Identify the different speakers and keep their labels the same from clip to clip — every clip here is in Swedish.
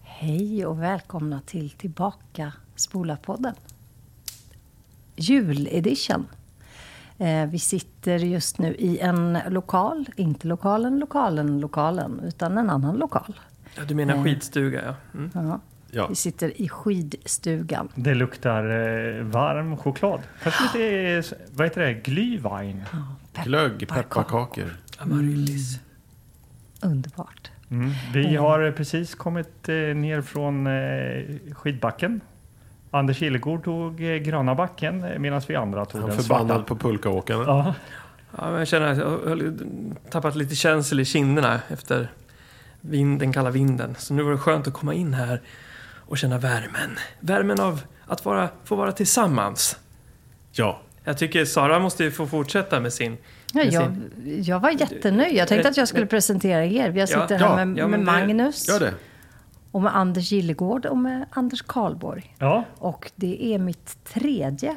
Speaker 1: Hej och välkomna till Tillbaka Spola-podden. Juledition. Eh, Vi sitter just nu i en lokal, inte lokalen, lokalen, lokalen, utan en annan lokal.
Speaker 2: Ja, du menar skidstuga, ja. Mm.
Speaker 1: Ja.
Speaker 3: Ja.
Speaker 1: Vi sitter i skidstugan.
Speaker 4: Det luktar eh, varm choklad. Kanske lite, eh, vad heter det, glühwein.
Speaker 1: Pepp-
Speaker 3: Glögg,
Speaker 1: pepparkakor.
Speaker 3: pepparkakor.
Speaker 2: Amaryllis.
Speaker 1: Underbart.
Speaker 4: Mm. Vi har eh, precis kommit eh, ner från eh, skidbacken. Anders Hillegård tog eh, gröna backen eh, medan vi andra tog
Speaker 3: Han
Speaker 4: den
Speaker 3: förbannad
Speaker 4: svarta.
Speaker 3: på pulkaåkarna.
Speaker 4: Ja.
Speaker 2: Ja, men jag känner att jag har tappat lite känsel i kinderna efter vind, den kalla vinden. Så nu var det skönt att komma in här och känna värmen. Värmen av att vara, få vara tillsammans.
Speaker 3: Ja.
Speaker 2: Jag tycker Sara måste ju få fortsätta med sin...
Speaker 1: Ja,
Speaker 2: Med
Speaker 1: jag, jag var jättenöjd. Jag tänkte att jag skulle presentera er. Jag
Speaker 2: Eh, Ja,
Speaker 1: sitter
Speaker 3: ja,
Speaker 1: här med,
Speaker 2: ja,
Speaker 1: med
Speaker 2: men det-
Speaker 1: Magnus,
Speaker 3: Gör det.
Speaker 1: och med Anders Gillegård och med Anders Karlborg.
Speaker 4: ja,
Speaker 1: Och det är mitt tredje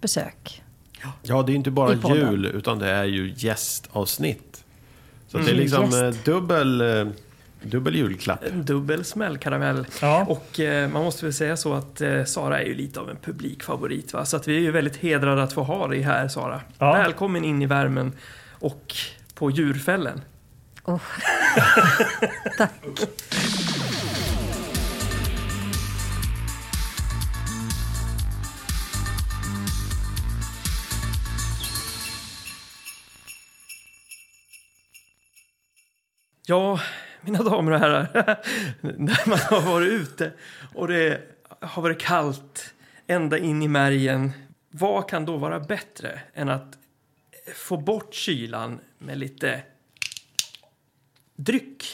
Speaker 1: besök.
Speaker 3: Ja, det är inte bara
Speaker 1: I podden.
Speaker 3: jul, utan det är ju gästavsnitt. Så att det är
Speaker 1: Mm.
Speaker 3: liksom
Speaker 1: Gäst.
Speaker 3: eh, dubbel, eh, dubbel julklapp.
Speaker 2: En dubbel smäll karamell.
Speaker 4: Ja.
Speaker 2: Och eh, man måste väl säga så att eh, Sara är ju lite av en publikfavorit. Va? Så att vi är ju väldigt hedrade att få ha dig här Sara.
Speaker 4: Ja.
Speaker 2: Välkommen in i värmen och på djurfällen.
Speaker 1: Oh.
Speaker 2: Ja, mina damer och herrar. När man har varit ute och det har varit kallt ända in i märgen. Vad kan då vara bättre än att få bort kylan med lite dryck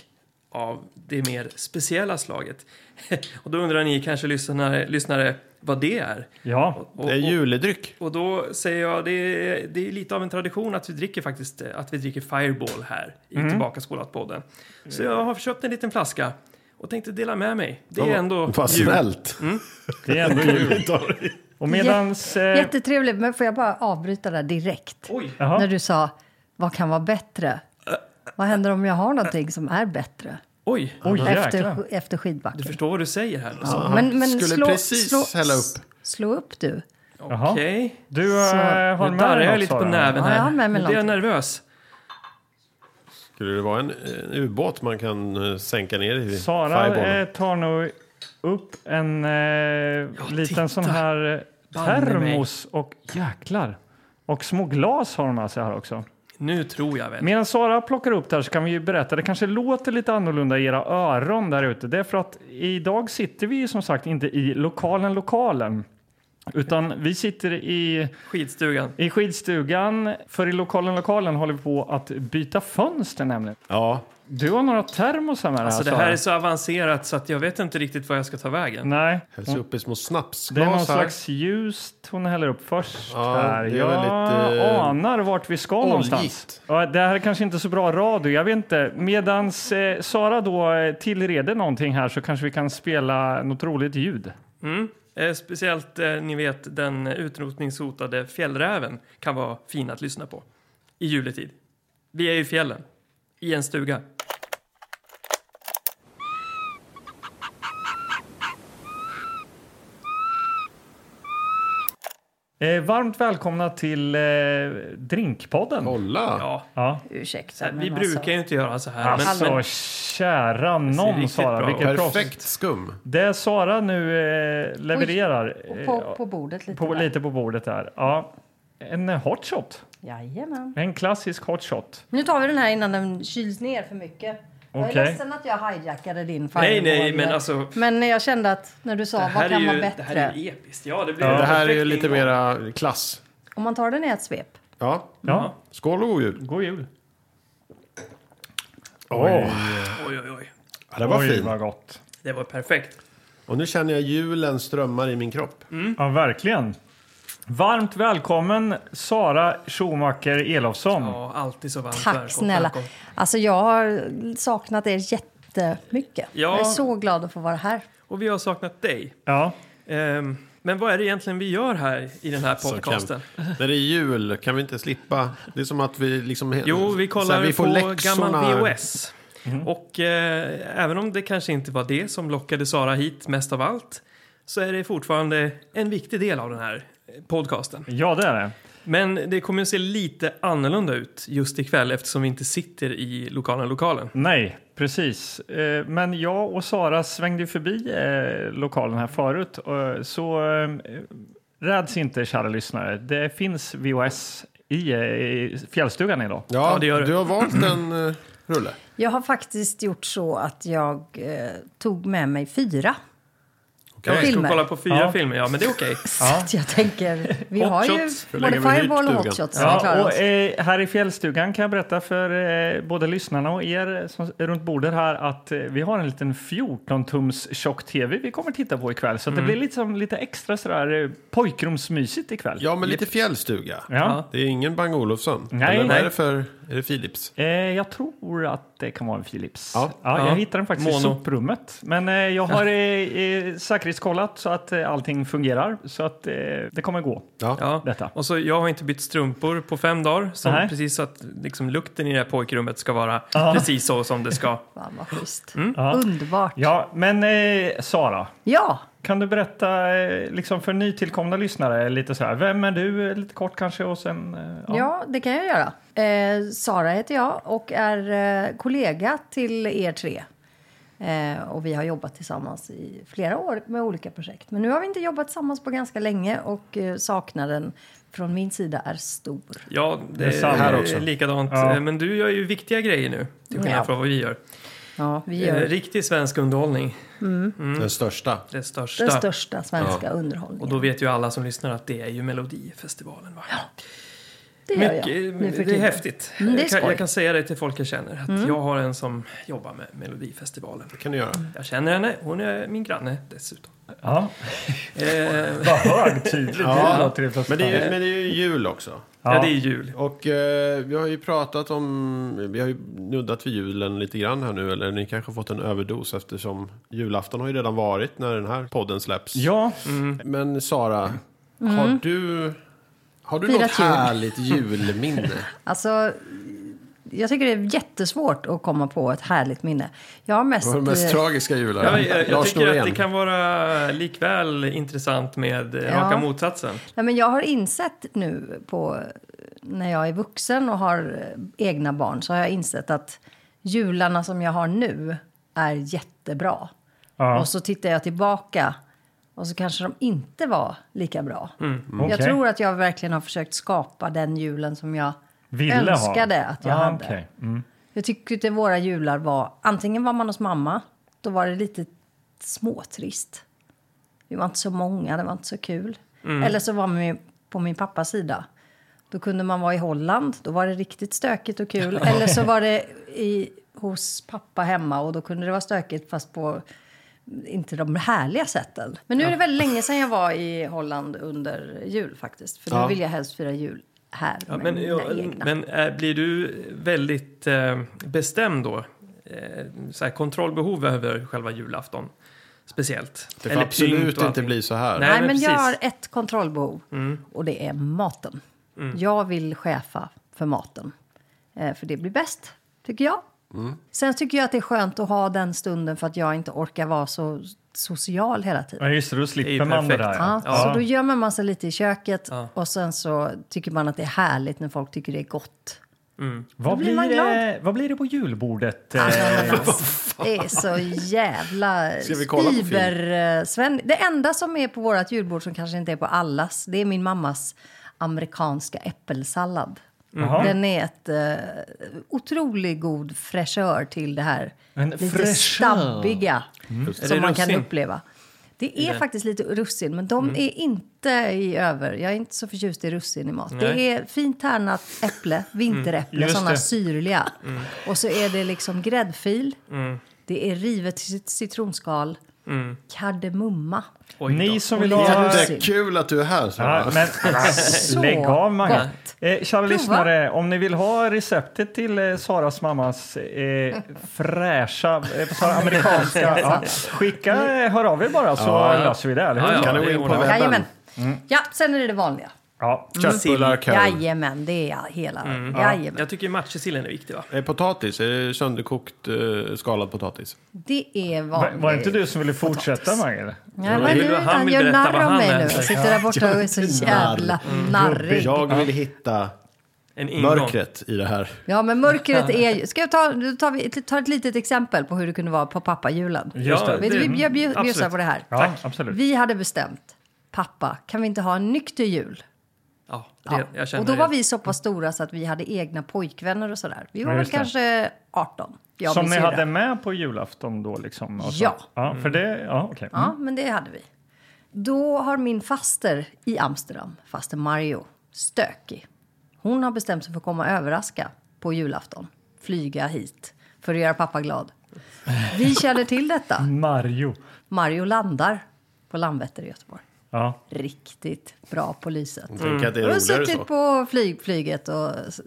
Speaker 2: av det mer speciella slaget? Och då undrar ni kanske lyssnare, lyssnare vad det är.
Speaker 4: ja.
Speaker 2: Och-
Speaker 3: Det är
Speaker 2: och-
Speaker 3: juledryck.
Speaker 2: och då säger jag, det är, det är lite av en tradition att vi dricker faktiskt, eh, att vi dricker Fireball här i Tillbaka skolat podden. Så jag har köpt en liten flaska och tänkte dela med mig. Det är ändå
Speaker 3: Vad
Speaker 2: jul.
Speaker 3: snällt.
Speaker 4: det är ändå jul. Och medans... Eh,
Speaker 1: Jättetrevligt, men får jag bara avbryta där direkt?
Speaker 2: Oj,
Speaker 4: jaha.
Speaker 1: När du sa, vad kan vara bättre? Vad händer om jag har någonting som är bättre?
Speaker 2: oj,
Speaker 4: Oj, jäklar.
Speaker 1: Efter, efter skidbacken.
Speaker 2: du förstår vad du säger här. nu.
Speaker 1: Ja,
Speaker 3: Han skulle precis hälla upp.
Speaker 1: Slå upp du.
Speaker 4: Jaha.
Speaker 2: Okej,
Speaker 4: Du eh,
Speaker 1: Så,
Speaker 4: har
Speaker 2: nu
Speaker 4: med
Speaker 2: darrar
Speaker 4: dig
Speaker 2: jag
Speaker 4: något,
Speaker 2: lite på
Speaker 4: Sara?
Speaker 2: näven
Speaker 1: Ja, jag
Speaker 2: här.
Speaker 1: har med mig
Speaker 2: nu blir jag
Speaker 1: någonting.
Speaker 2: nervös.
Speaker 3: Skulle det vara en, en ubåt man kan eh, sänka ner i
Speaker 4: Sara
Speaker 3: fireballen?
Speaker 4: eh, tar nog upp en eh, liten
Speaker 2: titta.
Speaker 4: sån här eh,
Speaker 2: Banne mig.
Speaker 4: termos och jäklar. Och små glas har hon med sig här också.
Speaker 2: Nu tror jag väl.
Speaker 4: Medan Sara plockar upp det här så kan vi ju berätta. Det kanske låter lite annorlunda i era öron där ute. Det är för att idag sitter vi ju som sagt inte i lokalen lokalen. Utan vi sitter i,
Speaker 2: Skidstugan.
Speaker 4: i skidstugan. För i lokalen lokalen håller vi på att byta fönster nämligen.
Speaker 3: Ja.
Speaker 4: Du har några termosar med
Speaker 2: Alltså
Speaker 4: dig
Speaker 2: det
Speaker 4: här
Speaker 2: här
Speaker 4: Sara.
Speaker 2: är så avancerat så att jag vet inte riktigt vad jag ska ta vägen.
Speaker 4: Nej.
Speaker 3: Hälls upp i små
Speaker 4: Det är någon
Speaker 3: snapsglas här.
Speaker 4: slags ljust hon häller upp först
Speaker 3: Ja,
Speaker 4: här.
Speaker 3: det är
Speaker 4: Jag
Speaker 3: väldigt, eh,
Speaker 4: anar vart vi ska någonstans. Ja, det här är kanske inte så bra radio, jag vet inte. Medans eh, Sara då eh, tillreder någonting här så kanske vi kan spela något roligt ljud.
Speaker 2: Mm. Eh, speciellt, eh, ni vet, den utrotningshotade fjällräven kan vara fin att lyssna på i juletid. Vi är i fjällen, i en stuga.
Speaker 4: Eh, varmt välkomna till eh, Drinkpodden.
Speaker 3: Kolla!
Speaker 2: Ja,
Speaker 4: Ja.
Speaker 1: Ursäkta.
Speaker 2: så här, vi
Speaker 1: men alltså,
Speaker 2: brukar ju inte göra så här.
Speaker 4: Alltså
Speaker 2: men, men,
Speaker 4: kära
Speaker 2: ser
Speaker 4: någon
Speaker 2: riktigt
Speaker 4: Sara,
Speaker 2: bra
Speaker 4: vilket proffs.
Speaker 3: Perfekt skum.
Speaker 4: Det Sara nu eh, levererar.
Speaker 1: och
Speaker 4: eh,
Speaker 1: På, på bordet lite.
Speaker 4: på,
Speaker 1: där.
Speaker 4: lite på bordet där. Ja. En eh, hot shot.
Speaker 1: Jajamän.
Speaker 4: En klassisk hot shot.
Speaker 1: Nu tar vi den här innan den kyls ner för mycket. Jag är
Speaker 4: Okej.
Speaker 1: ledsen att jag hijackade din
Speaker 2: Nej, nej,
Speaker 1: fireball.
Speaker 2: men alltså...
Speaker 1: Men jag kände att när du
Speaker 2: Det
Speaker 1: sa vad
Speaker 2: här, är
Speaker 1: kan vara
Speaker 2: ju, det här är
Speaker 1: bättre.
Speaker 2: ju episkt. Ja, det blir
Speaker 4: Ja.
Speaker 2: en
Speaker 3: Det här är ju
Speaker 2: perfekt
Speaker 3: lite
Speaker 2: ingång.
Speaker 3: mera klass.
Speaker 1: Om man tar den i ett svep.
Speaker 3: Ja.
Speaker 4: Ja,
Speaker 3: Skål och god jul.
Speaker 4: god jul.
Speaker 3: Åh,
Speaker 2: Oj, oj, oj.
Speaker 3: ja, det var
Speaker 4: Oj,
Speaker 3: fint.
Speaker 4: vad gott.
Speaker 2: Det var perfekt.
Speaker 3: Och nu känner jag julen strömmar i min kropp.
Speaker 2: Mm.
Speaker 4: Ja, verkligen. Varmt välkommen Sara Schumacher Elofsson.
Speaker 2: Ja, alltid så varmt
Speaker 1: Tack
Speaker 2: välkommen.
Speaker 1: snälla. Alltså jag har saknat er jättemycket.
Speaker 2: Ja.
Speaker 1: Jag är så glad att få vara här.
Speaker 2: Och vi har saknat dig.
Speaker 4: Ja.
Speaker 2: Ehm, men vad är det egentligen vi gör här i den här podcasten?
Speaker 3: Så Kan, när det är jul kan vi inte slippa. Det är som att vi liksom...
Speaker 2: Jo, vi
Speaker 3: så här,
Speaker 2: kollar
Speaker 3: vi får
Speaker 2: på
Speaker 3: läxorna.
Speaker 2: gammal VHS. Och eh, även om det kanske inte var det som lockade Sara hit mest av allt så är det fortfarande en viktig del av den här eh, podcasten.
Speaker 4: Ja, det är det.
Speaker 2: Men det kommer att se lite annorlunda ut just ikväll eftersom vi inte sitter i lokalen lokalen.
Speaker 4: Nej, precis. Eh, Men jag och Sara svängde ju förbi eh, lokalen här förut. eh, Så eh, räds inte, kära lyssnare. Det finns VHS i eh, fjällstugan idag.
Speaker 3: Ja,
Speaker 2: Ja, det gör det.
Speaker 3: du har valt en eh, rulle.
Speaker 1: Jag har faktiskt gjort så att jag eh, tog med mig fyra.
Speaker 2: Jag ska
Speaker 1: Filmer.
Speaker 2: kolla på fyra
Speaker 4: Ja.
Speaker 2: filmer, ja men det är okej.
Speaker 1: Så att jag tänker, vi
Speaker 2: Hot
Speaker 1: har ju
Speaker 2: shots.
Speaker 3: länge
Speaker 1: både
Speaker 3: har vi hyrt
Speaker 1: Fireball och
Speaker 3: stugan?
Speaker 1: Hotshots. som är klara
Speaker 4: Ja, och,
Speaker 1: oss.
Speaker 4: eh, här i fjällstugan kan jag berätta för eh, både lyssnarna och er som är runt bordet här att eh, vi har en liten 14-tums tjock-tv vi kommer titta på ikväll. Så att det blir liksom lite extra sådär eh, pojkrumsmysigt ikväll.
Speaker 3: Ja, men lite fjällstuga.
Speaker 4: Ja.
Speaker 3: Det är ingen Bang Olufsen.
Speaker 4: Nej,
Speaker 3: Eller vad
Speaker 4: nej.
Speaker 3: är det för? Är det Philips?
Speaker 4: Eh, jag tror att det kan vara en Philips.
Speaker 3: Ja.
Speaker 2: Ja.
Speaker 4: Jag hittade den faktiskt i
Speaker 2: Mono.
Speaker 4: soprummet. Men eh, jag har eh, eh, säkerhetskollat så att eh, allting fungerar. Så att eh, det kommer gå,
Speaker 3: Ja.
Speaker 2: Ja.
Speaker 4: detta.
Speaker 2: Och så, jag har inte bytt strumpor på fem dagar. Så
Speaker 4: Nej.
Speaker 2: precis så att liksom, lukten i det här pojkrummet ska vara
Speaker 4: Ja.
Speaker 2: precis så som det ska.
Speaker 1: Fan vad schysst.
Speaker 3: Mm.
Speaker 4: Ja.
Speaker 1: Underbart.
Speaker 4: Ja, men eh, Sara.
Speaker 1: Ja,
Speaker 4: Kan du berätta eh, liksom för nytillkomna lyssnare lite så här, vem är du? Eh, Lite kort kanske och sen... eh,
Speaker 1: ja. det kan jag göra. Eh, Sara heter jag och är eh, kollega till er tre. Eh, och vi har jobbat tillsammans i flera år med olika projekt. Men nu har vi inte jobbat tillsammans på ganska länge och eh, saknaden från min sida är stor.
Speaker 2: Ja, det
Speaker 4: Det är
Speaker 2: är,
Speaker 4: samma
Speaker 2: här
Speaker 3: också.
Speaker 2: också. likadant.
Speaker 4: Ja.
Speaker 2: Eh, Men du gör ju viktiga grejer nu, till skillnad
Speaker 1: Ja.
Speaker 2: från vad vi gör.
Speaker 1: Ja, vi
Speaker 2: Eh,
Speaker 1: gör
Speaker 2: Riktig svensk underhållning, Mm.
Speaker 3: Den största.
Speaker 2: det största.
Speaker 1: den största svenska
Speaker 2: Och
Speaker 1: underhållningen.
Speaker 2: då vet ju alla som lyssnar att det är ju Melodifestivalen. Va?
Speaker 1: Det gör
Speaker 2: Mycket,
Speaker 1: jag. nu för
Speaker 2: det är
Speaker 1: tiden.
Speaker 2: häftigt.
Speaker 1: Mm, det är
Speaker 2: jag, kan,
Speaker 1: skoj. Mm.
Speaker 2: jag kan säga det till folk jag känner, att jag har en som jobbar med Melodifestivalen.
Speaker 3: Det kan du göra.
Speaker 2: Jag känner henne, hon är min granne dessutom.
Speaker 4: Ja.
Speaker 2: Eh,
Speaker 4: Vad högtidligt
Speaker 3: Ja.
Speaker 4: det låter. i första
Speaker 3: Men det, är,
Speaker 4: hand.
Speaker 3: men det är ju jul också.
Speaker 2: ja.
Speaker 4: Ja.
Speaker 2: det är jul.
Speaker 3: Och eh, vi har ju pratat om, vi har ju nuddat vid julen lite grann här nu, eller ni kanske har fått en överdos eftersom julafton har ju redan varit när den här podden släpps.
Speaker 4: Ja,
Speaker 3: Mm. Men Sara, har du, har du
Speaker 1: Mm. Firat jul.
Speaker 3: något härligt julminne?
Speaker 1: Alltså, jag tycker det är jättesvårt att komma på ett härligt minne. Jag har mest...
Speaker 3: Vad var det mest tragiska julen?
Speaker 2: Jag, jag, jag
Speaker 3: Lars
Speaker 2: tycker att det
Speaker 3: Norén.
Speaker 2: kan vara likväl intressant med eh,
Speaker 1: Ja.
Speaker 2: raka motsatsen.
Speaker 1: Nej, men jag har insett nu på, när jag är vuxen och har eh, egna barn så har jag insett att jularna som jag har nu är jättebra.
Speaker 4: Ja.
Speaker 1: Och så tittar jag tillbaka och så kanske de inte var lika bra. Jag
Speaker 4: Mm, okej.
Speaker 1: tror att jag verkligen har försökt skapa den julen som jag
Speaker 4: Ville ha.
Speaker 1: önskade att jag
Speaker 4: Ah,
Speaker 1: hade.
Speaker 4: okej. Mm.
Speaker 1: Jag tycker att våra jular var... Antingen var man hos mamma, då var det lite småtrist. Vi var inte så många, det var inte så kul.
Speaker 2: Mm.
Speaker 1: Eller så var man ju på min pappas sida. Då kunde man vara i Holland, då var det riktigt stökigt och kul. Eller så var det i, hos pappa hemma och då kunde det vara stökigt fast på inte de härliga sätten. Men nu är det väldigt länge sedan jag var i Holland under jul faktiskt. För nu
Speaker 3: Ja.
Speaker 1: vill jag helst fira jul här
Speaker 2: Ja,
Speaker 1: med
Speaker 2: men
Speaker 1: mina
Speaker 2: ja,
Speaker 1: egna.
Speaker 2: men eh, blir du väldigt eh, bestämd då? Eh, så här, kontrollbehov över själva julafton? Speciellt.
Speaker 3: Det får
Speaker 2: Eller pynt
Speaker 3: absolut
Speaker 2: och
Speaker 3: inte
Speaker 2: allting.
Speaker 3: bli så här.
Speaker 2: Nej.
Speaker 1: Nej, men Mm. jag
Speaker 2: precis.
Speaker 1: har ett kontrollbehov och det är maten. Jag vill chefa för maten, eh, för det blir bäst, tycker jag. Sen tycker jag att det är skönt att ha den stunden för att jag inte orkar vara så social hela tiden.
Speaker 4: Ja, just det, då
Speaker 2: Det är ju
Speaker 4: slipper man det där.
Speaker 2: perfekt.
Speaker 1: Ja,
Speaker 2: Ja.
Speaker 1: Så då gömmer man sig lite i köket
Speaker 2: Ja.
Speaker 1: och sen så tycker man att det är härligt när folk tycker det är gott.
Speaker 4: Vad,
Speaker 1: blir man
Speaker 4: blir det, vad blir det på julbordet?
Speaker 1: Ah,
Speaker 4: eh?
Speaker 1: Ananas. Det är så jävla
Speaker 3: Ska vi kolla på film?
Speaker 1: fiber-Sven. Det enda som är på vårt julbord som kanske inte är på allas, det är min mammas amerikanska äppelsallad.
Speaker 3: Mm.
Speaker 4: Jaha.
Speaker 1: Den är ett eh, otroligt god fräschör till det här
Speaker 4: En
Speaker 1: lite
Speaker 4: fräschör.
Speaker 1: stabbiga
Speaker 3: Mm.
Speaker 2: Är
Speaker 1: som
Speaker 2: det
Speaker 1: man kan
Speaker 2: russin?
Speaker 1: uppleva. Det är faktiskt lite russin, men de är inte i över. Jag är inte så förtjust i russin i mat. Det
Speaker 2: Nej.
Speaker 1: är fint härnat äpple, vinteräpple,
Speaker 4: Just
Speaker 1: sådana
Speaker 4: det.
Speaker 1: syrliga. Och så är det liksom gräddfil, det är rivet cit- citronskal, kardemumma.
Speaker 2: Oj då.
Speaker 4: Ni som vill
Speaker 1: Ja.
Speaker 4: ha...
Speaker 3: Jättekul att du är här Sara.
Speaker 4: Ja, men, lägg av Mange. Eh, kära lyssnare, om ni vill ha receptet till eh, Saras mammas eh, fräscha, eh, på Sara, amerikanska, ja, skicka, eh, hör av er bara så löser vi det. Eller hur?
Speaker 2: Ja, ja.
Speaker 3: Kan du
Speaker 2: det
Speaker 3: gå in på
Speaker 2: ordnar vi.
Speaker 3: webben?
Speaker 1: Jajamän. Ja, sen är det det vanliga.
Speaker 4: Ja.
Speaker 1: Mm.
Speaker 3: Köttbullar, korv.
Speaker 1: Jajamän, det är hela.
Speaker 2: Ja.
Speaker 1: Jajamän.
Speaker 2: Jag tycker matjessilen är viktig va?
Speaker 3: Eh, Potatis, är det sönderkokt eh, skalad potatis?
Speaker 1: Det är
Speaker 4: Var,
Speaker 1: vanligt.
Speaker 4: var det inte du som ville fortsätta, Mange?
Speaker 1: Ja, vad är
Speaker 2: vill-
Speaker 1: det?
Speaker 2: han
Speaker 1: Han
Speaker 2: vill
Speaker 1: gör
Speaker 2: berätta
Speaker 1: narr
Speaker 2: vad
Speaker 1: av
Speaker 2: han
Speaker 1: mig nu.
Speaker 2: äter.
Speaker 1: Jag sitter där borta och är så
Speaker 5: narr.
Speaker 1: jävla narrig.
Speaker 5: Jag vill hitta
Speaker 2: En ingång.
Speaker 3: Mörkret i det här.
Speaker 1: Ja, men mörkret är ju... Ska jag ta, då tar vi, ta ett litet exempel på hur det kunde vara på pappajulen?
Speaker 4: Just det.
Speaker 1: Vet du, vi bjö- bjö- bjussar
Speaker 2: absolut.
Speaker 1: på det här.
Speaker 4: Ja, absolut.
Speaker 1: Vi hade bestämt, pappa, kan vi inte ha en nykter jul?
Speaker 2: Ja, det,
Speaker 1: Ja.
Speaker 2: jag känner
Speaker 1: och då var
Speaker 2: det.
Speaker 1: vi så pass stora så att vi hade egna pojkvänner och sådär. Vi var
Speaker 4: Ja,
Speaker 1: väl
Speaker 4: just det.
Speaker 1: kanske 18. jag och
Speaker 4: som
Speaker 1: min
Speaker 4: ni
Speaker 1: syrra.
Speaker 4: hade med på julafton då liksom? och så.
Speaker 1: Ja.
Speaker 4: Ja, för det, ja okej. Mm.
Speaker 1: Ja, men det hade vi. Då har min faster i Amsterdam, faster Mario, stökig. Hon har bestämt sig för att komma och överraska på julafton. Flyga hit för att göra pappa glad. Vi känner till detta.
Speaker 4: Mario.
Speaker 1: Mario landar på Landvetter i Göteborg.
Speaker 4: Ja.
Speaker 1: Riktigt bra på lyset.
Speaker 3: Tänk att det
Speaker 1: Hon
Speaker 3: är
Speaker 1: Mm. har
Speaker 3: roligare
Speaker 1: suttit
Speaker 3: så.
Speaker 1: på flyg, flyget och s-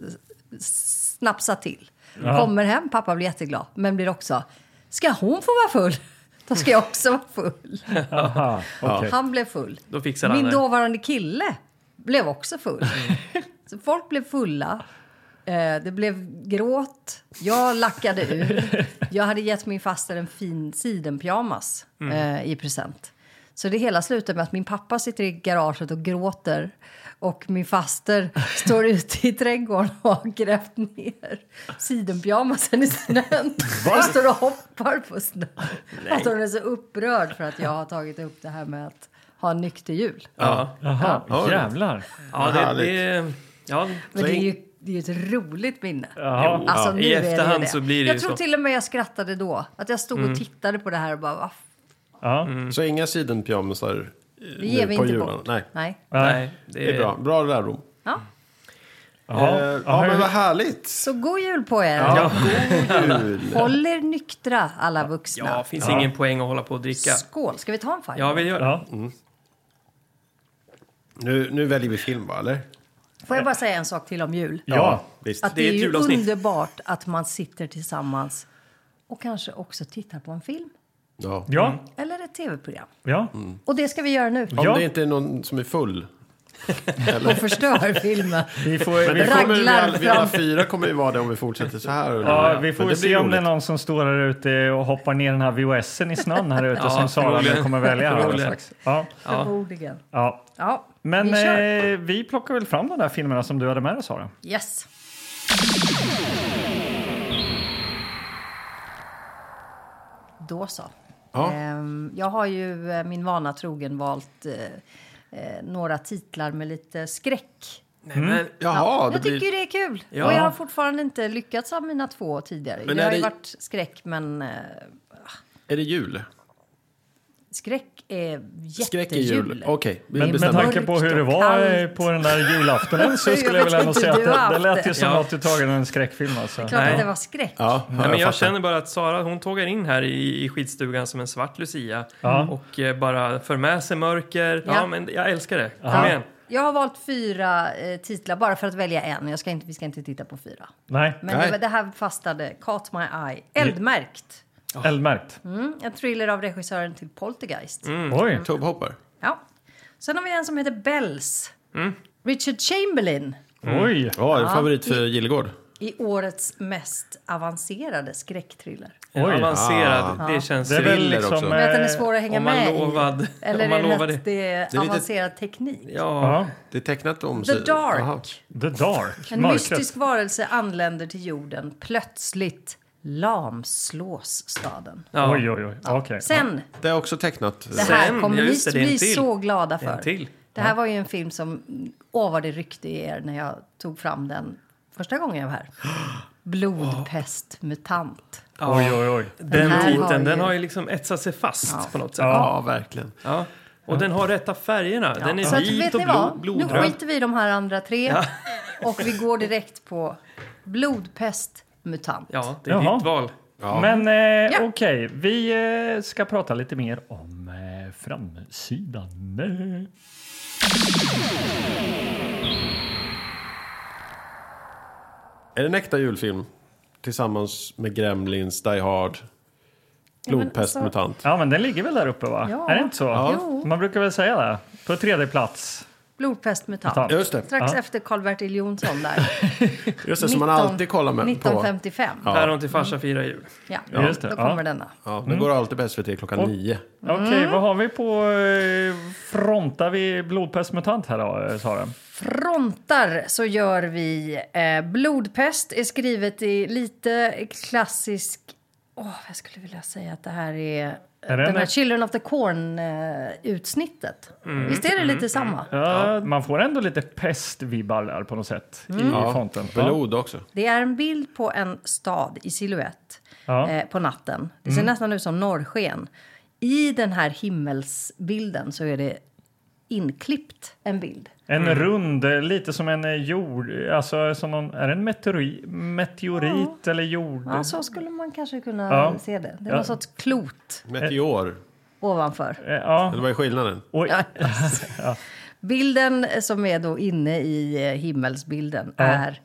Speaker 1: s- snapsat till. Kommer hem, pappa blir jätteglad, men blir också... Ska hon få vara full? Då ska jag också vara full.
Speaker 4: Aha, okej.
Speaker 1: Han blev full.
Speaker 2: Då fixar han
Speaker 1: Min
Speaker 2: det.
Speaker 1: dåvarande kille blev också full. Så folk blev fulla. Eh, Det blev gråt. Jag lackade ur. Jag hade gett min faster en fin sidenpyjamas eh, i present. Så det hela slutar med att min pappa sitter i garaget och gråter och min faster står ute i trädgården och har grävt ner sidenpyjamasen i snön. Och står och hoppar på snön. För att hon är så upprörd för att jag har tagit upp det här med att ha en nykter jul.
Speaker 2: Ja,
Speaker 4: Aha, jävlar.
Speaker 2: ja det, det, ja.
Speaker 1: Men det är ju det är ju ett roligt minne.
Speaker 4: Jaha.
Speaker 1: Alltså, nu
Speaker 2: I
Speaker 1: är det
Speaker 2: efterhand så blir det
Speaker 1: Jag
Speaker 2: ju
Speaker 1: tror
Speaker 2: så. Mm.
Speaker 1: till och med jag skrattade då. Att jag stod och tittade på det här och bara, "Va f-
Speaker 4: Ja.
Speaker 3: Mm. Så inga sidenpyjamasar
Speaker 1: det ger vi
Speaker 3: på
Speaker 1: inte
Speaker 3: julen?
Speaker 1: bort.
Speaker 3: Nej,
Speaker 1: Nej.
Speaker 2: Nej, det
Speaker 3: det är bra. Bra lärdom.
Speaker 1: Ja.
Speaker 4: Jaha.
Speaker 3: Eh,
Speaker 4: Jaha,
Speaker 3: ja, men
Speaker 4: hur-
Speaker 3: vad härligt.
Speaker 1: Så god jul på er!
Speaker 3: Jul.
Speaker 1: Håll er nyktra, alla vuxna.
Speaker 2: Ja, finns ingen poäng att hålla på och dricka.
Speaker 1: Skål! Ska vi ta en fight?
Speaker 2: Ja, vi gör det.
Speaker 4: Ja.
Speaker 3: Nu, nu väljer vi film, va? Eller?
Speaker 1: Får jag bara säga en sak till om jul?
Speaker 4: ja.
Speaker 3: visst.
Speaker 1: Att
Speaker 2: Det
Speaker 1: det
Speaker 2: är
Speaker 1: är,
Speaker 2: ett
Speaker 1: ju
Speaker 2: julavsnitt.
Speaker 1: underbart att man sitter tillsammans och kanske också tittar på en film
Speaker 3: Ja.
Speaker 4: Ja.
Speaker 1: eller ett tv-program.
Speaker 4: Ja.
Speaker 1: Och det ska vi göra nu.
Speaker 3: Om
Speaker 4: Ja.
Speaker 3: det inte är någon som är full.
Speaker 1: Och förstör filmen.
Speaker 4: Vi får, vi,
Speaker 1: Raglar
Speaker 3: Kommer vi, alla, vi alla
Speaker 1: fram.
Speaker 3: fyra kommer ju vara det om vi fortsätter så här.
Speaker 4: ja, vi får
Speaker 3: Men det
Speaker 4: se
Speaker 3: blir
Speaker 4: om det är
Speaker 3: roligt.
Speaker 4: någon som står här ute och hoppar ner den här VHSen i snön här ute
Speaker 2: Ja,
Speaker 4: som Sara nu
Speaker 2: förmodligen.
Speaker 4: kommer välja. Här, alldeles
Speaker 2: Förmodligen.
Speaker 4: strax. ja.
Speaker 1: Förmodligen.
Speaker 4: Ja.
Speaker 1: Ja,
Speaker 4: Men
Speaker 1: vi kör.
Speaker 4: eh, vi plockar väl fram de där filmerna som du hade med dig, Sara.
Speaker 1: Yes. Då så.
Speaker 3: Ja.
Speaker 1: Ehm, Jag har ju eh, min vana trogen valt eh, eh, några titlar med lite skräck.
Speaker 2: Nej, men,
Speaker 3: Jaha, det
Speaker 1: jag
Speaker 3: blir...
Speaker 1: tycker det är kul.
Speaker 2: Ja.
Speaker 1: Och jag har fortfarande inte lyckats av mina två tidigare.
Speaker 3: Men
Speaker 1: det
Speaker 3: är
Speaker 1: har ju
Speaker 3: det-
Speaker 1: varit skräck, men eh,
Speaker 3: är det jul?
Speaker 1: skräck är
Speaker 3: Skräck är jul.
Speaker 1: jättejul.
Speaker 3: Okej, vi
Speaker 4: Men med
Speaker 3: bestämmer.
Speaker 4: tanke på hur det
Speaker 1: och
Speaker 4: var eh,
Speaker 1: kallt.
Speaker 4: på den där julaftonen så
Speaker 1: Jag
Speaker 4: skulle jag
Speaker 1: vet
Speaker 4: väl ändå
Speaker 1: inte,
Speaker 4: säga att
Speaker 1: du har
Speaker 4: det, det
Speaker 1: haft
Speaker 4: lät ju
Speaker 1: det.
Speaker 4: som
Speaker 2: Ja.
Speaker 4: att du tagit en skräckfilm. Alltså.
Speaker 1: Klart
Speaker 2: Nej.
Speaker 1: att det var skräck.
Speaker 3: Ja,
Speaker 2: Nej, men jag
Speaker 3: fattar.
Speaker 2: känner bara att Sara hon tågar in här i, i skidstugan som en svart lucia
Speaker 4: Ja.
Speaker 2: och eh, bara för med sig mörker. Ja.
Speaker 1: Ja.
Speaker 2: men jag älskar det. Kom
Speaker 1: Ja.
Speaker 2: igen.
Speaker 1: Jag har valt fyra eh, titlar bara för att välja en. Jag ska inte, vi ska inte titta på fyra.
Speaker 4: Nej,
Speaker 1: Men
Speaker 3: Nej.
Speaker 1: det, var- det här fastnade. Caught my eye. Eldmärkt.
Speaker 4: eldmärkt.
Speaker 1: Mm, en thriller av regissören till Poltergeist.
Speaker 4: Oj.
Speaker 3: Tube Hopper.
Speaker 1: Ja. Sen har vi en som heter Bells. Richard Chamberlain Mm.
Speaker 4: Oj.
Speaker 3: Ja, en favorit för Gillegård.
Speaker 1: i årets mest avancerade skräckthriller.
Speaker 2: En
Speaker 4: Oj.
Speaker 2: avancerad. Det känns
Speaker 4: Det är väl
Speaker 3: Thriller
Speaker 4: liksom...
Speaker 3: också.
Speaker 1: Men att den är
Speaker 4: eh,
Speaker 1: svår att hänga
Speaker 2: om man
Speaker 1: Ah. med
Speaker 2: lovad-
Speaker 1: i. Eller
Speaker 2: om man
Speaker 1: är det
Speaker 2: lovar
Speaker 1: att det
Speaker 3: lite-
Speaker 1: är avancerad teknik.
Speaker 2: Ja,
Speaker 4: Ja.
Speaker 3: Det är tecknat om...
Speaker 1: The Dark.
Speaker 3: Jaha.
Speaker 4: The Dark.
Speaker 1: En
Speaker 4: Mörkret.
Speaker 1: mystisk varelse anländer till jorden. Plötsligt lamslås staden.
Speaker 2: ja.
Speaker 4: Oj, oj, oj. Okej.
Speaker 1: Sen,
Speaker 3: Det är också tecknat.
Speaker 1: det här
Speaker 2: Sen,
Speaker 1: kommer
Speaker 2: ja,
Speaker 1: ni
Speaker 2: just det, det är en
Speaker 1: bli
Speaker 2: till.
Speaker 1: så glada
Speaker 2: en
Speaker 1: för.
Speaker 2: till.
Speaker 1: Det här var ju en film som... Åh, vad det ryckte i er när jag tog fram den första gången jag var här. Blodpest, mutant.
Speaker 2: Ja.
Speaker 4: Oj, oj, oj.
Speaker 2: Den
Speaker 1: här
Speaker 2: titeln
Speaker 1: har ju-
Speaker 2: den har ju liksom etsat sig fast på något sätt. Ja.
Speaker 3: Ja, verkligen.
Speaker 2: Och den har rätta färgerna. Den
Speaker 1: Så
Speaker 2: är
Speaker 1: att,
Speaker 2: vit
Speaker 1: vet
Speaker 2: och
Speaker 1: ni vad?
Speaker 2: blod,
Speaker 1: Nu
Speaker 2: blodröd.
Speaker 1: skiter vi i de här andra tre och vi går direkt på blodpest, mutant.
Speaker 2: Ja, det är
Speaker 4: Jaha.
Speaker 2: ditt val.
Speaker 4: Men eh,
Speaker 1: Ja.
Speaker 4: okej, vi eh, ska prata lite mer om eh, framsidan. Eh,
Speaker 3: Är det en äkta julfilm? Tillsammans med Gremlins, Die Hard, Blodpest,
Speaker 1: alltså-
Speaker 3: Mutant.
Speaker 4: Ja, men den ligger väl där uppe va?
Speaker 1: Ja.
Speaker 4: Är det inte så?
Speaker 1: Jo.
Speaker 4: Man brukar väl säga det? På tredje plats.
Speaker 1: Blodpest mutant.
Speaker 4: Mutant.
Speaker 3: Just det.
Speaker 1: Strax
Speaker 4: Ja.
Speaker 1: efter Karl-Bertil Jonsson där.
Speaker 3: Just det, som man
Speaker 1: 19
Speaker 3: alltid kollar med på.
Speaker 1: 1955. Ja,
Speaker 2: Päron till farsa firar jul.
Speaker 4: Just det,
Speaker 1: då
Speaker 4: ja.
Speaker 1: kommer denna.
Speaker 3: Ja, det går alltid bäst för till klockan
Speaker 4: Och-
Speaker 3: nio.
Speaker 1: Mm.
Speaker 4: Okej, vad har vi på... Eh, frontar vi blodpestmutant här då, eh, Sara?
Speaker 1: Frontar så gör vi eh, Blodpest är skrivet i lite klassisk... Åh, jag skulle vilja säga att det här är... eh,
Speaker 4: Är det
Speaker 1: den
Speaker 4: en- Mm.
Speaker 1: här Children of the Corn-utsnittet. Visst är det lite samma?
Speaker 4: Ja, Man får ändå lite pestvibbar där på något sätt
Speaker 1: Mm.
Speaker 4: i
Speaker 3: Ja,
Speaker 4: fronten. Ja.
Speaker 3: Blod också.
Speaker 1: Det är en bild på en stad i silhuett
Speaker 4: Ja. Mm.
Speaker 1: eh, på natten. Det ser nästan ut som norrsken. I den här himmelsbilden så är det inklippt en bild.
Speaker 4: En rund, eh, lite som en eh, jord... Alltså, som någon, är det en meteori, meteorit eller jord?
Speaker 1: Ja, så skulle man kanske kunna
Speaker 4: Ja.
Speaker 1: se det. Det är
Speaker 4: Ja.
Speaker 1: någon sorts klot
Speaker 3: Meteor.
Speaker 1: ovanför.
Speaker 4: Eh, ja.
Speaker 3: Eller vad är skillnaden?
Speaker 4: Och,
Speaker 1: Ja. Bilden som är då inne i eh, himmelsbilden är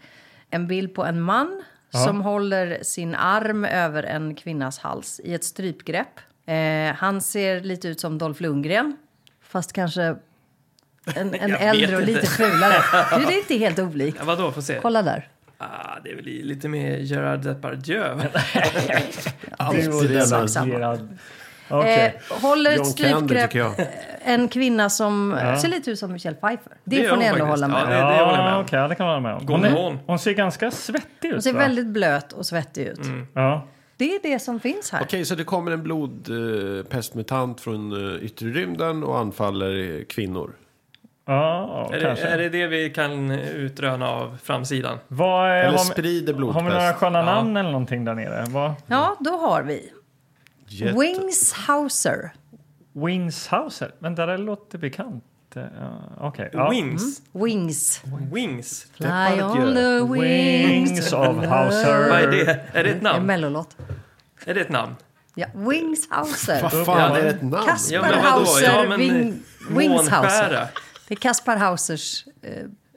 Speaker 1: en bild på en man som håller sin arm över en kvinnas hals i ett strypgrepp. Eh, han ser lite ut som Dolph Lundgren, fast kanske en, en
Speaker 2: vet
Speaker 1: äldre och
Speaker 2: inte.
Speaker 1: lite fulare. Du, det är inte helt olikt.
Speaker 2: Ja, vadå, får se.
Speaker 1: Kolla där.
Speaker 2: Ah, det är väl i- lite mer Gerard Depardieu. va?
Speaker 3: Alltid denna.
Speaker 4: Gerard. Okej.
Speaker 1: Eh, håller ett
Speaker 3: John Candy
Speaker 1: strypgrepp.
Speaker 3: tycker jag.
Speaker 1: En kvinna som eh, ser lite ut som Michelle Pfeiffer. Det,
Speaker 2: gör
Speaker 1: får ni
Speaker 2: hon
Speaker 1: ändå
Speaker 2: faktiskt.
Speaker 1: hålla med
Speaker 2: Ja,
Speaker 1: om.
Speaker 2: det, det håller jag med
Speaker 4: ja,
Speaker 2: om.
Speaker 4: okej, det kan man hålla med om.
Speaker 2: God
Speaker 4: Hon, är,
Speaker 2: morgon.
Speaker 4: hon ser ganska svettig ut.
Speaker 1: Hon ser
Speaker 4: va?
Speaker 1: väldigt blöt och svettig ut.
Speaker 4: Ja.
Speaker 1: Det är det som finns här.
Speaker 3: Okej, så det kommer en blodpestmutant från eh, yttre rymden och anfaller eh, kvinnor.
Speaker 4: Ja,
Speaker 2: Är det,
Speaker 4: kanske.
Speaker 2: är det det vi kan utröna av framsidan?
Speaker 4: Vad, eh,
Speaker 3: Eller
Speaker 4: har, vi-
Speaker 3: sprider
Speaker 4: har vi några
Speaker 3: blodpest.
Speaker 4: sköna namn eller någonting där nere? Vad,
Speaker 1: Ja, då har vi
Speaker 3: Jet-
Speaker 1: Wings Hauser.
Speaker 4: Wingshauser? Vänta, det låter bekant. Eh, Ja, Okej. ja.
Speaker 2: Wings.
Speaker 1: Wings.
Speaker 2: Mm. Wings.
Speaker 1: Fly
Speaker 3: Depardieu.
Speaker 1: on the wings.
Speaker 4: Wings of Hauser.
Speaker 2: Vad är det? Är det ett
Speaker 1: Det är en
Speaker 2: namn?
Speaker 1: mellolåt.
Speaker 2: Är det ett namn?
Speaker 1: Ja, Wings Hauser.
Speaker 3: Vad fan, är det ett namn?
Speaker 1: Kasper
Speaker 2: Ja, men vadå?
Speaker 1: Hauser.
Speaker 2: Ja, men,
Speaker 1: Wing,
Speaker 2: eh,
Speaker 1: Wings Hauser.
Speaker 2: månskära.
Speaker 1: Det är Kaspar Hausers eh,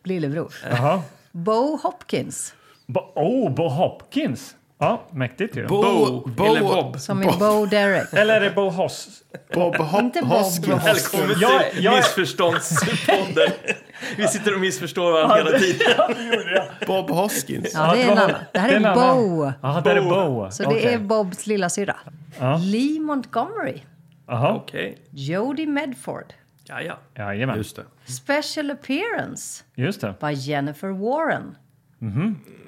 Speaker 1: lillebror.
Speaker 4: Jaha.
Speaker 1: Bo Hopkins.
Speaker 4: Bo, oh, Bo Hopkins! Ja, mäktigt ju.
Speaker 2: Bo, eller Bob.
Speaker 1: Som är Bo Derek.
Speaker 4: Eller är det Bo Hoss?
Speaker 3: Bob Hop-
Speaker 1: Inte Bob.
Speaker 3: Hoskins.
Speaker 2: Välkommen
Speaker 4: Jag-
Speaker 2: till
Speaker 4: jag-
Speaker 2: missförståndspodden. Vi sitter och missförstår varandra hela tiden.
Speaker 3: Bob Hoskins.
Speaker 1: Ja, det är en
Speaker 4: var-
Speaker 1: annan. Det här är
Speaker 4: en annan.
Speaker 1: Bo.
Speaker 4: Ja, det är Bo.
Speaker 1: Så det
Speaker 4: Okej.
Speaker 1: är Bobs lilla syrra. Lee Montgomery.
Speaker 4: Jaha,
Speaker 2: Okej.
Speaker 1: Jodie Medford.
Speaker 2: Ja, ja.
Speaker 4: jajamän.
Speaker 3: Just det.
Speaker 1: Special appearance
Speaker 4: Just det.
Speaker 1: by Jennifer Warren.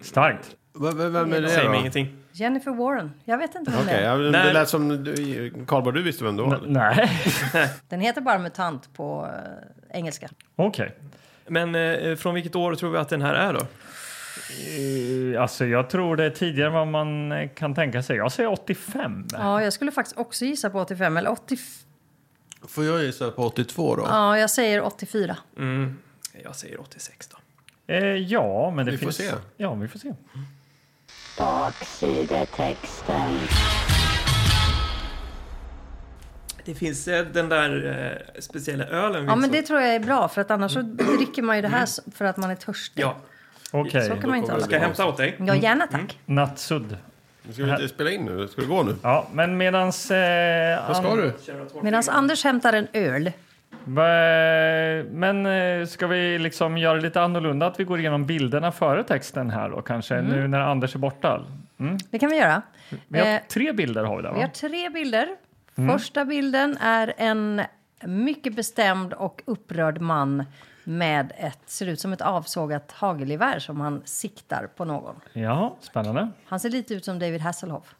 Speaker 4: Starkt.
Speaker 3: V- v- vem är det
Speaker 2: Säger mig
Speaker 3: då?
Speaker 2: ingenting.
Speaker 1: Jennifer Warren. Jag vet inte vem det
Speaker 3: Okej,
Speaker 1: är.
Speaker 3: ja, men det
Speaker 2: Nej.
Speaker 3: lät som... du- Karlborg, du visste vem det var? eller?
Speaker 4: Nej.
Speaker 1: Den heter bara mutant på eh, engelska.
Speaker 4: Okej.
Speaker 2: Men eh, från vilket år tror vi att den här är då?
Speaker 4: Eh, Alltså, jag tror det är tidigare än vad man eh, kan tänka sig. Jag säger 85.
Speaker 1: Ja, jag skulle faktiskt också gissa på 85 eller 80.
Speaker 3: Får jag gissa på 82 då?
Speaker 1: Ja, jag säger 84.
Speaker 2: Jag säger 86 då.
Speaker 4: Eh, ja, men det
Speaker 3: Vi får
Speaker 4: finns...
Speaker 3: se.
Speaker 4: Ja, vi får se.
Speaker 5: Baksidetexten.
Speaker 2: Det finns eh, den där eh, speciella ölen. vi
Speaker 1: Ja, men
Speaker 2: såg.
Speaker 1: det tror jag är bra för att annars så dricker man ju det här s- för att man är törstig.
Speaker 2: Ja.
Speaker 4: Okej.
Speaker 1: Så kan man ju inte
Speaker 3: kommer
Speaker 1: hålla
Speaker 2: Ska jag
Speaker 1: på.
Speaker 2: hämta åt dig?
Speaker 1: Ja, gärna tack.
Speaker 4: Mm. Nattsudd.
Speaker 3: Ska vi inte spela in nu? Ska du gå nu?
Speaker 4: Ja, men medans... Eh,
Speaker 3: Vad ska
Speaker 4: an-
Speaker 3: du?
Speaker 1: Medan Anders hämtar en öl.
Speaker 4: Va- Men eh, ska vi liksom göra lite annorlunda? Att vi går igenom bilderna före texten här då kanske?
Speaker 1: Mm.
Speaker 4: Nu när Anders är borta.
Speaker 1: Det kan vi göra.
Speaker 4: Vi har
Speaker 1: Eh,
Speaker 4: tre bilder har vi där
Speaker 1: Vi har
Speaker 4: va?
Speaker 1: tre bilder. Första bilden är en mycket bestämd och upprörd man med ett, ser ut som ett avsågat hagelgevär som han siktar på någon.
Speaker 4: Ja, spännande.
Speaker 1: Han ser lite ut som David Hasselhoff.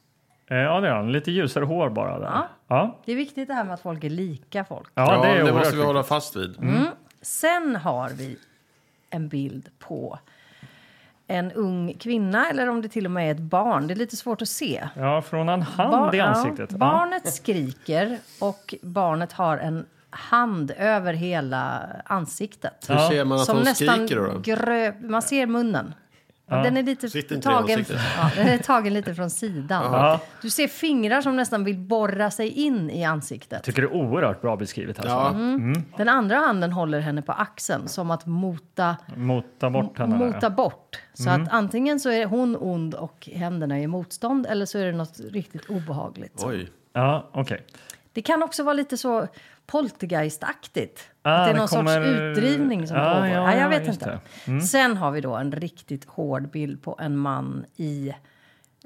Speaker 4: Eh, Ja, det är han. Lite ljusare hår bara där.
Speaker 1: Ja.
Speaker 4: Ja,
Speaker 1: Det är viktigt det här med att folk är lika folk.
Speaker 4: ja det är
Speaker 3: det
Speaker 4: oerhört
Speaker 3: måste vi
Speaker 4: viktigt.
Speaker 3: hålla fast vid.
Speaker 1: Mm. Sen har vi en bild på en ung kvinna, eller om det till och med är ett barn. Det är lite svårt att se.
Speaker 4: Ja, från en hand
Speaker 1: Bar-
Speaker 4: i
Speaker 1: ja,
Speaker 4: ansiktet. Ja.
Speaker 1: barnet skriker och barnet har en hand över hela ansiktet.
Speaker 3: Hur ser man att
Speaker 1: Som
Speaker 3: de
Speaker 1: nästan
Speaker 3: skriker då? då?
Speaker 1: gröp... Man ser munnen. Den är lite
Speaker 3: Sitter inte i
Speaker 1: tagen,
Speaker 3: ansiktet.
Speaker 1: ja, den är tagen lite från sidan.
Speaker 4: Ja.
Speaker 1: Du ser fingrar som nästan vill borra sig in i ansiktet.
Speaker 4: Tycker det är oerhört bra beskrivet. Alltså.
Speaker 3: Ja,
Speaker 1: Mm. Den andra handen håller henne på axeln som att mota,
Speaker 4: Mota bort henne. där,
Speaker 1: mota bort. Så
Speaker 4: Mm.
Speaker 1: att antingen så är hon ond och händerna är motstånd eller så är det något riktigt obehagligt.
Speaker 3: oj.
Speaker 4: Ja, Ja, okej.
Speaker 1: Det kan också vara lite så poltergeistaktigt.
Speaker 4: Ah,
Speaker 1: att det är
Speaker 4: det
Speaker 1: någon
Speaker 4: kommer-
Speaker 1: sorts utdrivning som
Speaker 4: Ja,
Speaker 1: pågår.
Speaker 4: ja,
Speaker 1: Nej,
Speaker 4: ja,
Speaker 1: jag vet
Speaker 4: just
Speaker 1: inte.
Speaker 4: det. Mm.
Speaker 1: Sen har vi då en riktigt hård bild på en man i...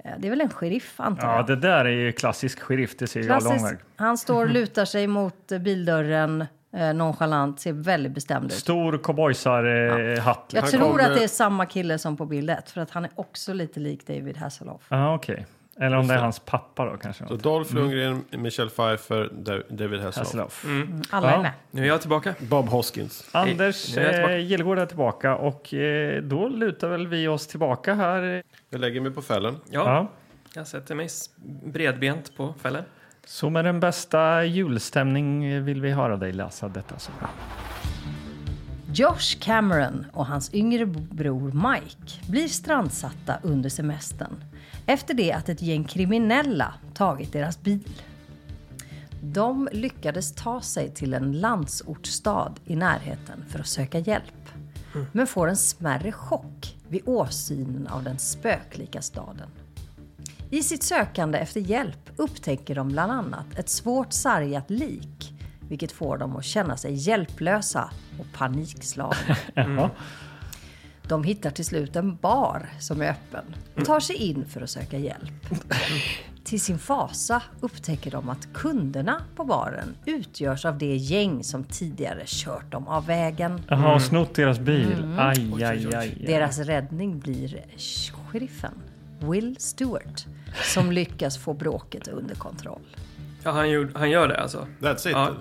Speaker 1: eh, Det är väl en sheriff, antar
Speaker 4: Ja,
Speaker 1: jag?
Speaker 4: det där är ju klassisk sheriff. Det ser jag lång
Speaker 1: Klassisk.
Speaker 4: väg.
Speaker 1: Han står och lutar sig mot eh, bildörren eh, nonchalant, ser väldigt bestämd ut.
Speaker 4: Stor cowboysar-hatt.
Speaker 1: Jag
Speaker 3: Han
Speaker 1: tror
Speaker 3: kommer-
Speaker 1: att det är samma kille som på bild ett, för att han är också lite lik David Hasselhoff.
Speaker 4: liksom. Ja, okej. Eller om det är hans pappa då kanske.
Speaker 3: Så
Speaker 4: något.
Speaker 3: Dolph Lundgren, Michelle Pfeiffer, Da- David Hasselhoff.
Speaker 4: Hasselhoff.
Speaker 2: Mm.
Speaker 1: Mm, Alla
Speaker 4: Ja.
Speaker 1: är med.
Speaker 2: Nu är jag tillbaka.
Speaker 3: Bob Hoskins.
Speaker 4: Anders
Speaker 2: Nu är jag tillbaka.
Speaker 4: eh, Gillgård är tillbaka och eh, då lutar väl vi oss tillbaka här. Ja.
Speaker 3: Jag lägger mig på fällen.
Speaker 2: Ja, jag sätter mig s- bredbent på fällen.
Speaker 4: Så med den bästa julstämning vill vi höra dig läsa detta så bra.
Speaker 1: Josh Cameron och hans yngre bror Mike blir strandsatta under semestern efter det att ett gäng kriminella tagit deras bil. De lyckades ta sig till en landsortsstad i närheten för att söka hjälp
Speaker 3: Mm.
Speaker 1: men får en smärre chock vid åsynen av den spöklika staden. I sitt sökande efter hjälp upptäcker de bland annat ett svårt sargat lik, vilket får dem att känna sig hjälplösa och panikslagna. De hittar till slut en bar som är öppen och tar sig in för att söka hjälp. Till sin fasa upptäcker de att kunderna på baren utgörs av det gäng som tidigare kört dem av vägen.
Speaker 4: Jaha,
Speaker 2: Mm.
Speaker 4: snott deras bil. Aj, aj, aj.
Speaker 1: Mm. Deras räddning blir sheriffen Will Stewart som lyckas få bråket under kontroll.
Speaker 2: Ja, han, gjorde, han gör det alltså.
Speaker 3: That's it.
Speaker 2: Ja.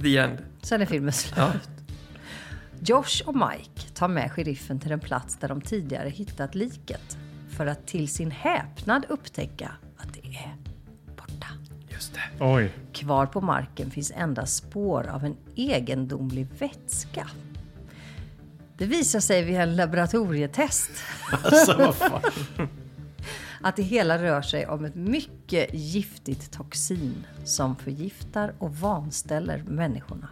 Speaker 2: The end.
Speaker 1: Sen är filmen slut.
Speaker 2: Ja.
Speaker 1: Josh och Mike tar med sheriffen till den plats där de tidigare hittat liket för att till sin häpnad upptäcka att det är borta.
Speaker 2: Just det.
Speaker 4: Oj.
Speaker 1: Kvar på marken finns endast spår av en egendomlig vätska. Det visar sig vid en laboratorietest att det hela rör sig om ett mycket giftigt toxin som förgiftar och vanställer människorna.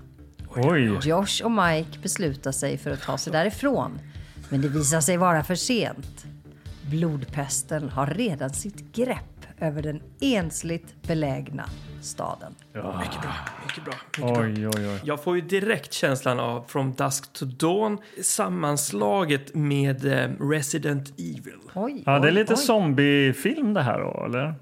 Speaker 4: Oj.
Speaker 1: Josh och Mike beslutar sig för att ta sig därifrån. Men det visar sig vara för sent. Blodpesten har redan sitt grepp över den ensligt belägna staden.
Speaker 2: Mycket bra. Mycket bra. Mycket bra.
Speaker 4: Oj, oj, oj.
Speaker 2: Jag får ju direkt känslan av From Dusk to Dawn sammanslaget med eh, Resident Evil.
Speaker 1: Oj,
Speaker 4: Ja, det är
Speaker 1: oj,
Speaker 4: lite
Speaker 1: oj.
Speaker 4: zombiefilm det här då, eller?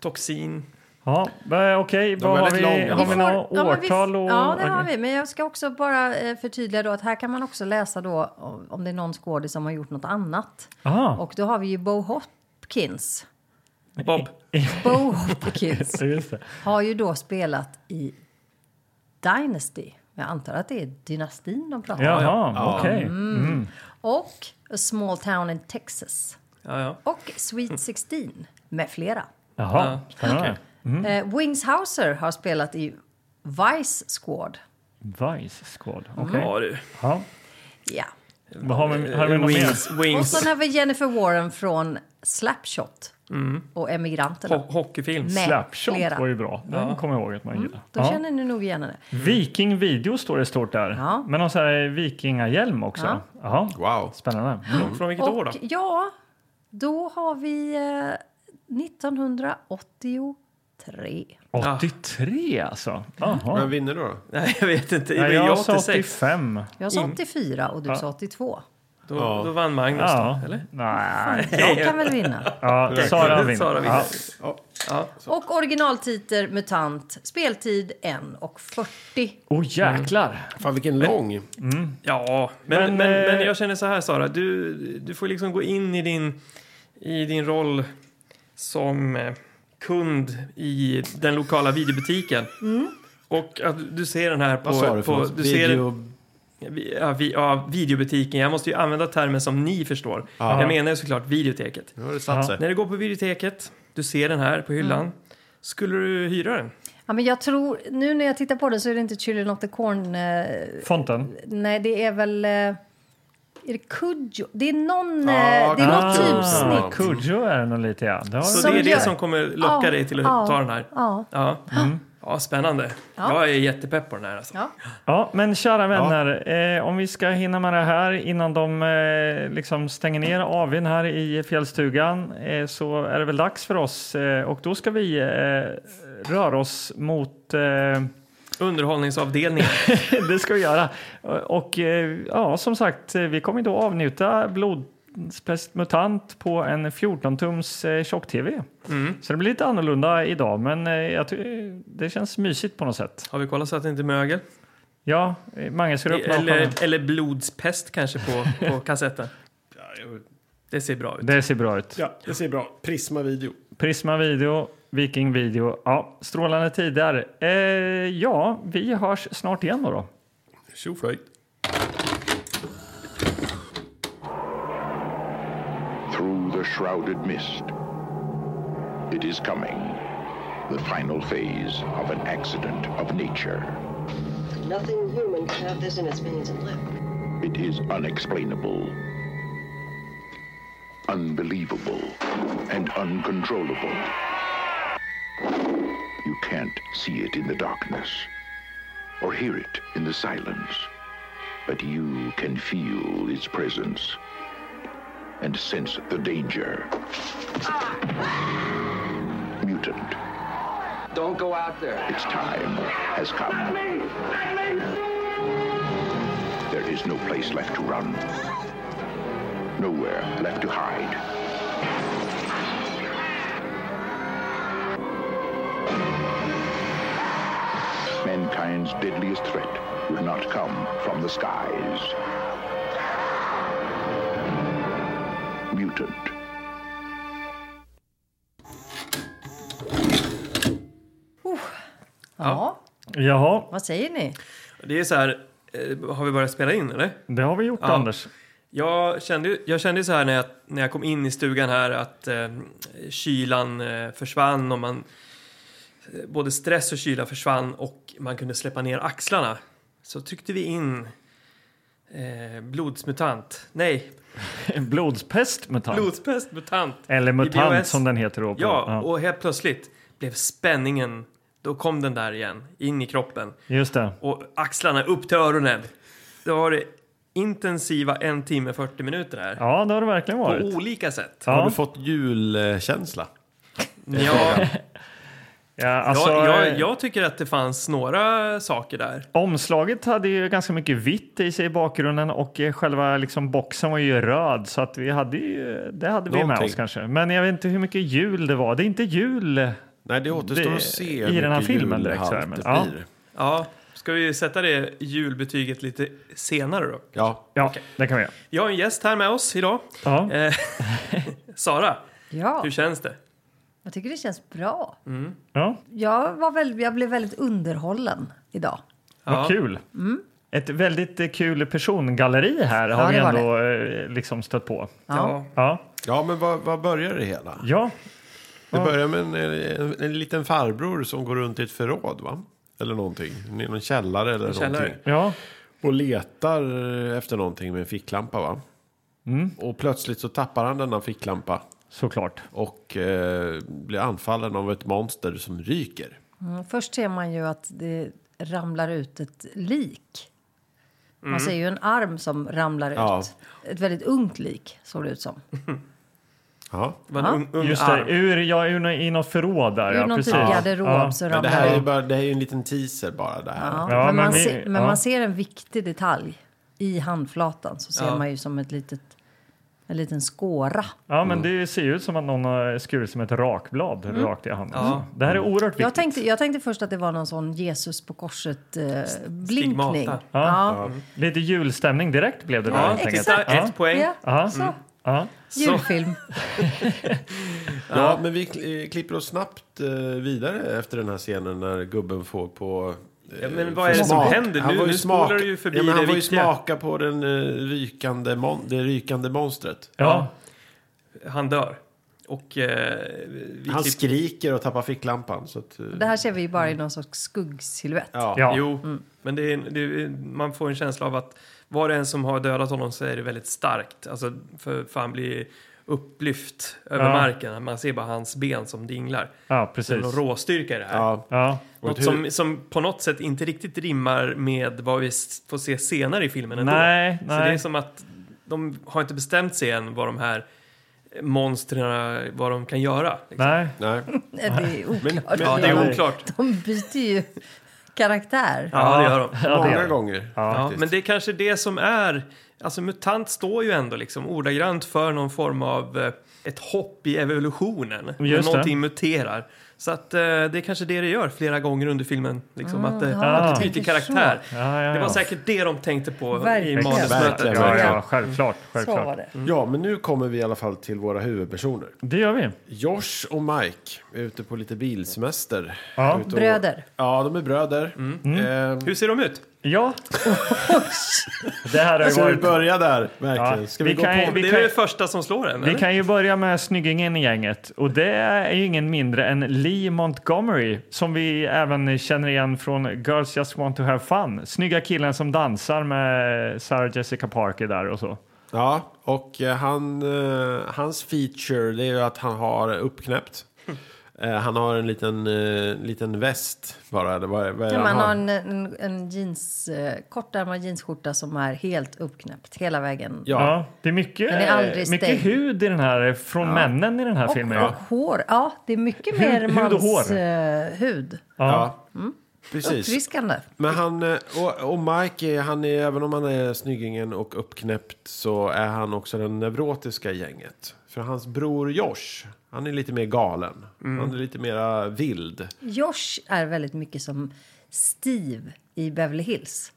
Speaker 2: Toxin.
Speaker 4: Ja, eh, okej. Vad har
Speaker 3: väldigt
Speaker 4: vi?
Speaker 3: långa.
Speaker 4: Har vi
Speaker 1: får-
Speaker 4: några
Speaker 1: ja, men vi-
Speaker 4: årtal? Och,
Speaker 1: Ja, det har vi. Men jag ska också bara eh, förtydliga då att här kan man också läsa då om- om det är någon skådis som har gjort något annat.
Speaker 4: Aha.
Speaker 1: Och då har vi ju Bo Hopkins.
Speaker 2: Bob.
Speaker 1: Bo Hopkins.
Speaker 4: Ja, Just det.
Speaker 1: har ju då spelat i Dynasty. Jag antar att det är dynastin de pratar om.
Speaker 4: Jaha,
Speaker 3: Ja.
Speaker 4: okej.
Speaker 1: Mm. Och A Small Town in Texas.
Speaker 2: Ja, ja.
Speaker 1: Och Sweet 16 med flera.
Speaker 4: Jaha,
Speaker 2: Ja,
Speaker 4: spännande.
Speaker 1: Eh, Wings Hauser har spelat i Vice Squad.
Speaker 4: Vice Squad. Okej.
Speaker 1: Mm.
Speaker 2: Ja, du.
Speaker 4: Ja.
Speaker 1: Ja.
Speaker 4: Vad Har vi, har vi något mer?
Speaker 2: Wings.
Speaker 1: Och
Speaker 2: Wings.
Speaker 1: så har vi Jennifer Warren från Slapshot och Emigranterna.
Speaker 2: Ho hockeyfilm.
Speaker 1: Med
Speaker 4: Slapshot
Speaker 1: flera. Mm,
Speaker 4: var ju bra. Den kommer jag ihåg att man gillade.
Speaker 1: Då
Speaker 4: Ja.
Speaker 1: känner ni nog igen henne.
Speaker 4: Viking video står det stort där.
Speaker 1: Ja.
Speaker 4: Men någon sån här vikingahjälm också.
Speaker 1: Ja.
Speaker 4: Jaha,
Speaker 3: Wow.
Speaker 4: spännande.
Speaker 2: Från vilket år då?
Speaker 1: Och ja, då har vi eh, 1983.
Speaker 4: 83 alltså?
Speaker 3: Vem
Speaker 4: Jaha.
Speaker 3: vinner då?
Speaker 2: Nej, jag vet inte.
Speaker 4: Ja,
Speaker 2: Jag,
Speaker 4: jag
Speaker 2: jag
Speaker 4: sa
Speaker 2: 86.
Speaker 4: 85.
Speaker 1: Jag sa 84 och du sa 82.
Speaker 2: Då,
Speaker 3: Ja.
Speaker 2: då vann Magnus
Speaker 4: Ja.
Speaker 2: då, eller?
Speaker 4: Nej.
Speaker 1: Jag kan väl vinna.
Speaker 4: Ja, Sara vinner.
Speaker 2: Sara vinner.
Speaker 4: Ja.
Speaker 1: Och originaltitel MUTANT, speltid 1 och 40.
Speaker 4: Oh, jäklar.
Speaker 3: Fan vilken lång.
Speaker 2: Ja, men, men,
Speaker 4: Men,
Speaker 2: men,
Speaker 4: eh,
Speaker 2: jag känner så här Sara, du, du får liksom gå in i din, i din roll som eh, kund i den lokala videobutiken.
Speaker 1: Mm.
Speaker 2: Och att du ser den här på...
Speaker 3: Vad sa du för
Speaker 2: på,
Speaker 3: något?
Speaker 2: du ser den-
Speaker 3: Video...
Speaker 2: vi- ja, vi, ja, videobutiken. Jag måste ju använda termer som ni förstår.
Speaker 3: Ja.
Speaker 2: Jag menar ju såklart videoteket.
Speaker 3: Nu har det satt sig.
Speaker 2: När du går på videoteket, du ser den här på hyllan.
Speaker 1: Mm.
Speaker 2: Skulle du hyra den?
Speaker 1: Ja, men jag tror, nu när jag tittar på det så är det inte Children of the Corn. Eh,
Speaker 4: Fonten.
Speaker 1: nej, det är väl... Eh, är det Cujo? Det är någon...
Speaker 3: Ja,
Speaker 1: eh, det är något
Speaker 3: Cujo.
Speaker 1: typsnitt.
Speaker 3: typsnitt.
Speaker 4: Cujo Ah. är det nog lite, ja. Det har
Speaker 2: Så
Speaker 1: Som
Speaker 2: det är det
Speaker 1: gör-
Speaker 2: som kommer locka
Speaker 1: Ja,
Speaker 2: dig till att
Speaker 1: ja,
Speaker 2: ta den här?
Speaker 1: Ja.
Speaker 2: Ja. ja, spännande.
Speaker 1: Ja.
Speaker 2: Jag är jättepepp på den här. Alltså.
Speaker 1: ja.
Speaker 4: Ja, men kära vänner, eh, om vi ska hinna med det här innan de eh, liksom stänger ner AWn här i fjällstugan eh, så är det väl dags för oss eh, och då ska vi eh, röra oss mot eh,
Speaker 2: Underhållningsavdelningen.
Speaker 4: det ska vi göra. Och eh, ja, som sagt, eh, vi kommer då avnjuta blodspräst mutant på en 14-tums eh, tjock-tv.
Speaker 2: Mm.
Speaker 4: Så det blir lite annorlunda idag, men eh, jag ty- det känns mysigt på något sätt.
Speaker 2: Har vi kollat så att det inte är mögel?
Speaker 4: Ja, eh, Mange, ska du öppna eller...
Speaker 2: Eller, eller blodspest kanske på, på kassetten. Det ser bra ut.
Speaker 4: Det ser bra ut.
Speaker 5: Ja, det ser bra. Prisma video.
Speaker 4: Prisma Video, Viking Video. Ja, strålande tider. Eh, ja, vi hörs snart igen då. då.
Speaker 5: Tjoflöjt.
Speaker 6: through the shrouded mist. It is coming, the final phase of an accident of nature.
Speaker 7: Nothing human can have this in its veins and live.
Speaker 6: It is unexplainable, unbelievable, and uncontrollable. You can't see it in the darkness or hear it in the silence, but you can feel its presence and sense the danger. Mutant,
Speaker 8: Don't go out there.
Speaker 6: its time has come. There is no place left to run, nowhere left to hide. Mankind's deadliest threat will not come from the skies. mutant.
Speaker 1: Ja,
Speaker 4: Jaha,
Speaker 1: vad säger ni?
Speaker 2: Det är så här, eh, har vi börjat spela in eller?
Speaker 4: det har vi gjort
Speaker 2: Ja.
Speaker 4: Anders.
Speaker 2: Jag kände, ju- jag kände ju så här när jag, när jag kom in i stugan här att eh, kylan eh, försvann och man eh, både stress och kyla försvann och man kunde släppa ner axlarna. Så tryckte vi in eh, blodsmutant. Nej,
Speaker 4: Blodspest mutant.
Speaker 2: blodspest mutant.
Speaker 4: Eller
Speaker 2: I
Speaker 4: mutant
Speaker 2: BOS.
Speaker 4: som den heter då. på-
Speaker 2: Ja, och helt plötsligt blev spänningen, då kom den där igen, in i kroppen.
Speaker 4: Just det.
Speaker 2: och axlarna upp till öronen. Det var det intensiva en timme 40 minuter här.
Speaker 4: Ja, det har det verkligen
Speaker 2: På
Speaker 4: varit.
Speaker 2: olika sätt.
Speaker 3: Har
Speaker 4: Ja,
Speaker 3: du fått julkänsla?
Speaker 2: Ja,
Speaker 4: ja, alltså,
Speaker 2: jag, jag,
Speaker 4: eh,
Speaker 2: jag tycker att det fanns några saker där.
Speaker 4: Omslaget hade ju ganska mycket vitt i sig i bakgrunden och eh, själva liksom boxen var ju röd så att vi hade ju, det hade vi med
Speaker 3: Någonting.
Speaker 4: oss kanske. Men jag vet inte hur mycket jul det var. Det är inte jul.
Speaker 3: Nej, det återstår
Speaker 4: Det-
Speaker 3: att se
Speaker 4: i
Speaker 3: hur
Speaker 4: den här
Speaker 3: mycket
Speaker 4: filmen direkt så här,
Speaker 3: julhalt
Speaker 4: men- ja.
Speaker 3: det blir.
Speaker 2: Ja, ska vi sätta det julbetyget lite senare då?
Speaker 3: Ja.
Speaker 4: Ja, det kan vi göra.
Speaker 2: Vi har en gäst här med oss idag.
Speaker 4: Ja.
Speaker 2: Eh, Sara,
Speaker 1: Ja,
Speaker 2: hur känns det?
Speaker 1: jag tycker det känns bra.
Speaker 4: ja.
Speaker 1: Jag, var väl, jag blev väldigt underhållen idag.
Speaker 4: Vad
Speaker 2: Ja.
Speaker 4: kul! Ett väldigt eh, kul persongalleri här har
Speaker 1: Mm. Ja,
Speaker 4: vi
Speaker 1: det var
Speaker 4: ändå eh, liksom stött på.
Speaker 2: Ja.
Speaker 4: Ja,
Speaker 3: ja, men vad, vad börjar det hela?
Speaker 4: ja.
Speaker 3: Det börjar med en, en, en liten farbror som går runt i ett förråd, va? Eller någonting. I någon källare eller
Speaker 2: källare.
Speaker 3: någonting.
Speaker 4: ja.
Speaker 3: Och letar efter någonting med en ficklampa, va?
Speaker 4: Mm.
Speaker 3: Och plötsligt så tappar han denna ficklampa.
Speaker 4: såklart.
Speaker 3: Och eh, blir anfallen av ett monster som ryker.
Speaker 1: Mm, Först ser man ju att det ramlar ut ett lik. Man ser ju en arm som ramlar
Speaker 3: Mm. Ja.
Speaker 1: ut. Ett väldigt ungt lik såg det ut som.
Speaker 3: Ja.
Speaker 2: Det var en ung, ung
Speaker 4: Just det,
Speaker 2: arm.
Speaker 4: ur, ja, ur, nå- i något förråd där.
Speaker 1: Ur
Speaker 4: ja,
Speaker 1: någon
Speaker 4: precis.
Speaker 1: typ garderob
Speaker 4: Ja.
Speaker 1: så
Speaker 3: Men det
Speaker 1: ramlar
Speaker 3: här är
Speaker 1: det
Speaker 3: ju
Speaker 1: ut.
Speaker 3: bara, det här är ju en liten teaser bara det här.
Speaker 1: Ja,
Speaker 4: Ja,
Speaker 1: men
Speaker 4: men
Speaker 1: man,
Speaker 4: vi-
Speaker 1: ser, men
Speaker 4: ja.
Speaker 1: man ser en viktig detalj i handflatan. Så ser
Speaker 2: Ja.
Speaker 1: man ju som ett litet, en liten skåra.
Speaker 4: Ja, men det ser ju ut som att någon har skurit som ett rakblad rakt i handen.
Speaker 2: Mm. Ja. Mm.
Speaker 4: Det här är oerhört viktigt.
Speaker 1: Jag tänkte, jag tänkte först att det var någon sån Jesus på korset-blinkning.
Speaker 2: stigmata.
Speaker 1: ja.
Speaker 4: Lite julstämning direkt blev det där
Speaker 2: Ja,
Speaker 4: helt enkelt.
Speaker 2: exakt.
Speaker 4: Ja.
Speaker 2: Ett poäng.
Speaker 1: Ja,
Speaker 4: Ja.
Speaker 1: så.
Speaker 4: Ja.
Speaker 2: Så,
Speaker 1: Julfilm.
Speaker 3: Ja, men vi kli- eh, klipper oss snabbt eh, vidare efter den här scenen när gubben får på... eh,
Speaker 2: Ja, men vad
Speaker 3: får
Speaker 2: är det som
Speaker 3: smak.
Speaker 2: händer?
Speaker 3: Han
Speaker 2: Nu-
Speaker 3: var
Speaker 2: nu spolar du ju förbi
Speaker 3: ja, men
Speaker 2: det
Speaker 3: Han var ju
Speaker 2: viktiga.
Speaker 3: smaka på den, eh, rykande mon- det rykande monstret.
Speaker 4: Ja.
Speaker 2: han dör. Och eh, vi
Speaker 3: Han
Speaker 2: klipp-
Speaker 3: skriker och tappar ficklampan. Så att, eh,
Speaker 1: Det här ser vi ju bara i någon sorts skuggsilhuett.
Speaker 3: ja.
Speaker 4: Ja.
Speaker 2: Jo, men det är, det är, man får en känsla av att var och en som har dödat honom så är det väldigt starkt. Alltså, för, för han blir upplyft över
Speaker 4: Ja.
Speaker 2: marken. Man ser bara hans ben som dinglar. Det
Speaker 4: ja,
Speaker 2: är någon
Speaker 4: precis.
Speaker 2: råstyrka i det här.
Speaker 3: Ja.
Speaker 4: Ja.
Speaker 3: Och
Speaker 2: Något
Speaker 3: hur-
Speaker 2: som, som på något sätt inte riktigt rimmar med vad vi s- får se senare i filmen ändå.
Speaker 4: Nej,
Speaker 2: Så det är
Speaker 4: nej.
Speaker 2: som att de har inte bestämt sig än vad de här monstren, vad de kan göra. Liksom.
Speaker 4: Nej.
Speaker 3: Nej.
Speaker 1: Nej, Det är oklart.
Speaker 2: Ja, det är
Speaker 1: De-
Speaker 2: oklart.
Speaker 1: De byter ju karaktär.
Speaker 2: Ja, det gör de.
Speaker 4: Ja, det
Speaker 3: Många
Speaker 4: gör det.
Speaker 3: gånger.
Speaker 2: Ja,
Speaker 3: faktiskt.
Speaker 2: men det är kanske det som är... Alltså MUTANT står ju ändå liksom ordagrant för någon form av eh, ett hopp i evolutionen. När
Speaker 4: Just det.
Speaker 2: någonting muterar. Så att eh, det är kanske det det gör flera gånger under filmen. Liksom, att, det,
Speaker 1: ja,
Speaker 2: att
Speaker 1: du
Speaker 2: det byter
Speaker 1: tänker så.
Speaker 2: karaktär.
Speaker 4: Ja, ja,
Speaker 2: Det var
Speaker 4: ja.
Speaker 2: säkert det de tänkte på
Speaker 1: Verkligen.
Speaker 2: i manusmötet.
Speaker 3: Verkligen.
Speaker 4: Ja, ja, självklart.
Speaker 1: Så var
Speaker 4: självklart.
Speaker 1: det.
Speaker 3: Ja, men nu kommer vi i alla fall till våra huvudpersoner.
Speaker 4: Det gör vi.
Speaker 3: Josh och Mike är ute på lite bilsemester.
Speaker 4: Ja.
Speaker 3: Ute och-
Speaker 1: Bröder.
Speaker 3: Ja, de är bröder.
Speaker 2: Mm.
Speaker 3: Eh,
Speaker 2: Hur ser de ut?
Speaker 4: Ja. det här har ju
Speaker 2: Alltså,
Speaker 3: ska vi
Speaker 4: varit...
Speaker 3: börja där? Verkligen.
Speaker 4: Ja,
Speaker 3: Ska vi,
Speaker 4: vi
Speaker 3: gå
Speaker 4: kan-
Speaker 3: på?
Speaker 4: vi-
Speaker 2: det är
Speaker 4: kan-
Speaker 2: det första som slår en?
Speaker 4: Vi
Speaker 2: eller?
Speaker 4: kan ju börja med snyggingen i gänget och det är ju ingen mindre än Lee Montgomery som vi även känner igen från Girls Just Want To Have Fun. Snygga killen som dansar med Sarah Jessica Parker där och så.
Speaker 3: Ja, och eh, han, eh, hans feature det är ju att han har uppknäppt. Eh, han har en liten, eh, liten väst bara. Eller vad, är- vad är
Speaker 1: Ja,
Speaker 3: det
Speaker 1: man
Speaker 3: han
Speaker 1: har en, en, en jeans, eh, kortärmad jeansskjorta som är helt uppknäppt hela vägen.
Speaker 3: Ja,
Speaker 4: Ja. det är mycket,
Speaker 1: Den är aldrig
Speaker 4: eh, mycket
Speaker 1: stängd.
Speaker 4: hud i den här, eh, från männen i den här
Speaker 1: och,
Speaker 4: filmen.
Speaker 1: och hår. Ja, det är mycket
Speaker 4: Hud-
Speaker 1: mer
Speaker 4: hud och hår.
Speaker 1: mans eh, hud.
Speaker 4: Ja.
Speaker 3: ja.
Speaker 1: Mm.
Speaker 3: Precis.
Speaker 1: Uppfriskande.
Speaker 3: Men han, eh, och, och Mike, är, han är, även om han är snyggingen och uppknäppt så är han också den neurotiska i gänget. För hans bror Josh, han är lite mer galen.
Speaker 4: Mm.
Speaker 3: Han är lite mera vild.
Speaker 1: Josh är väldigt mycket som Steve i Beverly Hills.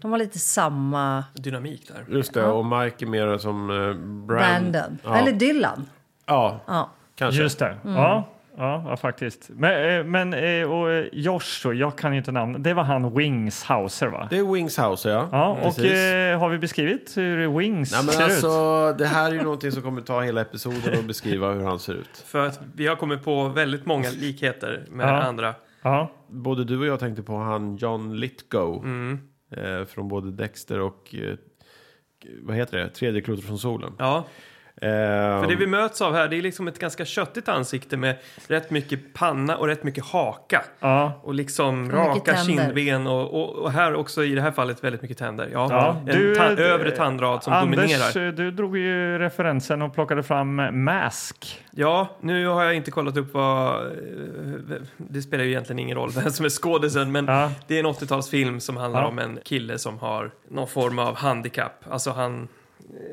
Speaker 1: De har lite samma
Speaker 2: Dynamik där.
Speaker 3: Just det, och Mike är mer som eh, Brand.
Speaker 1: Brandon.
Speaker 3: Ja.
Speaker 1: Eller Dylan.
Speaker 3: Ja,
Speaker 1: Ja.
Speaker 3: kanske.
Speaker 4: Just det.
Speaker 1: Mm.
Speaker 4: Ja. Ja, ja, faktiskt. Men, eh, men eh, och eh, Josh, då, jag kan ju inte namnet. Det var han Wings Hauser, va?
Speaker 3: Det är Wings House, ja.
Speaker 4: Ja, och
Speaker 3: Precis.
Speaker 4: eh, har vi beskrivit hur Wings
Speaker 3: Nej, men
Speaker 4: ser ut?
Speaker 3: alltså, det här är ju någonting som kommer ta hela episoden och beskriva hur han ser ut.
Speaker 2: För att vi har kommit på väldigt många likheter med
Speaker 4: Ja.
Speaker 2: andra.
Speaker 4: Ja.
Speaker 3: Både du och jag tänkte på han John Lithgow.
Speaker 4: Mm.
Speaker 3: Eh, från både Dexter och... Eh, vad heter det? Tredje klotet från solen.
Speaker 2: Ja,
Speaker 3: Eh,
Speaker 2: för det vi möts av här det är liksom ett ganska köttigt ansikte med rätt mycket panna och rätt mycket haka.
Speaker 4: Ja.
Speaker 2: Och liksom
Speaker 1: mycket
Speaker 2: raka
Speaker 1: tänder.
Speaker 2: kindben och, och, och här också i det här fallet väldigt mycket tänder. Ja,
Speaker 4: Ja,
Speaker 2: en
Speaker 4: du-
Speaker 2: ta- övre tandrad som
Speaker 4: Anders,
Speaker 2: dominerar.
Speaker 4: eh, du drog ju referensen och plockade fram Mask.
Speaker 2: Ja, nu har jag inte kollat upp vad... eh, Det spelar ju egentligen ingen roll vem som är skådisen men
Speaker 4: Ja.
Speaker 2: det är en 80-talsfilm som handlar
Speaker 4: Ja.
Speaker 2: om en kille som har någon form av handikapp. Alltså han...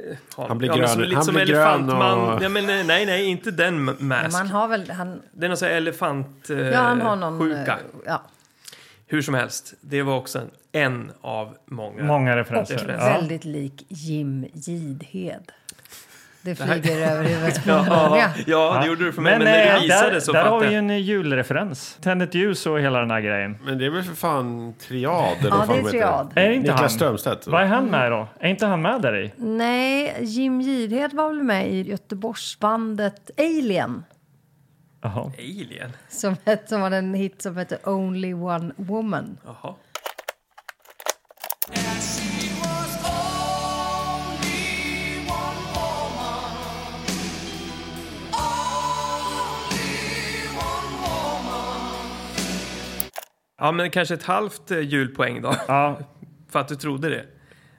Speaker 2: eh, har-
Speaker 3: Han blir
Speaker 2: ja, men
Speaker 3: grön-
Speaker 2: som- Lite
Speaker 3: han
Speaker 2: som
Speaker 3: blir grön
Speaker 2: elefantman.
Speaker 3: och-
Speaker 2: Ja, men, eh, nej, nej, inte den m-
Speaker 1: Men
Speaker 2: mask.
Speaker 1: man har väl... Han,
Speaker 2: Det är någon sån här elefant... Eh,
Speaker 1: ja, han har någon...
Speaker 2: Sjuka.
Speaker 1: eh, Ja.
Speaker 2: Hur som helst, det var också en, en av många.
Speaker 4: Många
Speaker 1: Och
Speaker 4: referenser. Ja.
Speaker 1: väldigt lik Jim Gidhed. Det flyger över huvudet på
Speaker 2: Ja,
Speaker 1: många.
Speaker 2: ja, det gjorde du för mig. Men, när
Speaker 4: eh,
Speaker 2: du visade
Speaker 4: där,
Speaker 2: så
Speaker 4: där har
Speaker 2: fattade
Speaker 4: vi ju
Speaker 2: jag.
Speaker 4: en eh, julreferens. Tänd ett ljus och hela den här grejen.
Speaker 3: Men det är väl för fan triad? Eller
Speaker 1: Ja,
Speaker 3: vad fan
Speaker 1: det är
Speaker 3: heter
Speaker 1: triad.
Speaker 4: Är det inte
Speaker 3: Niklas
Speaker 4: han?
Speaker 3: Strömstedt.
Speaker 4: Vad är han med då? Är inte han med där i?
Speaker 1: Nej, Jim Gidhed var väl med i Göteborgsbandet Alien.
Speaker 4: Jaha.
Speaker 2: Alien?
Speaker 1: Som, hette- som var en hit som hette Only One Woman.
Speaker 2: Jaha. Ja, men kanske ett halvt eh, julpoäng då,
Speaker 4: Ja,
Speaker 2: för att du trodde det.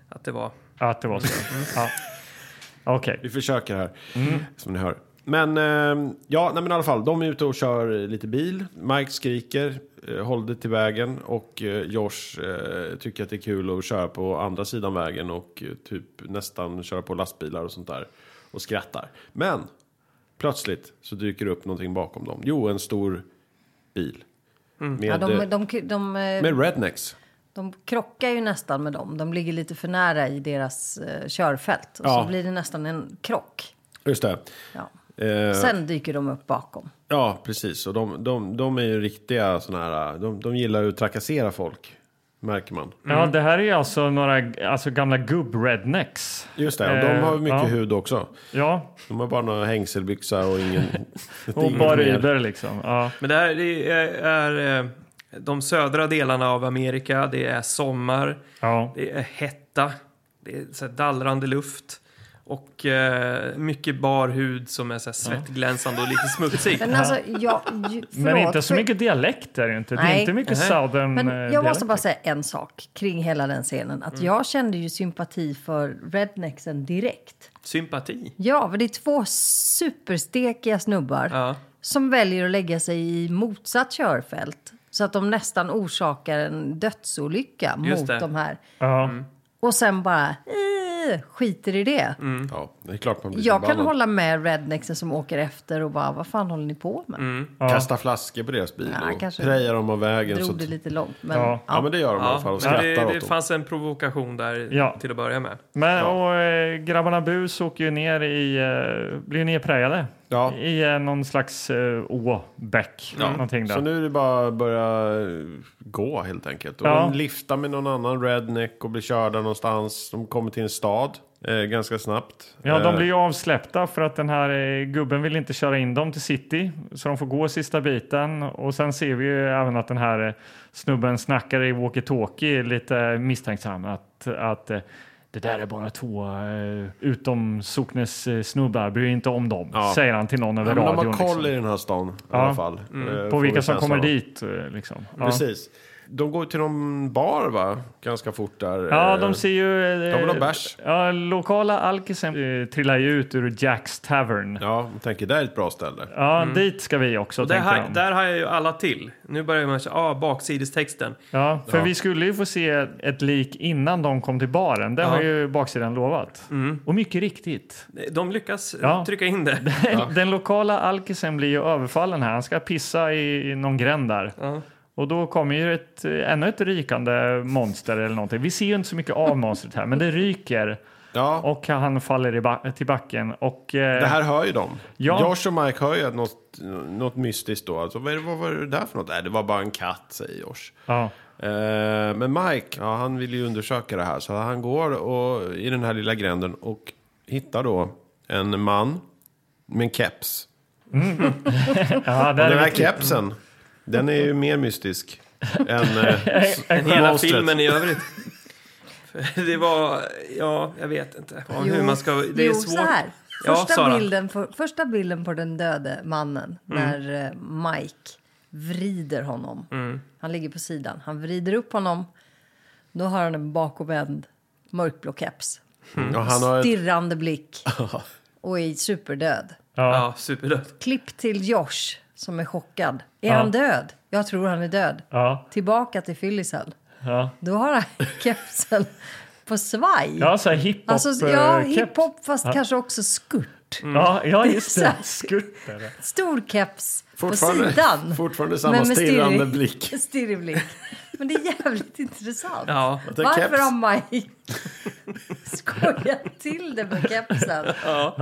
Speaker 2: Att det var...
Speaker 4: att det var så.
Speaker 2: Mm.
Speaker 4: Ja. Okej.
Speaker 3: Vi försöker här, som ni hör. Men eh, ja, nej, men i alla fall, de är ute och kör lite bil. Mike skriker, eh, håll dig till vägen och eh, Josh eh, tycker att det är kul att köra på andra sidan vägen och eh, typ nästan köra på lastbilar och sånt där och skrattar. Men plötsligt så dyker det upp någonting bakom dem. Jo, en stor bil. Med,
Speaker 1: Mm. Ja, de,
Speaker 3: eh,
Speaker 1: de, de, de, eh,
Speaker 3: med rednecks.
Speaker 1: de krockar ju nästan med dem. De ligger lite för nära i deras eh, körfält. Och
Speaker 3: Ja.
Speaker 1: så blir det nästan en krock.
Speaker 3: Just det.
Speaker 1: Ja.
Speaker 3: Eh,
Speaker 1: Sen dyker de upp bakom.
Speaker 3: Ja, precis. Och de, de, de är ju riktiga sådana här... De, de gillar ju att trakassera folk, märker man.
Speaker 4: Ja,
Speaker 2: Mm.
Speaker 4: det här är ju alltså några alltså gamla gubb-rednecks.
Speaker 3: Just det, och de
Speaker 4: Eh,
Speaker 3: har ju mycket
Speaker 4: ja.
Speaker 3: hud också.
Speaker 4: Ja,
Speaker 3: De har bara några hängselbyxa och ingen...
Speaker 4: och
Speaker 3: inget
Speaker 4: bara
Speaker 3: mer.
Speaker 4: Uber liksom. Ja.
Speaker 2: Men det här det är, är eh, de södra delarna av Amerika. Det är sommar,
Speaker 4: Ja.
Speaker 2: det är hetta, det är så här dallrande luft och eh, mycket bar hud som är så här svettglänsande och lite smutsig.
Speaker 1: Men alltså, jag... Ju,
Speaker 4: Men
Speaker 1: förlåt,
Speaker 4: inte så
Speaker 1: för-
Speaker 4: mycket dialekt är det ju inte. Det är
Speaker 1: Nej.
Speaker 4: inte mycket
Speaker 2: Nej.
Speaker 4: southern
Speaker 1: Men
Speaker 4: eh, Mm.
Speaker 1: jag
Speaker 4: dialekt.
Speaker 1: måste bara säga en sak kring hela den scenen. Att jag kände ju sympati för rednexen direkt.
Speaker 2: Sympati.
Speaker 1: Ja, för det är två superstekiga snubbar
Speaker 2: Ja.
Speaker 1: som väljer att lägga sig i motsatt körfält Så att de nästan orsakar en dödsolycka
Speaker 2: Just
Speaker 1: mot
Speaker 2: det.
Speaker 1: de här.
Speaker 4: Ja.
Speaker 2: Mm.
Speaker 1: Och sen bara eh, skiter i det.
Speaker 3: Ja, det är klart man blir
Speaker 1: Jag kan
Speaker 3: förbannad.
Speaker 1: hålla med rednexen som åker efter och bara vad fan håller ni på med?
Speaker 3: Kasta flaskor på deras bil
Speaker 1: Ja,
Speaker 3: och
Speaker 1: kanske.
Speaker 3: preja dem av vägen. Så
Speaker 1: Drog
Speaker 3: att,
Speaker 1: det lite långt. Men,
Speaker 4: Ja.
Speaker 1: ja.
Speaker 3: ja, men det gör de i alla fall
Speaker 2: Ja,
Speaker 3: och
Speaker 2: men
Speaker 3: skrattar
Speaker 2: det, det
Speaker 3: åt dem.
Speaker 2: fanns en provokation där
Speaker 4: Ja.
Speaker 2: till att börja med.
Speaker 4: Men och, eh, grabbarna Bus åker ju ner i, eh, blir ju nerprejade
Speaker 3: Ja.
Speaker 4: i eh, någon slags eh, åbäck. Någonting där.
Speaker 3: Så nu är det bara att börja eh, gå helt enkelt. Och
Speaker 4: Ja.
Speaker 3: de liftar med någon annan redneck och blir körda någonstans. De kommer till en stad eh, ganska snabbt.
Speaker 4: Ja,
Speaker 3: Eh,
Speaker 4: de blir ju avsläppta för att den här eh, gubben vill inte köra in dem till city. Så de får gå sista biten. Och sen ser vi ju även att den här eh, snubben snackar i walkie-talkie lite misstänksam. Att, att eh, det där är bara två eh, utom socknes eh, snubbar, bryr inte om dem.
Speaker 3: Ja.
Speaker 4: Säger han till någon över
Speaker 3: Ja, men de
Speaker 4: radion.
Speaker 3: har koll i
Speaker 4: liksom.
Speaker 3: den här stan
Speaker 4: Ja. Mm.
Speaker 3: i alla fall. Eh, får
Speaker 4: På
Speaker 3: vi
Speaker 4: vilka som
Speaker 3: känslan
Speaker 4: kommer
Speaker 3: av.
Speaker 4: dit. eh, Liksom. Ja.
Speaker 3: Precis. De går till någon bar va? Ganska fort där.
Speaker 4: Ja,
Speaker 3: Eh,
Speaker 4: de ser ju... eh,
Speaker 3: de vill ha bärs.
Speaker 4: Ja, lokala alkisen eh, trillar ju ut ur Jacks Tavern. Ja,
Speaker 3: Ja, de tänker det här är ett bra ställe.
Speaker 4: dit ska vi också,
Speaker 2: Mm. Och där,
Speaker 4: tänker
Speaker 2: har,
Speaker 4: de.
Speaker 2: där har jag ju alla till. Nu börjar man säga, ah, baksidestexten.
Speaker 4: Ja, för
Speaker 3: Ja.
Speaker 4: vi skulle ju få se ett lik innan de kom till baren. Det har
Speaker 2: Ja. Mm.
Speaker 4: ju baksidan lovat. Och mycket riktigt.
Speaker 2: De lyckas eh,
Speaker 4: Ja.
Speaker 2: trycka in det.
Speaker 4: Den lokala alkisen blir ju överfallen här. Han ska pissa i i någon gränd där.
Speaker 2: Ja.
Speaker 4: Och då kommer ju ett, eh, ännu ett rykande monster eller någonting. Vi ser ju inte så mycket av monstret här, men det ryker.
Speaker 3: Ja,
Speaker 4: Och han faller i ba- till backen. Och, eh,
Speaker 3: det här hör ju de.
Speaker 4: Ja.
Speaker 3: Josh och Mike hör ju att något, något mystiskt då. Alltså, vad, är det, vad var det där för något? Nej, det var bara en katt, säger Josh.
Speaker 4: ja.
Speaker 3: Eh, men Mike, ja, han vill ju undersöka det här. Så han går och, i den här lilla gränden och hittar då en man med en keps.
Speaker 4: Ja, där
Speaker 3: Den
Speaker 4: är
Speaker 3: här
Speaker 4: vi-
Speaker 3: kepsen, den är ju mer mystisk än eh,
Speaker 2: Hela
Speaker 3: monstret.
Speaker 2: filmen i övrigt. det var, ja, jag vet inte. Ja, hur
Speaker 1: Jo,
Speaker 2: man ska, det är
Speaker 1: jo,
Speaker 2: svårt.
Speaker 1: så här.
Speaker 2: Ja,
Speaker 1: Första,
Speaker 2: Sara. Mm.
Speaker 1: bilden för, första bilden på den döde mannen när eh, Mike vrider honom.
Speaker 2: Mm.
Speaker 1: Han ligger på sidan. Han vrider upp honom. Då har han en bakomvänd mörkblå keps.
Speaker 3: Och han har ett,
Speaker 1: Stirrande blick. Och är superdöd.
Speaker 2: Ja, superdött.
Speaker 1: Klipp till Josh som är chockad. Är han död? Jag tror han är död.
Speaker 4: Ja,
Speaker 1: Tillbaka till fyllisen.
Speaker 4: ja.
Speaker 1: Då har han kepsen på svaj.
Speaker 4: ja så här hiphop.
Speaker 1: Alltså, ja,
Speaker 4: eh, keps. Mm.
Speaker 1: hiphop fast kanske också skurt.
Speaker 4: Ja, ja, just
Speaker 1: Det är
Speaker 4: det.
Speaker 1: så här.
Speaker 4: Skutt är det.
Speaker 1: Stor keps på
Speaker 3: Fortfarande-
Speaker 1: sidan.
Speaker 3: fortfarande samma
Speaker 1: Men med
Speaker 3: stirrande
Speaker 1: stirrig-
Speaker 3: blick.
Speaker 1: stirrig blick. Men det är jävligt intressant.
Speaker 2: Ja.
Speaker 3: det är
Speaker 1: Varför
Speaker 3: keps.
Speaker 1: har Mike skojat till det med kepsen?
Speaker 4: Ja.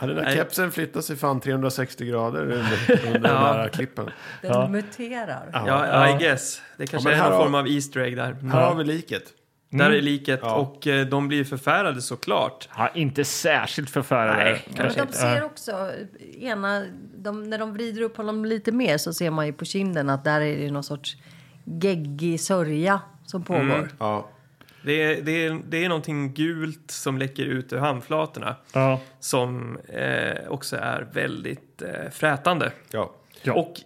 Speaker 3: ja, den här kepsen flyttar sig fan 360 grader under, under den här klippen.
Speaker 1: Den muterar.
Speaker 2: Ja, I guess. Det kanske
Speaker 3: men
Speaker 2: är
Speaker 3: här
Speaker 2: någon
Speaker 3: har-
Speaker 2: form av Easter egg där.
Speaker 4: Mm.
Speaker 3: Här har vi liket.
Speaker 2: Där är liket och eh, de blir förfärade såklart.
Speaker 4: Ja, inte särskilt förfärande.
Speaker 2: Nej, kanske
Speaker 1: Men de ser också, ena, de, när de vrider upp honom lite mer så ser man ju på kinden att där är det någon sorts geggig sörja som pågår.
Speaker 4: Mm.
Speaker 3: Ja.
Speaker 2: Det är, det, är, det är någonting gult som läcker ut ur handflatorna
Speaker 4: Ja.
Speaker 2: som eh, också är väldigt eh, frätande
Speaker 3: Ja.
Speaker 4: Ja.
Speaker 2: och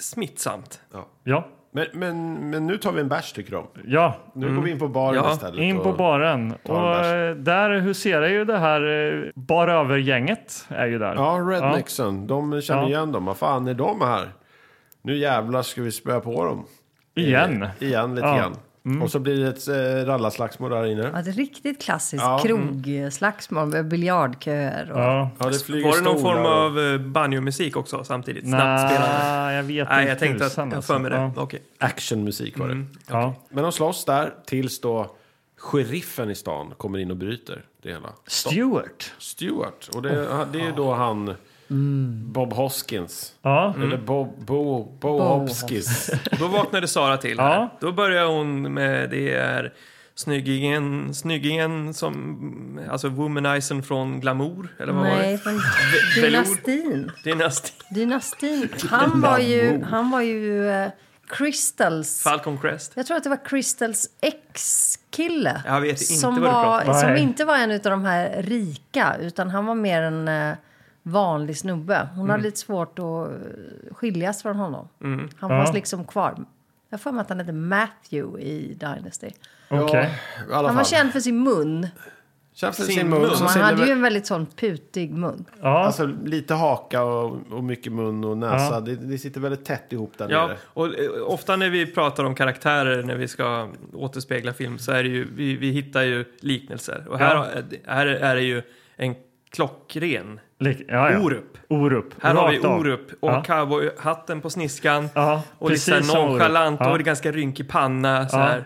Speaker 2: smittsamt.
Speaker 4: Ja.
Speaker 3: Men, men, men nu tar vi en bärs tycker de.
Speaker 4: ja,
Speaker 3: Nu går vi in på baren
Speaker 2: Mm. Ja,
Speaker 3: istället.
Speaker 4: in på
Speaker 3: och-
Speaker 4: baren.
Speaker 3: en
Speaker 4: Och
Speaker 3: bärs.
Speaker 4: eh, där huserar ju det här eh, barövergänget. Är ju där.
Speaker 3: Ja, Rednexen. De känner
Speaker 4: Ja.
Speaker 3: igen dem. Vad fan är de här? Nu jävlar ska vi spöa på dem.
Speaker 4: Igen.
Speaker 3: Eh, igen lite
Speaker 4: Ja. Mm.
Speaker 3: grann. Och så blir det ett eh, rallarslagsmål där inne.
Speaker 1: Ja, ett riktigt klassiskt
Speaker 3: Ja. Mm.
Speaker 1: krogslagsmål med biljardköer. Och...
Speaker 4: Ja.
Speaker 3: Ja, det flyger
Speaker 2: Var det någon
Speaker 3: stolar
Speaker 2: form
Speaker 3: och-
Speaker 2: av eh, banjomusik också samtidigt? Snabbt spelande?
Speaker 4: Nej, jag vet
Speaker 2: Nej,
Speaker 4: inte.
Speaker 2: jag tänkte att
Speaker 4: tusan,
Speaker 2: jag har
Speaker 4: alltså.
Speaker 2: för mig det.
Speaker 4: Ja.
Speaker 2: Okej.
Speaker 3: actionmusik var det.
Speaker 2: Mm.
Speaker 4: Ja.
Speaker 3: Men de slåss där tills då sheriffen i stan kommer in och bryter det hela.
Speaker 4: Stewart.
Speaker 3: Stewart. Och det, det är ju då han... Bob Hoskins.
Speaker 4: Ja.
Speaker 3: Eller Bob, Bo, Bo Hopskins.
Speaker 2: Då vaknade Sara till. Här. Då börjar hon med det är snyggingen, snyggingen som, alltså womanizern från Glamour, eller vad var
Speaker 1: Nej,
Speaker 2: det?
Speaker 1: från
Speaker 2: Ve- velour.
Speaker 1: dynastin.
Speaker 2: Det är näst
Speaker 1: Dynastin. Han var ju, han var ju eh, Crystals...
Speaker 2: Falcon Crest.
Speaker 1: Jag tror att det var Crystals ex-kille.
Speaker 2: Jag vet inte
Speaker 1: som,
Speaker 2: vad du pratar
Speaker 1: var,
Speaker 4: om.
Speaker 1: som
Speaker 4: Nej.
Speaker 1: inte var en av de här rika, utan han var mer en eh, vanlig snubbe. Hon
Speaker 4: Mm.
Speaker 1: hade lite svårt att eh, skiljas från honom.
Speaker 2: Mm.
Speaker 1: Han
Speaker 4: Ja.
Speaker 1: fanns liksom kvar. Jag får mig att han hette Matthew i Dynasty.
Speaker 4: Okej.
Speaker 3: I alla
Speaker 1: Han var
Speaker 3: fall.
Speaker 1: känd för sin mun.
Speaker 3: Känns lite
Speaker 2: Sin
Speaker 3: sin
Speaker 2: mun.
Speaker 3: mun. som
Speaker 1: Man
Speaker 3: sin
Speaker 1: hade
Speaker 3: lever-
Speaker 1: ju en väldigt sån putig mun.
Speaker 4: Ja,
Speaker 3: Alltså lite haka och, och mycket mun och näsa.
Speaker 4: Ja.
Speaker 3: Det, det sitter väldigt tätt ihop där
Speaker 2: Ja,
Speaker 3: nere.
Speaker 2: och eh, ofta när vi pratar om karaktärer när vi ska återspegla film så är det ju, vi, vi hittar ju liknelser. Och här,
Speaker 4: Ja.
Speaker 2: har- eh, här är det ju en klockren
Speaker 4: lik, ja, ja.
Speaker 2: Orup.
Speaker 4: Orup.
Speaker 2: Här har vi
Speaker 4: Rakt av.
Speaker 2: Orup och
Speaker 4: Ja.
Speaker 2: cowboyhatten på sniskan.
Speaker 4: Ja,
Speaker 2: och lite så
Speaker 4: precis som
Speaker 2: här
Speaker 4: Orup.
Speaker 2: nonchalant
Speaker 4: Ja.
Speaker 2: och ganska rynkig panna. Så
Speaker 4: Ja. Eh,
Speaker 2: här.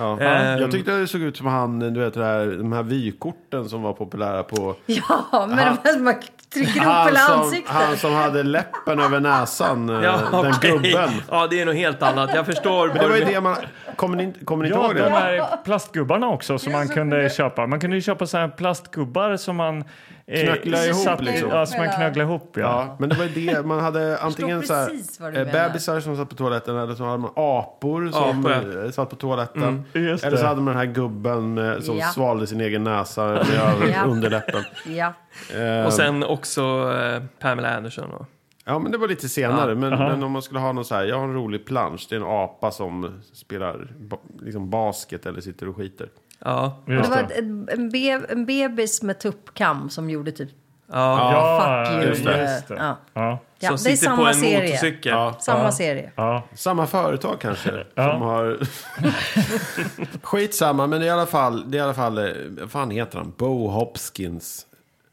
Speaker 3: Ja.
Speaker 2: Ehm.
Speaker 3: Jag tyckte det såg ut som han, du vet det här, de här vykorten som var populära på...
Speaker 1: Ja, men de här som man trycker upp
Speaker 3: Han
Speaker 1: hela
Speaker 3: som,
Speaker 1: ansiktet.
Speaker 3: han som hade läppen över näsan, eh, den
Speaker 2: okej.
Speaker 3: gubben.
Speaker 2: Ja, det är något helt annat. Jag förstår.
Speaker 3: Men det var ju det man... Kommer ni, inte- kommer ni inte
Speaker 4: Ja,
Speaker 3: ihåg
Speaker 4: de
Speaker 3: det?
Speaker 4: här plastgubbarna också som man kunde köpa. Man kunde ju köpa så här plastgubbar som man... Eh,
Speaker 3: Knöckla ihop, liksom.
Speaker 4: Ja, som man knögglar ihop, ja.
Speaker 3: Ja, men det var ju det man hade antingen så här,
Speaker 1: precis vad du
Speaker 3: eh,
Speaker 1: menar.
Speaker 3: bebisar som satt på toaletten eller så hade man apor som
Speaker 2: Apor, ja.
Speaker 3: eh, satt på toaletten.
Speaker 4: Just
Speaker 3: Eller så
Speaker 4: det.
Speaker 3: hade man den här gubben eh, som
Speaker 1: Ja.
Speaker 3: svalde sin egen näsa med
Speaker 1: Ja.
Speaker 3: underläppen.
Speaker 1: Ja.
Speaker 2: Och sen också eh, Pamela Anderson. Och.
Speaker 3: Ja, men det var lite senare. Men, men om man skulle ha någon så här, jag har en rolig plansch. Det är en apa som spelar ba, liksom basket eller sitter och skiter.
Speaker 2: Ja,
Speaker 1: Det
Speaker 4: Just
Speaker 1: var
Speaker 4: det.
Speaker 1: ett, ett- en, be, en bebis med tuppkam som gjorde typ
Speaker 2: ja.
Speaker 4: Ja,
Speaker 1: fuck you. Eh,
Speaker 4: just det.
Speaker 1: Ja.
Speaker 4: Ja,
Speaker 1: Ja,
Speaker 2: Som
Speaker 1: det är
Speaker 2: sitter på
Speaker 1: samma
Speaker 2: en
Speaker 1: serie.
Speaker 2: motorcykel.
Speaker 1: Samma serie.
Speaker 4: ja.
Speaker 3: Samma företag kanske. Som har... Skitsamma, men i alla fall, det är i alla fall, eh, vad fan heter han? Bo Hopkins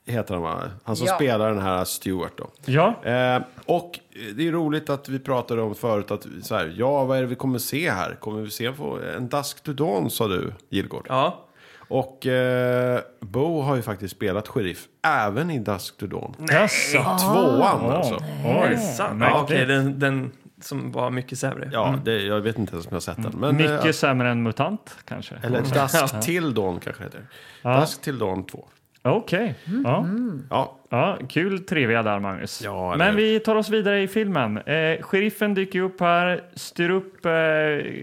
Speaker 3: heter han va? Han som
Speaker 1: Ja.
Speaker 3: spelar den här Stewart då.
Speaker 4: ja.
Speaker 3: Eh, och eh, det är roligt att vi pratade om förut att vi- så här, ja, vad är det vi kommer se här? Kommer vi se få en Dusk to Dawn sa du, Gillgård?
Speaker 2: Ja.
Speaker 3: Och eh, Bo har ju faktiskt spelat sheriff även i Dusk to Dawn.
Speaker 4: Mm. Jaså?
Speaker 3: Tvåan alltså.
Speaker 4: Oj.
Speaker 2: Sant.
Speaker 4: märkligt.
Speaker 2: Ja, Okej, den, den som var mycket sämre.
Speaker 3: Ja, det, jag vet inte ens om jag har sett den. Men, eh,
Speaker 4: Mycket sämre än MUTANT kanske?
Speaker 3: Eller
Speaker 2: Mm.
Speaker 3: Dusk till Dawn kanske heter. det. Dusk till Dawn 2.
Speaker 4: Okej. Ja.
Speaker 3: Ja,
Speaker 4: Ja, kul trivia där, Magnus.
Speaker 3: Ja, eller-
Speaker 4: Men vi tar oss vidare i filmen. Eh, sheriffen dyker upp här, styr upp eh,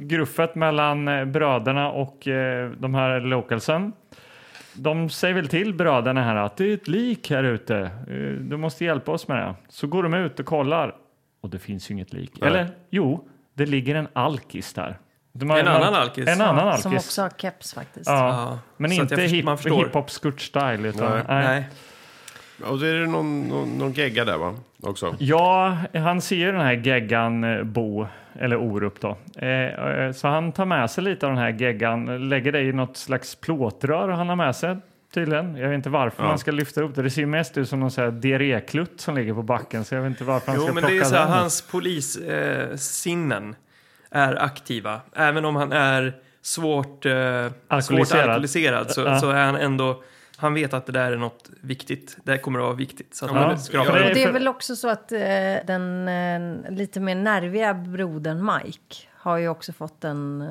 Speaker 4: gruffet mellan eh, bröderna och eh, de här localsen. De säger väl till bröderna här att det är ett lik här ute. Eh, du måste hjälpa oss med det. Så går de ut och kollar och det finns ju inget lik. Eller jo, det ligger en alkis där. De har-
Speaker 2: En annan alkis.
Speaker 4: En annan alkis.
Speaker 1: Som också har keps faktiskt.
Speaker 4: Ja.
Speaker 2: Ja,
Speaker 4: Men
Speaker 2: så att
Speaker 4: inte
Speaker 2: jag först-
Speaker 4: hip,
Speaker 2: man förstår.
Speaker 4: hiphop-skurt-style. utan-
Speaker 3: Nej.
Speaker 4: nej.
Speaker 2: Nej.
Speaker 3: och så är det någon, någon, någon gegga där va? Också.
Speaker 4: Ja, han ser ju den här geggan eh, Bo, eller Orup då. Eh, eh, Så han tar med sig lite av den här geggan, lägger det i något slags plåtrör han har med sig tydligen. Jag vet inte varför man ska lyfta upp det. Det ser ju mest ut som någon sån här diarréklutt som ligger på backen så jag vet inte varför han
Speaker 2: Jo,
Speaker 4: ska
Speaker 2: men
Speaker 4: plocka
Speaker 2: det är så här,
Speaker 4: den.
Speaker 2: hans polissinnen eh, sinnen är aktiva. Även om han är svårt, eh, svårt
Speaker 4: Alkoholiserad.
Speaker 2: alkoholiserad så,
Speaker 4: Ja.
Speaker 2: så är han ändå... Han vet att det där är något viktigt. Det här kommer att vara viktigt. Så att
Speaker 4: Ja.
Speaker 2: han skrapar
Speaker 4: Ja.
Speaker 2: upp.
Speaker 1: Och det
Speaker 4: för-
Speaker 1: är väl också så att eh, den eh, lite mer nerviga brodern Mike har ju också fått en eh,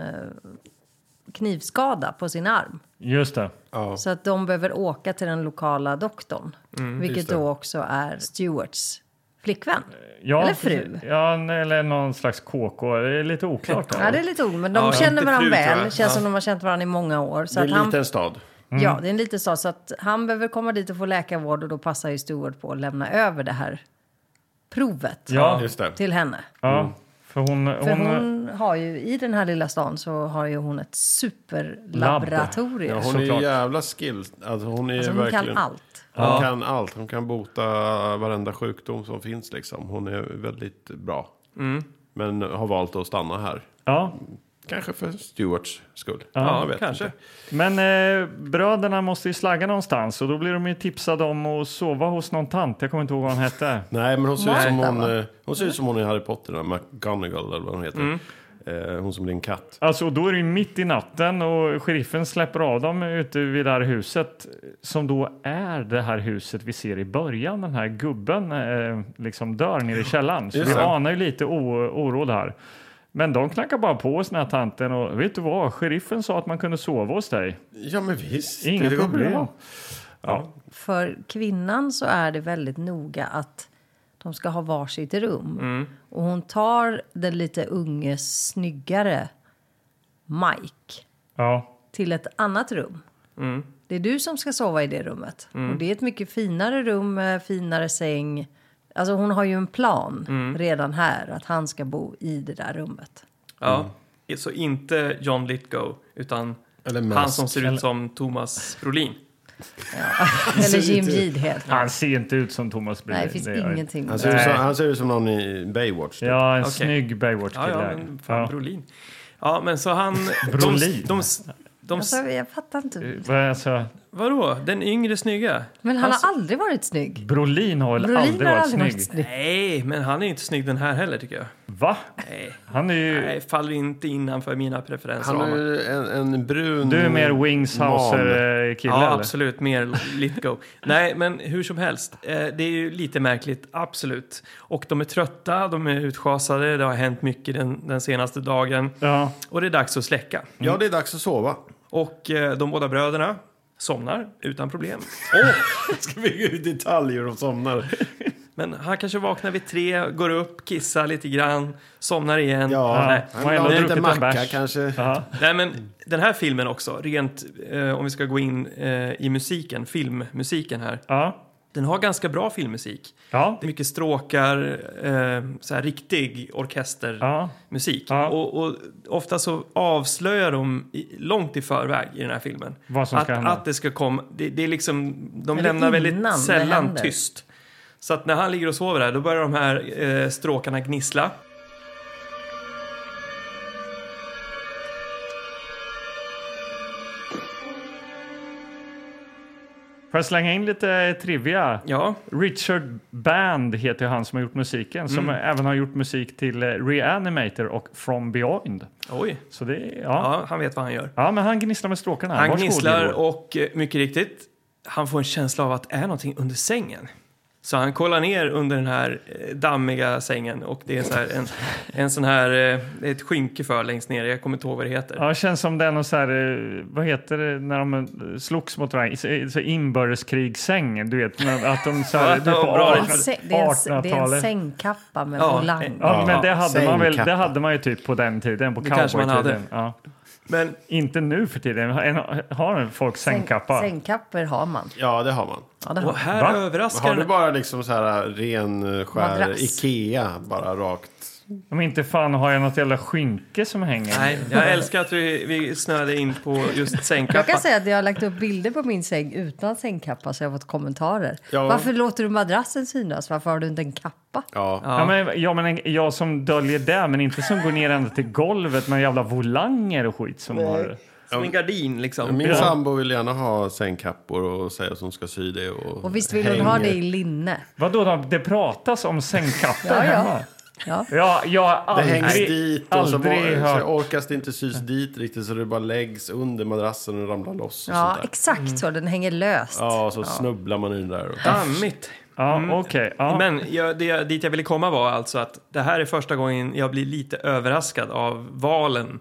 Speaker 1: knivskada på sin arm.
Speaker 4: Just det.
Speaker 1: Så att de behöver åka till den lokala doktorn.
Speaker 4: Mm,
Speaker 1: vilket då också är Stewarts flickvän.
Speaker 4: Ja,
Speaker 1: Eller fru.
Speaker 4: Ja, n- eller någon slags KK. Det är lite oklart. då.
Speaker 1: Ja, det är lite ord, men de
Speaker 2: Ja,
Speaker 1: känner
Speaker 2: inte
Speaker 1: varandra
Speaker 2: fru, tror
Speaker 1: väl.
Speaker 2: jag.
Speaker 1: Känns som de har känt varandra i många år. Så
Speaker 3: Det är Mm.
Speaker 1: att
Speaker 3: en
Speaker 1: han,
Speaker 3: liten stad.
Speaker 1: Ja, det är en liten stad. Så att han behöver komma dit och få läkarvård och då passar ju Stewart på att lämna över det här provet
Speaker 4: Ja,
Speaker 3: Just det.
Speaker 1: till henne.
Speaker 4: ja. För hon, hon,
Speaker 1: För hon, har ju, i den här lilla stan så har ju hon ett superlaboratorium.
Speaker 3: Ja,
Speaker 1: hon
Speaker 3: hon är
Speaker 4: Såklart.
Speaker 3: ju jävla skill. Alltså, hon är
Speaker 1: alltså,
Speaker 3: ju
Speaker 1: hon
Speaker 3: verkligen...
Speaker 1: kan allt.
Speaker 3: Hon kan allt. Hon kan bota varenda sjukdom som finns liksom. Hon är väldigt bra.
Speaker 2: Mm.
Speaker 3: Men har valt att stanna här.
Speaker 4: ja,
Speaker 3: Kanske för Stewarts skull.
Speaker 2: Ja,
Speaker 3: Jag vet
Speaker 2: kanske.
Speaker 3: inte.
Speaker 4: Men eh, bröderna måste ju slagga någonstans och då blir de ju tipsade om att sova hos någon tant. Jag kommer inte ihåg vad hon hette.
Speaker 3: Nej, men hon ser ut som
Speaker 1: Martha,
Speaker 3: hon,
Speaker 1: va?
Speaker 3: eh, hon, ser ut som hon i Harry Potter. den där McGonagall eller vad hon heter.
Speaker 2: Mm.
Speaker 3: Eh, hon som blir en katt.
Speaker 4: Alltså och då är det ju mitt i natten och sheriffen släpper av dem ute vid det här huset som då är det här huset vi ser i början. Den här gubben eh, liksom dör nere i källaren. Så
Speaker 3: Just
Speaker 4: vi
Speaker 3: det.
Speaker 4: anar ju lite o- oråd här. Men de knackar bara på hos den här tanten och vet du vad? Sheriffen sa att man kunde sova hos dig.
Speaker 3: Ja, men visst.
Speaker 4: Inga
Speaker 3: går
Speaker 4: problem.
Speaker 3: bra.
Speaker 1: För kvinnan så är det väldigt noga att de ska ha varsitt rum. Och hon tar den lite unge, snyggare Mike
Speaker 4: Ja.
Speaker 1: till ett annat rum.
Speaker 4: Mm.
Speaker 1: Det är du som ska sova i det rummet. Och det är ett mycket finare rum, med finare säng. Alltså hon har ju en plan
Speaker 4: Mm.
Speaker 1: redan här att han ska bo i det där rummet.
Speaker 2: Ja. Så inte John Lithgow, utan
Speaker 3: Eller
Speaker 2: han
Speaker 3: Mask.
Speaker 2: som ser ut som Thomas Brolin.
Speaker 4: Alltså,
Speaker 1: Eller Jim Jidhed.
Speaker 4: Han ser inte ut som Thomas Brolin.
Speaker 1: Nej, det finns
Speaker 4: gör jag
Speaker 1: ingenting.
Speaker 3: Han ser, ut som,
Speaker 4: Nej.
Speaker 3: han ser ut som någon i Baywatch. typ.
Speaker 4: Ja, en
Speaker 2: Okej.
Speaker 4: snygg Baywatch-kille.
Speaker 2: Ja, ja, men fan, Brolin. Ja, men så han...
Speaker 4: Brolin?
Speaker 2: De, de, de,
Speaker 1: Alltså, jag fattar inte.
Speaker 4: Vad är alltså,
Speaker 2: vadå? Den yngre snygga?
Speaker 1: Men han har aldrig varit snygg.
Speaker 4: Brolin alltså- har väl
Speaker 1: Brolin
Speaker 4: aldrig
Speaker 1: har
Speaker 4: varit
Speaker 1: aldrig
Speaker 4: snygg?
Speaker 1: varit snygg.
Speaker 2: Nej, men han är inte snygg den här heller tycker jag.
Speaker 4: Va?
Speaker 2: Nej,
Speaker 4: Han är ju...
Speaker 2: nej faller inte innanför mina preferenser.
Speaker 3: Han har ju en, en brun...
Speaker 4: Du är mer Wingshauser-kille,
Speaker 2: Ja,
Speaker 4: eller?
Speaker 2: absolut. Mer Litgo. Nej, men hur som helst. Eh, det är ju lite märkligt, absolut. Och de är trötta, de är utschasade, det har hänt mycket den, den senaste dagen.
Speaker 4: Ja.
Speaker 2: Och det är dags att släcka.
Speaker 3: Ja, det är dags att sova.
Speaker 2: Och eh, de båda bröderna somnar utan problem.
Speaker 3: Ska vi gå ut i detalj hur de somnar?
Speaker 2: Men han kanske vaknar vid tre, går upp, kissar lite grann, somnar igen.
Speaker 3: Ja,
Speaker 2: Nej.
Speaker 3: han
Speaker 4: Vad är det,
Speaker 3: vill ha
Speaker 4: druckit
Speaker 3: lite
Speaker 4: en
Speaker 3: macka
Speaker 4: bärs?
Speaker 3: kanske.
Speaker 4: Jaha.
Speaker 2: Nej, men den här filmen också, rent eh, om vi ska gå in eh, i musiken, filmmusiken här.
Speaker 4: Ja.
Speaker 2: Den har ganska bra filmmusik.
Speaker 4: Ja.
Speaker 2: Det är mycket stråkar, eh, så här riktig orkestermusik.
Speaker 4: Ja. Ja.
Speaker 2: Och, och ofta så avslöjar de i, långt i förväg i den här filmen
Speaker 4: Vad som
Speaker 2: att,
Speaker 4: ska hända.
Speaker 2: att det ska komma. Det, det är liksom, de
Speaker 1: Eller
Speaker 2: lämnar
Speaker 1: innan
Speaker 2: väldigt
Speaker 1: det
Speaker 2: sällan
Speaker 1: händer.
Speaker 2: tyst. Så att när han ligger och sover där, då börjar de här eh, stråkarna gnissla.
Speaker 4: Får jag slänga in lite eh, trivia?
Speaker 2: Ja,
Speaker 4: Richard Band heter han som har gjort musiken, som
Speaker 2: Mm.
Speaker 4: även har gjort musik till eh, Reanimator och From Beyond.
Speaker 2: oj.
Speaker 4: Så det är, ja.
Speaker 2: Ja, han vet vad han gör.
Speaker 4: Ja. men han gnisslar med stråkarna.
Speaker 2: Han
Speaker 4: Varsågod,
Speaker 2: gnisslar
Speaker 4: Gregor.
Speaker 2: och eh, mycket riktigt, han får en känsla av att är någonting under sängen. Så han kollar ner under den här eh, dammiga sängen och det är så här en, en sån här, eh, det är ett skynke för längst ner, jag kommer inte ihåg vad det heter.
Speaker 4: Ja, det känns som det är någon så här, eh, vad heter det, när de eh, slogs mot varandra, så- så inbördeskrigssäng, du vet, när- att de så här,
Speaker 2: Ja,
Speaker 4: du vet,
Speaker 2: bra.
Speaker 1: Det
Speaker 4: på
Speaker 1: är en, sä- det är en, s- det är en
Speaker 4: 1800-talet.
Speaker 1: sängkappa med
Speaker 2: Ja,
Speaker 1: volang.
Speaker 4: Ja, men det hade, man väl, det
Speaker 3: Sängkappa.
Speaker 4: hade man ju typ på den tiden, på
Speaker 2: Det kanske man
Speaker 4: cowboytiden. Ja.
Speaker 2: Men
Speaker 4: Inte nu för tiden, har, har folk sängkappa?
Speaker 1: Säng- Sängkappor har man.
Speaker 3: Ja, det har man.
Speaker 1: Ja, det har
Speaker 2: och
Speaker 1: man.
Speaker 2: här
Speaker 4: Va?
Speaker 2: överraskar
Speaker 3: Har du
Speaker 2: den,
Speaker 3: bara liksom så här ren, eh, skär
Speaker 1: Madrass.
Speaker 3: Ikea, bara rakt?
Speaker 4: Om inte fan har jag något jävla skynke som hänger.
Speaker 2: Nej, jag älskar att vi, vi snöade in på just
Speaker 1: Jag
Speaker 2: sängkappa.
Speaker 1: kan säga att jag har lagt upp bilder på min säng utan sängkappa så jag har fått kommentarer.
Speaker 3: Ja.
Speaker 1: Varför låter du madrassen synas? Varför har du inte en kappa?
Speaker 3: Ja.
Speaker 4: Ja. men, ja, men en- jag som döljer det, men inte som går ner ända till golvet med jävla volanger och skit som har...
Speaker 2: Som en gardin liksom.
Speaker 3: Min
Speaker 4: Ja.
Speaker 3: sambo vill gärna ha sängkappor och säga att hon ska sy det. Och,
Speaker 1: Och visst vill hon ha det i linne?
Speaker 4: Vadå, då? det pratas om sängkappor
Speaker 1: Ja, ja.
Speaker 4: hemma?
Speaker 1: Ja.
Speaker 4: Ja, jag har
Speaker 3: Det
Speaker 4: aldrig,
Speaker 3: hängs dit och så,
Speaker 4: aldrig
Speaker 3: or- så
Speaker 4: hört...
Speaker 3: orkas det inte sys dit riktigt så det bara läggs under madrassen och ramlar loss. Och
Speaker 1: Ja,
Speaker 3: sånt där.
Speaker 1: exakt så. Den hänger löst.
Speaker 3: Ja, och så snubblar man in där. Och...
Speaker 2: Dammigt.
Speaker 4: Ja,
Speaker 3: mm.
Speaker 4: okej. ja.
Speaker 2: Men jag, det, jag- dit jag ville komma var alltså att det här är första gången jag blir lite överraskad av valen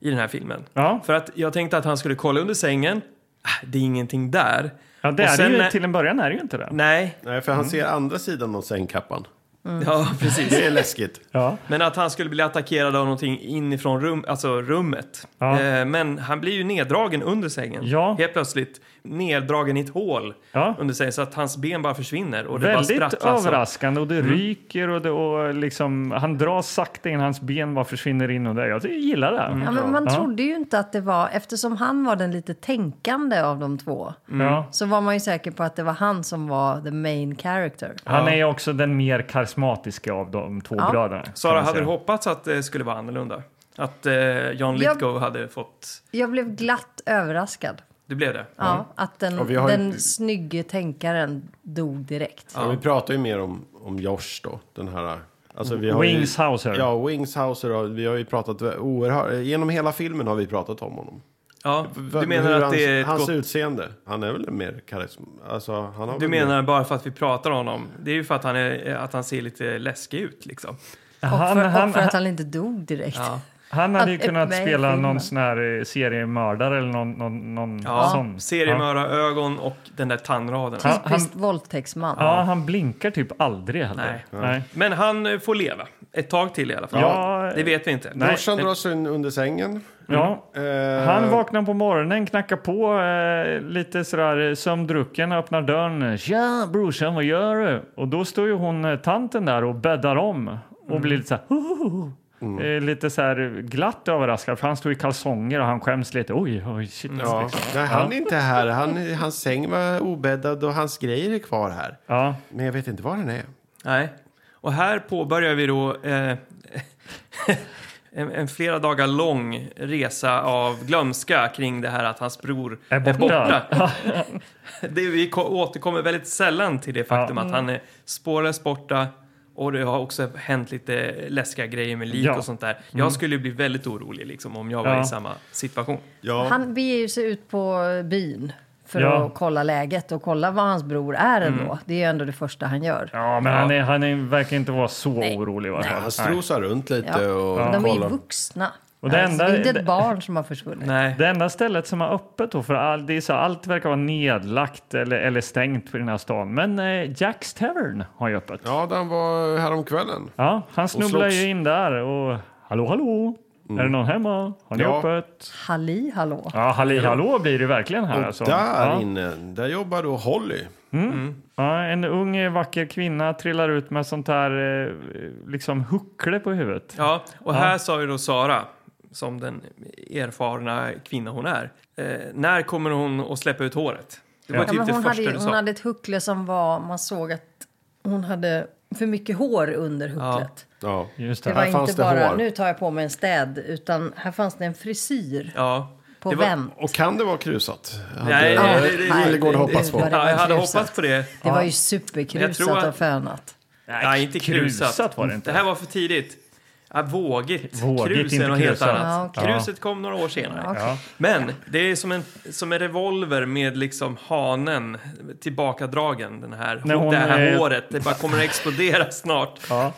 Speaker 2: i den här filmen.
Speaker 4: Ja.
Speaker 2: För att jag tänkte att han skulle kolla under sängen. Ah, Det är ingenting där.
Speaker 4: ja, det
Speaker 2: Och
Speaker 4: är
Speaker 2: sen
Speaker 4: det ju,
Speaker 2: när-
Speaker 4: till en början är det ju inte det.
Speaker 2: Nej,
Speaker 3: Nej, för han ser andra sidan av sängkappan.
Speaker 4: Mm.
Speaker 2: ja Mm. precis.
Speaker 3: Det är läskigt.
Speaker 4: Ja.
Speaker 2: Men att han skulle bli attackerad av någonting inifrån rum, alltså rummet.
Speaker 4: Ja.
Speaker 2: Eh, Men han blir ju neddragen under sängen.
Speaker 4: Ja.
Speaker 2: Helt plötsligt neddragen i ett hål
Speaker 4: Ja.
Speaker 2: under sängen så att hans ben bara försvinner. Och det bara
Speaker 4: Väldigt
Speaker 2: sprattlar. så. Mm.
Speaker 4: överraskande och det ryker och, det, och liksom, han dras sakta in, hans ben bara försvinner in och där. Jag gillar det.
Speaker 2: Mm.
Speaker 1: Ja, men man trodde ju inte att det var, eftersom han var den lite tänkande av de två,
Speaker 4: Ja.
Speaker 1: så var man ju säker på att det var han som var the main character.
Speaker 4: Han är ju också den mer karismatiska av de två
Speaker 1: Ja.
Speaker 4: bröderna. kan
Speaker 2: Sara,
Speaker 4: man
Speaker 2: hade
Speaker 4: säga.
Speaker 2: du hoppats att det skulle vara annorlunda? Att eh, John
Speaker 1: Jag-
Speaker 2: Lithgow hade fått...
Speaker 1: Jag blev glatt överraskad.
Speaker 2: Det blev det?
Speaker 1: Ja, Att den,
Speaker 3: Och vi har ju-
Speaker 1: den snygge tänkaren dog direkt.
Speaker 3: Ja. Vi pratar ju mer om, om Josh då, den här... Alltså vi har
Speaker 4: Wingshauser.
Speaker 3: Ju, ja, Wingshauser. har- Vi har ju pratat oerhört... Genom hela filmen har vi pratat om honom.
Speaker 2: Ja, du
Speaker 3: Hur
Speaker 2: menar att det är ett
Speaker 3: Hans
Speaker 2: gott...
Speaker 3: utseende. Han är väl mer karism... Alltså, han har
Speaker 2: Du
Speaker 3: väl mer-
Speaker 2: menar bara för att vi pratar om honom? Det är ju för att han, är, att han ser lite läskig ut liksom.
Speaker 1: Och
Speaker 4: Han,
Speaker 1: för,
Speaker 4: han,
Speaker 1: och för att han inte dog direkt.
Speaker 2: Ja.
Speaker 4: han hade ju
Speaker 1: han är
Speaker 4: kunnat
Speaker 1: med i
Speaker 4: spela någon
Speaker 1: filmen.
Speaker 4: sån här eh, seriemördare eller någon, någon, någon
Speaker 2: Ja,
Speaker 4: sån.
Speaker 2: seriemördarögon och den där tandraden.
Speaker 4: Ja.
Speaker 1: Typiskt våldtäktsman.
Speaker 4: Ja, han blinkar typ aldrig heller.
Speaker 2: Nej.
Speaker 4: Nej.
Speaker 2: Men han eh, får leva. Ett tag till i alla fall.
Speaker 4: Ja.
Speaker 2: Det vet vi inte.
Speaker 4: Nej.
Speaker 3: Brorsan dras in under sängen.
Speaker 2: Mm.
Speaker 4: Ja.
Speaker 3: Eh,
Speaker 4: Han vaknar på morgonen, knackar på eh, lite sådär eh, sömndrucken, öppnar dörren. Tja brorsan,
Speaker 3: Mm.
Speaker 4: vad gör du? Och då står ju hon, eh, tanten där och bäddar om och blir lite såhär "Hohoho." Eh, Lite så här glatt överraskad, för han stod i kalsonger och han skäms lite. Oj, oj, shit.
Speaker 3: Ja.
Speaker 4: liksom.
Speaker 3: Nej, han är inte här. Han, hans säng var obäddad och hans grejer är kvar här.
Speaker 4: Ja.
Speaker 3: Men jag vet inte var den är.
Speaker 2: Nej. Och här påbörjar vi då eh, en, en flera dagar lång resa av glömska kring det här att hans bror
Speaker 4: Är borta.
Speaker 2: det, vi ko- återkommer väldigt sällan till det faktum att han är spårlöst borta och det har också hänt lite läskiga grejer med lik
Speaker 4: Ja.
Speaker 2: och sånt där. Jag skulle bli väldigt orolig liksom, om jag var
Speaker 4: Ja.
Speaker 2: i samma situation.
Speaker 1: Han beger ju sig ut på byn för
Speaker 4: Ja. Mm.
Speaker 1: att kolla läget och kolla vad hans bror är ändå. Det är ju ändå det första han gör.
Speaker 4: Ja, men Han, är, han är, verkar inte vara så orolig. i varje fall.
Speaker 3: Han strosar runt lite
Speaker 1: Ja.
Speaker 3: och
Speaker 1: De är ju
Speaker 3: kollar.
Speaker 1: vuxna.
Speaker 4: Och det
Speaker 1: alltså,
Speaker 4: enda-
Speaker 1: det är inte
Speaker 4: det-
Speaker 1: ett barn som har försvunnit.
Speaker 2: Nej.
Speaker 4: Det enda stället som är öppet då, för all, det är så, här, allt verkar vara nedlagt eller, eller stängt på den här stan. Men eh, Jacks Tavern har ju öppet. Ja.
Speaker 3: Ja, den var häromkvällen.
Speaker 4: han snubblar
Speaker 3: slogs.
Speaker 4: ju in där och hallå, hallå, är det någon hemma? Har ni
Speaker 3: Ja.
Speaker 4: öppet?
Speaker 1: Halli hallå.
Speaker 4: Ja, halli hallå blir det verkligen här alltså.
Speaker 3: Där
Speaker 4: ja.
Speaker 3: inne, där jobbar då Holly.
Speaker 4: Ja, en ung eh, vacker kvinna trillar ut med sånt här eh, liksom huckle på huvudet.
Speaker 2: Ja, och här sa ju då Sara, som den erfarna kvinna hon är, eh, när kommer hon att släppa ut håret? Det var
Speaker 1: Ja,
Speaker 2: typ
Speaker 1: men
Speaker 2: det
Speaker 1: hon,
Speaker 2: första
Speaker 1: hade, ju-
Speaker 2: du
Speaker 1: hon
Speaker 2: sa.
Speaker 1: hade ett huckle som var, man såg att hon hade för mycket hår under hucklet.
Speaker 3: Ja.
Speaker 4: Just
Speaker 1: Det
Speaker 4: det.
Speaker 1: var
Speaker 3: Här fanns
Speaker 1: inte
Speaker 3: det
Speaker 1: bara,
Speaker 3: hår.
Speaker 1: nu tar jag på mig en städ, utan här fanns det en frisyr
Speaker 2: Ja.
Speaker 1: på
Speaker 2: det var-
Speaker 1: vänt.
Speaker 3: Och kan det vara krusat? Hade
Speaker 2: Nej,
Speaker 1: Ja,
Speaker 2: det- det-
Speaker 1: nej,
Speaker 3: Lillegård
Speaker 1: det-
Speaker 3: hoppats
Speaker 1: det-
Speaker 3: på.
Speaker 1: var det
Speaker 2: Ja, jag hade
Speaker 1: krusat.
Speaker 2: hoppats på det.
Speaker 1: Det var ju
Speaker 2: Jag tror
Speaker 1: superkrusat
Speaker 2: att-
Speaker 1: och fönat.
Speaker 2: Nej, inte krusat.
Speaker 4: var det inte.
Speaker 2: Det här var för tidigt. Ja, vågigt.
Speaker 4: Vågigt,
Speaker 2: Krus
Speaker 4: inte
Speaker 2: är något helt
Speaker 4: krusat.
Speaker 2: annat.
Speaker 1: Ja, okej.
Speaker 2: Kruset kom några år senare.
Speaker 1: Ja, okej.
Speaker 4: Ja.
Speaker 2: Men det är som en, som en revolver med liksom hanen tillbakadragen. Den här,
Speaker 4: När hon
Speaker 2: det här
Speaker 4: är-
Speaker 2: håret. Det bara kommer att explodera snart.
Speaker 4: Ja.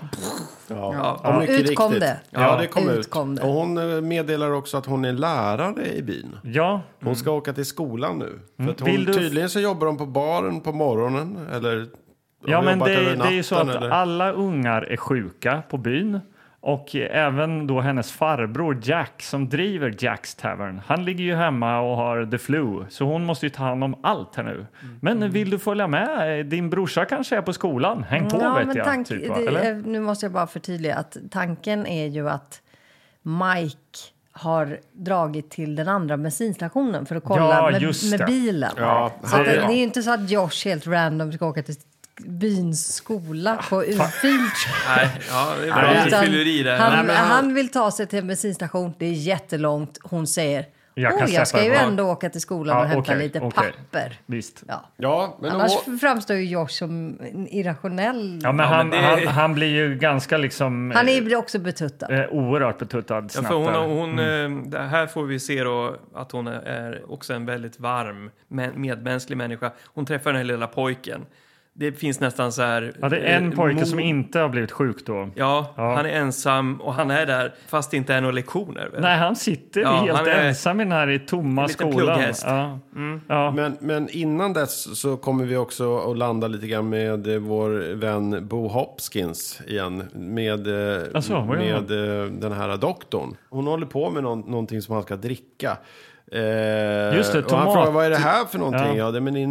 Speaker 2: Ja.
Speaker 3: Ja, mycket
Speaker 1: Ut kom
Speaker 3: riktigt.
Speaker 1: det.
Speaker 3: Ja, det kom
Speaker 1: Ut
Speaker 3: ut.
Speaker 1: kom det.
Speaker 3: Och hon eh, meddelar också att hon är lärare i byn.
Speaker 4: ja,
Speaker 3: Hon ska åka till skolan nu. För att hon,
Speaker 4: Mm. Vill du-
Speaker 3: Tydligen så jobbar hon på baren på morgonen. Eller har
Speaker 4: Ja,
Speaker 3: hon
Speaker 4: men
Speaker 3: jobbat
Speaker 4: det,
Speaker 3: över
Speaker 4: det är ju så
Speaker 3: natten,
Speaker 4: att
Speaker 3: eller?
Speaker 4: alla ungar är sjuka på byn och även då hennes farbror Jack som driver Jacks Tavern. Han ligger ju hemma och har the flu, så hon måste ju ta hand om allt här
Speaker 2: Mm.
Speaker 4: nu. Men vill du följa med? Din brorsa kanske är på skolan. Häng på
Speaker 1: Ja,
Speaker 4: vet
Speaker 1: men
Speaker 4: jag.
Speaker 1: tank,
Speaker 4: typ, va?
Speaker 1: det,
Speaker 4: Eller?
Speaker 1: eh, nu måste jag bara förtydliga att tanken är ju att Mike har dragit till den andra bensinstationen för att kolla
Speaker 4: Ja,
Speaker 1: med,
Speaker 4: just det.
Speaker 1: med bilen.
Speaker 3: Ja,
Speaker 1: så
Speaker 3: han-
Speaker 1: att det, det är ju inte så att Josh helt random ska åka till byns skola på utfil.
Speaker 2: Nej, ja, det är bra
Speaker 1: Utan
Speaker 2: fylleri det här.
Speaker 1: han,
Speaker 3: Nej, men han-
Speaker 1: han vill ta sig till en bensinstation, det är jättelångt. Hon säger
Speaker 4: Jag kan
Speaker 1: Åh, jag
Speaker 4: släppa
Speaker 1: ska ju
Speaker 4: dig.
Speaker 1: ändå åka till skolan
Speaker 4: Ja,
Speaker 1: och hämta
Speaker 4: okej,
Speaker 1: lite
Speaker 4: okej.
Speaker 1: papper.
Speaker 4: Visst.
Speaker 1: Ja.
Speaker 3: Ja, men hon...
Speaker 1: Annars framstår ju Josh som en irrationell.
Speaker 4: Ja, men
Speaker 2: Ja,
Speaker 4: han,
Speaker 2: men det-
Speaker 4: han, han blir ju ganska liksom
Speaker 1: Han är ju också betuttad.
Speaker 4: eh, oerhört betuttad
Speaker 2: Ja,
Speaker 4: snabbt.
Speaker 2: för hon,
Speaker 4: där. Mm.
Speaker 2: hon, eh, det här får vi se då att hon är också en väldigt varm, mä- medmänsklig människa. Hon träffar den här lilla pojken. Det finns nästan så här...
Speaker 4: ja, det är en
Speaker 2: eh,
Speaker 4: pojke
Speaker 2: mod-
Speaker 4: som inte har blivit sjuk då.
Speaker 2: Ja,
Speaker 4: Ja.
Speaker 2: han är ensam och han är där fast det inte är några lektioner. Väl?
Speaker 4: Nej, han sitter
Speaker 2: Ja,
Speaker 4: helt
Speaker 2: han är-
Speaker 4: ensam i den här i tomma
Speaker 2: En liten
Speaker 4: skolan.
Speaker 2: plugghäst.
Speaker 4: Ja. Ja.
Speaker 3: Men, men innan dess så kommer vi också att landa lite grann med eh, vår vän Bo Hopkins igen. Med, eh,
Speaker 4: Alltså, vad gör
Speaker 3: med eh, den här doktorn. Hon håller på med någon, någonting som han ska dricka. Eh,
Speaker 4: Just det,
Speaker 3: och han
Speaker 4: tomat-
Speaker 3: frågar vad är det här för
Speaker 4: Ja.
Speaker 3: någonting? Ja, det men det är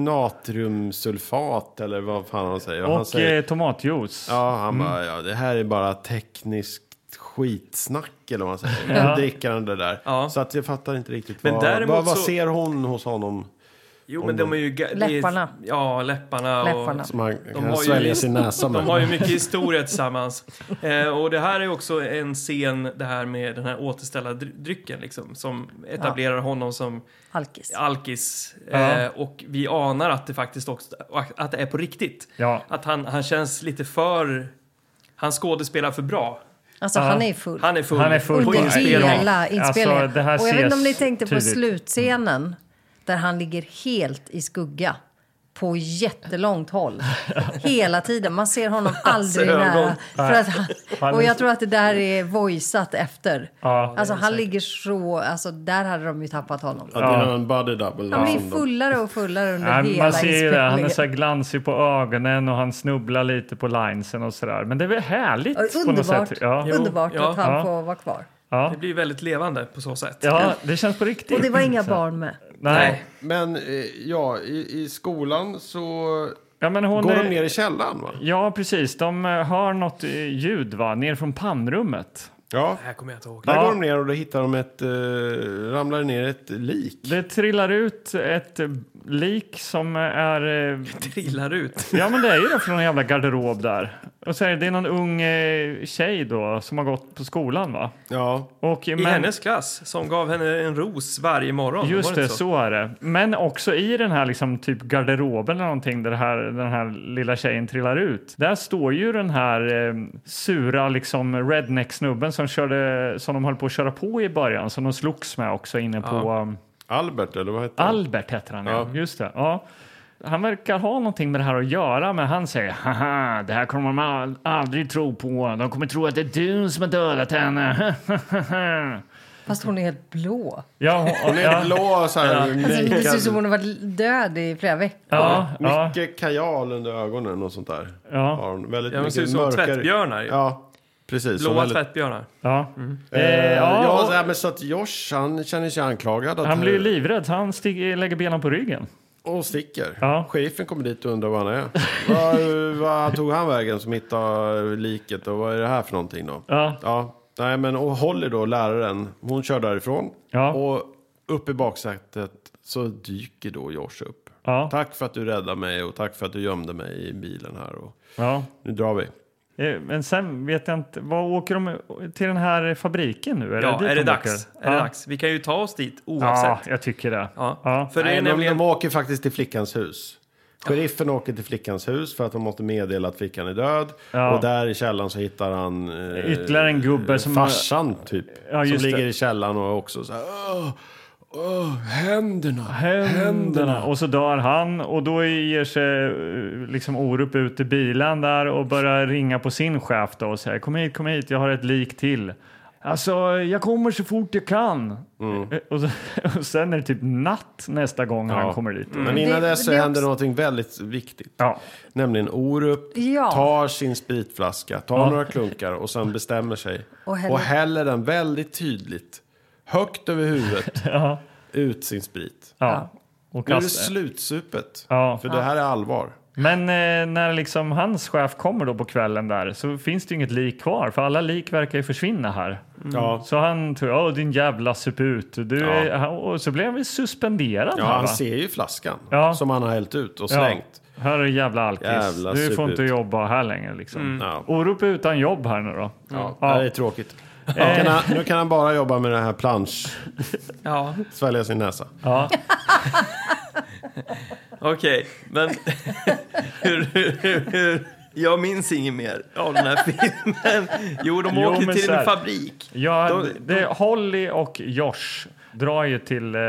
Speaker 3: natriumsulfat eller vad fan han säger.
Speaker 4: Och Mm.
Speaker 3: han säger,
Speaker 4: eh, tomatjuice.
Speaker 3: Ja, han bara, ja, det här är bara tekniskt skitsnack eller vad man säger. Ja. dricker han det där.
Speaker 2: Ja.
Speaker 3: Så att jag fattar inte riktigt.
Speaker 2: Men
Speaker 3: vad,
Speaker 2: däremot
Speaker 3: vad, vad
Speaker 2: så-
Speaker 3: ser hon hos honom?
Speaker 2: Jo, men de är ju... ga- det är-
Speaker 1: Läpparna.
Speaker 2: Ja, läpparna.
Speaker 1: Läpparna.
Speaker 2: Och,
Speaker 3: Som han
Speaker 2: har
Speaker 3: kan
Speaker 2: ju-
Speaker 3: svälja sin näsa med.
Speaker 2: de har ju mycket historia tillsammans. Eh, och det här är också en scen, det här med den här återställda dry- drycken liksom, som etablerar honom som
Speaker 1: Alkis.
Speaker 2: alkis.
Speaker 4: Ja.
Speaker 2: Eh, och vi anar att det faktiskt också att det är på riktigt.
Speaker 4: Ja.
Speaker 2: Att han, han känns lite för... Han skådespelar för bra.
Speaker 1: Alltså han är full.
Speaker 2: Han är full.
Speaker 4: Han är full
Speaker 2: på
Speaker 4: på
Speaker 1: Under
Speaker 2: inspelning.
Speaker 4: inspelningen.
Speaker 1: hela inspelningen.
Speaker 4: Alltså, det här
Speaker 1: och jag vet inte om ni
Speaker 4: ses
Speaker 1: tänkte på
Speaker 4: tydligt.
Speaker 1: slutscenen där han ligger helt i skugga på jättelångt håll hela tiden. Man ser honom aldrig
Speaker 2: ögon.
Speaker 1: nära. För att han,
Speaker 4: Alltså, Han
Speaker 1: och
Speaker 4: är-
Speaker 1: jag tror att det där är voiceat efter.
Speaker 4: Ja.
Speaker 1: Alltså han ligger så, alltså där hade de ju tappat honom.
Speaker 3: Ja, det är någon body double.
Speaker 1: Han
Speaker 3: som
Speaker 1: blir
Speaker 3: de-
Speaker 1: fullare och fullare under
Speaker 4: Nej,
Speaker 1: hela
Speaker 4: man ser ju det, han är
Speaker 1: inspelningen.
Speaker 4: så här glansig på ögonen och han snubblar lite på linesen och sådär. Men det är väl härligt
Speaker 1: Och
Speaker 4: på något
Speaker 1: Underbart,
Speaker 4: sätt. Ja.
Speaker 1: underbart
Speaker 2: ja,
Speaker 1: att han
Speaker 4: ja.
Speaker 1: får vara kvar.
Speaker 4: Ja.
Speaker 2: Det blir väldigt levande på så sätt.
Speaker 4: ja, det känns på riktigt.
Speaker 1: Och det var inga barn med.
Speaker 4: Nej.
Speaker 2: Nej.
Speaker 3: Men eh, ja, i, i skolan så
Speaker 4: Ja, men hon
Speaker 3: går
Speaker 4: är...
Speaker 3: de ner i källaren va?
Speaker 4: Ja, precis. De eh, hör något eh, ljud va? ner från pannrummet.
Speaker 3: Ja.
Speaker 2: Det här kommer jag inte ihåg.
Speaker 3: Där
Speaker 4: Ja.
Speaker 3: går de ner och då hittar de ett, eh, ramlar ner ett lik.
Speaker 4: Det trillar ut ett eh, lik som är... eh,
Speaker 2: Trillar ut.
Speaker 4: Ja, men det är ju det från en jävla garderob där. Och så är det, det är någon ung eh, tjej då som har gått på skolan, va?
Speaker 3: Ja.
Speaker 4: Och,
Speaker 2: I hennes klass, som gav henne en ros varje morgon.
Speaker 4: Just
Speaker 2: Var det,
Speaker 4: det,
Speaker 2: inte
Speaker 4: så? är det. Men också i den här liksom typ garderoben eller någonting där det här, den här lilla tjejen trillar ut. Där står ju den här eh, sura liksom redneck-snubben som, körde, som de höll på att köra på i början, som de slogs med också inne på... eh,
Speaker 3: Albert, eller vad hette han?
Speaker 4: Albert heter han, ja. Just det. Ja. Han verkar ha någonting med det här att göra, men han säger haha, det här kommer de all- aldrig tro på. De kommer tro att det är du som har dödat henne.
Speaker 1: Fast hon är helt blå.
Speaker 4: ja, hon,
Speaker 3: Hon är blå så här.
Speaker 1: Alltså, det ser ut som
Speaker 3: Naked,
Speaker 1: hon har varit död i flera veckor.
Speaker 4: ja, ja,
Speaker 3: mycket kajal under ögonen och sånt där.
Speaker 4: ja,
Speaker 3: Har hon väldigt
Speaker 2: Ja, de ser ut
Speaker 3: mycket
Speaker 2: som
Speaker 3: mörkare.
Speaker 2: tvättbjörnar. ju.
Speaker 3: Ja, precis.
Speaker 2: Blåa
Speaker 3: Hon väldigt-
Speaker 2: tvättbjörnar.
Speaker 4: ja.
Speaker 2: Mm.
Speaker 4: Eh,
Speaker 3: Eh,
Speaker 4: ja,
Speaker 3: ja,
Speaker 4: och
Speaker 3: så här, men så att Josh, han känner sig anklagad. Att
Speaker 4: han blir ju livrädd, så han stig, lägger benen på ryggen.
Speaker 3: Och sticker.
Speaker 4: Ja.
Speaker 3: Chefen kommer dit och undrar var han är. Vad- Vad tog han vägen som hittade liket och vad är det här för någonting då?
Speaker 4: Ja.
Speaker 3: Ja, nej men och Holly då, läraren, hon kör därifrån.
Speaker 4: Ja.
Speaker 3: Och upp i baksätet så dyker då Josh upp.
Speaker 4: Ja.
Speaker 3: Tack för att du räddade mig och tack för att du gömde mig i bilen här. Och
Speaker 4: Ja.
Speaker 3: nu drar vi.
Speaker 4: Eh, Men sen vet jag inte, vad åker de till den här fabriken nu? Är
Speaker 2: Ja,
Speaker 4: dit
Speaker 2: är det
Speaker 4: de
Speaker 2: dags?
Speaker 4: åker?
Speaker 2: Är det
Speaker 4: Ja.
Speaker 2: dags? Vi kan ju ta oss dit
Speaker 4: Ja,
Speaker 2: oavsett.
Speaker 4: jag tycker det.
Speaker 2: Ja.
Speaker 4: Ja.
Speaker 2: För det är
Speaker 3: Nej,
Speaker 2: nämligen...
Speaker 3: de, de åker faktiskt till flickans hus. Sheriffen åker till flickans hus för att de måste meddela att flickan är död.
Speaker 4: Ja.
Speaker 3: Och där i källaren så hittar han... eh,
Speaker 4: Ytterligare en gubbe som-
Speaker 3: Farsan typ.
Speaker 4: Ja,
Speaker 3: som
Speaker 4: just
Speaker 3: ligger
Speaker 4: det.
Speaker 3: i källaren och också så här... Åh, åh, händerna!
Speaker 4: Händerna. Och så dör han och då ger sig eh, liksom Orup ut till bilen där och börjar ringa på sin chef då och säger kom hit, kom hit, jag har ett lik till. Alltså, jag kommer så fort jag kan. Eh, Och, så, och sen är det typ natt nästa gång han kommer dit.
Speaker 3: Men innan
Speaker 1: Det-
Speaker 3: dess så
Speaker 1: det är
Speaker 3: händer
Speaker 1: också-
Speaker 3: någonting väldigt viktigt.
Speaker 4: Ja,
Speaker 3: Nämligen Orup
Speaker 1: Ja.
Speaker 3: tar sin spritflaska, tar några klunkar och sen bestämmer sig.
Speaker 1: Och häller-
Speaker 3: och häller den väldigt tydligt, högt över huvudet, ut sin sprit.
Speaker 4: ja. Och
Speaker 3: Nu är det
Speaker 4: kast-
Speaker 3: slutsupet.
Speaker 4: Ja.
Speaker 3: För det här är allvar.
Speaker 4: Men eh, när liksom hans chef kommer då på kvällen där så finns det ju inget lik kvar för alla lik verkar ju försvinna här.
Speaker 3: Ja.
Speaker 4: Så han tror, åh din jävla suput. Du är, han- och så blev vi suspenderad
Speaker 3: ja,
Speaker 4: här
Speaker 3: han
Speaker 4: va?
Speaker 3: ser ju flaskan
Speaker 4: Ja.
Speaker 3: som han har hällt ut och
Speaker 4: Ja.
Speaker 3: slängt.
Speaker 4: Här är jävla alkis.
Speaker 3: Jävla
Speaker 4: du får
Speaker 3: suput.
Speaker 4: inte jobba här längre liksom.
Speaker 1: Mm.
Speaker 3: Ja.
Speaker 4: Orup är utan jobb här nu då.
Speaker 3: Ja.
Speaker 4: Ja. Eh.
Speaker 3: Det är tråkigt. Nu kan, han, nu kan han bara jobba med den här plansch,
Speaker 2: Ja,
Speaker 3: svälja sin näsa.
Speaker 4: Ja.
Speaker 2: okej. Men hur, hur, hur, hur? Jag minns inget mer av den här filmen. Jo, de
Speaker 4: Jo,
Speaker 2: åker
Speaker 4: men
Speaker 2: till
Speaker 4: så här-
Speaker 2: en fabrik.
Speaker 4: Ja,
Speaker 2: Då-
Speaker 4: det, Holly och Josh drar ju till eh,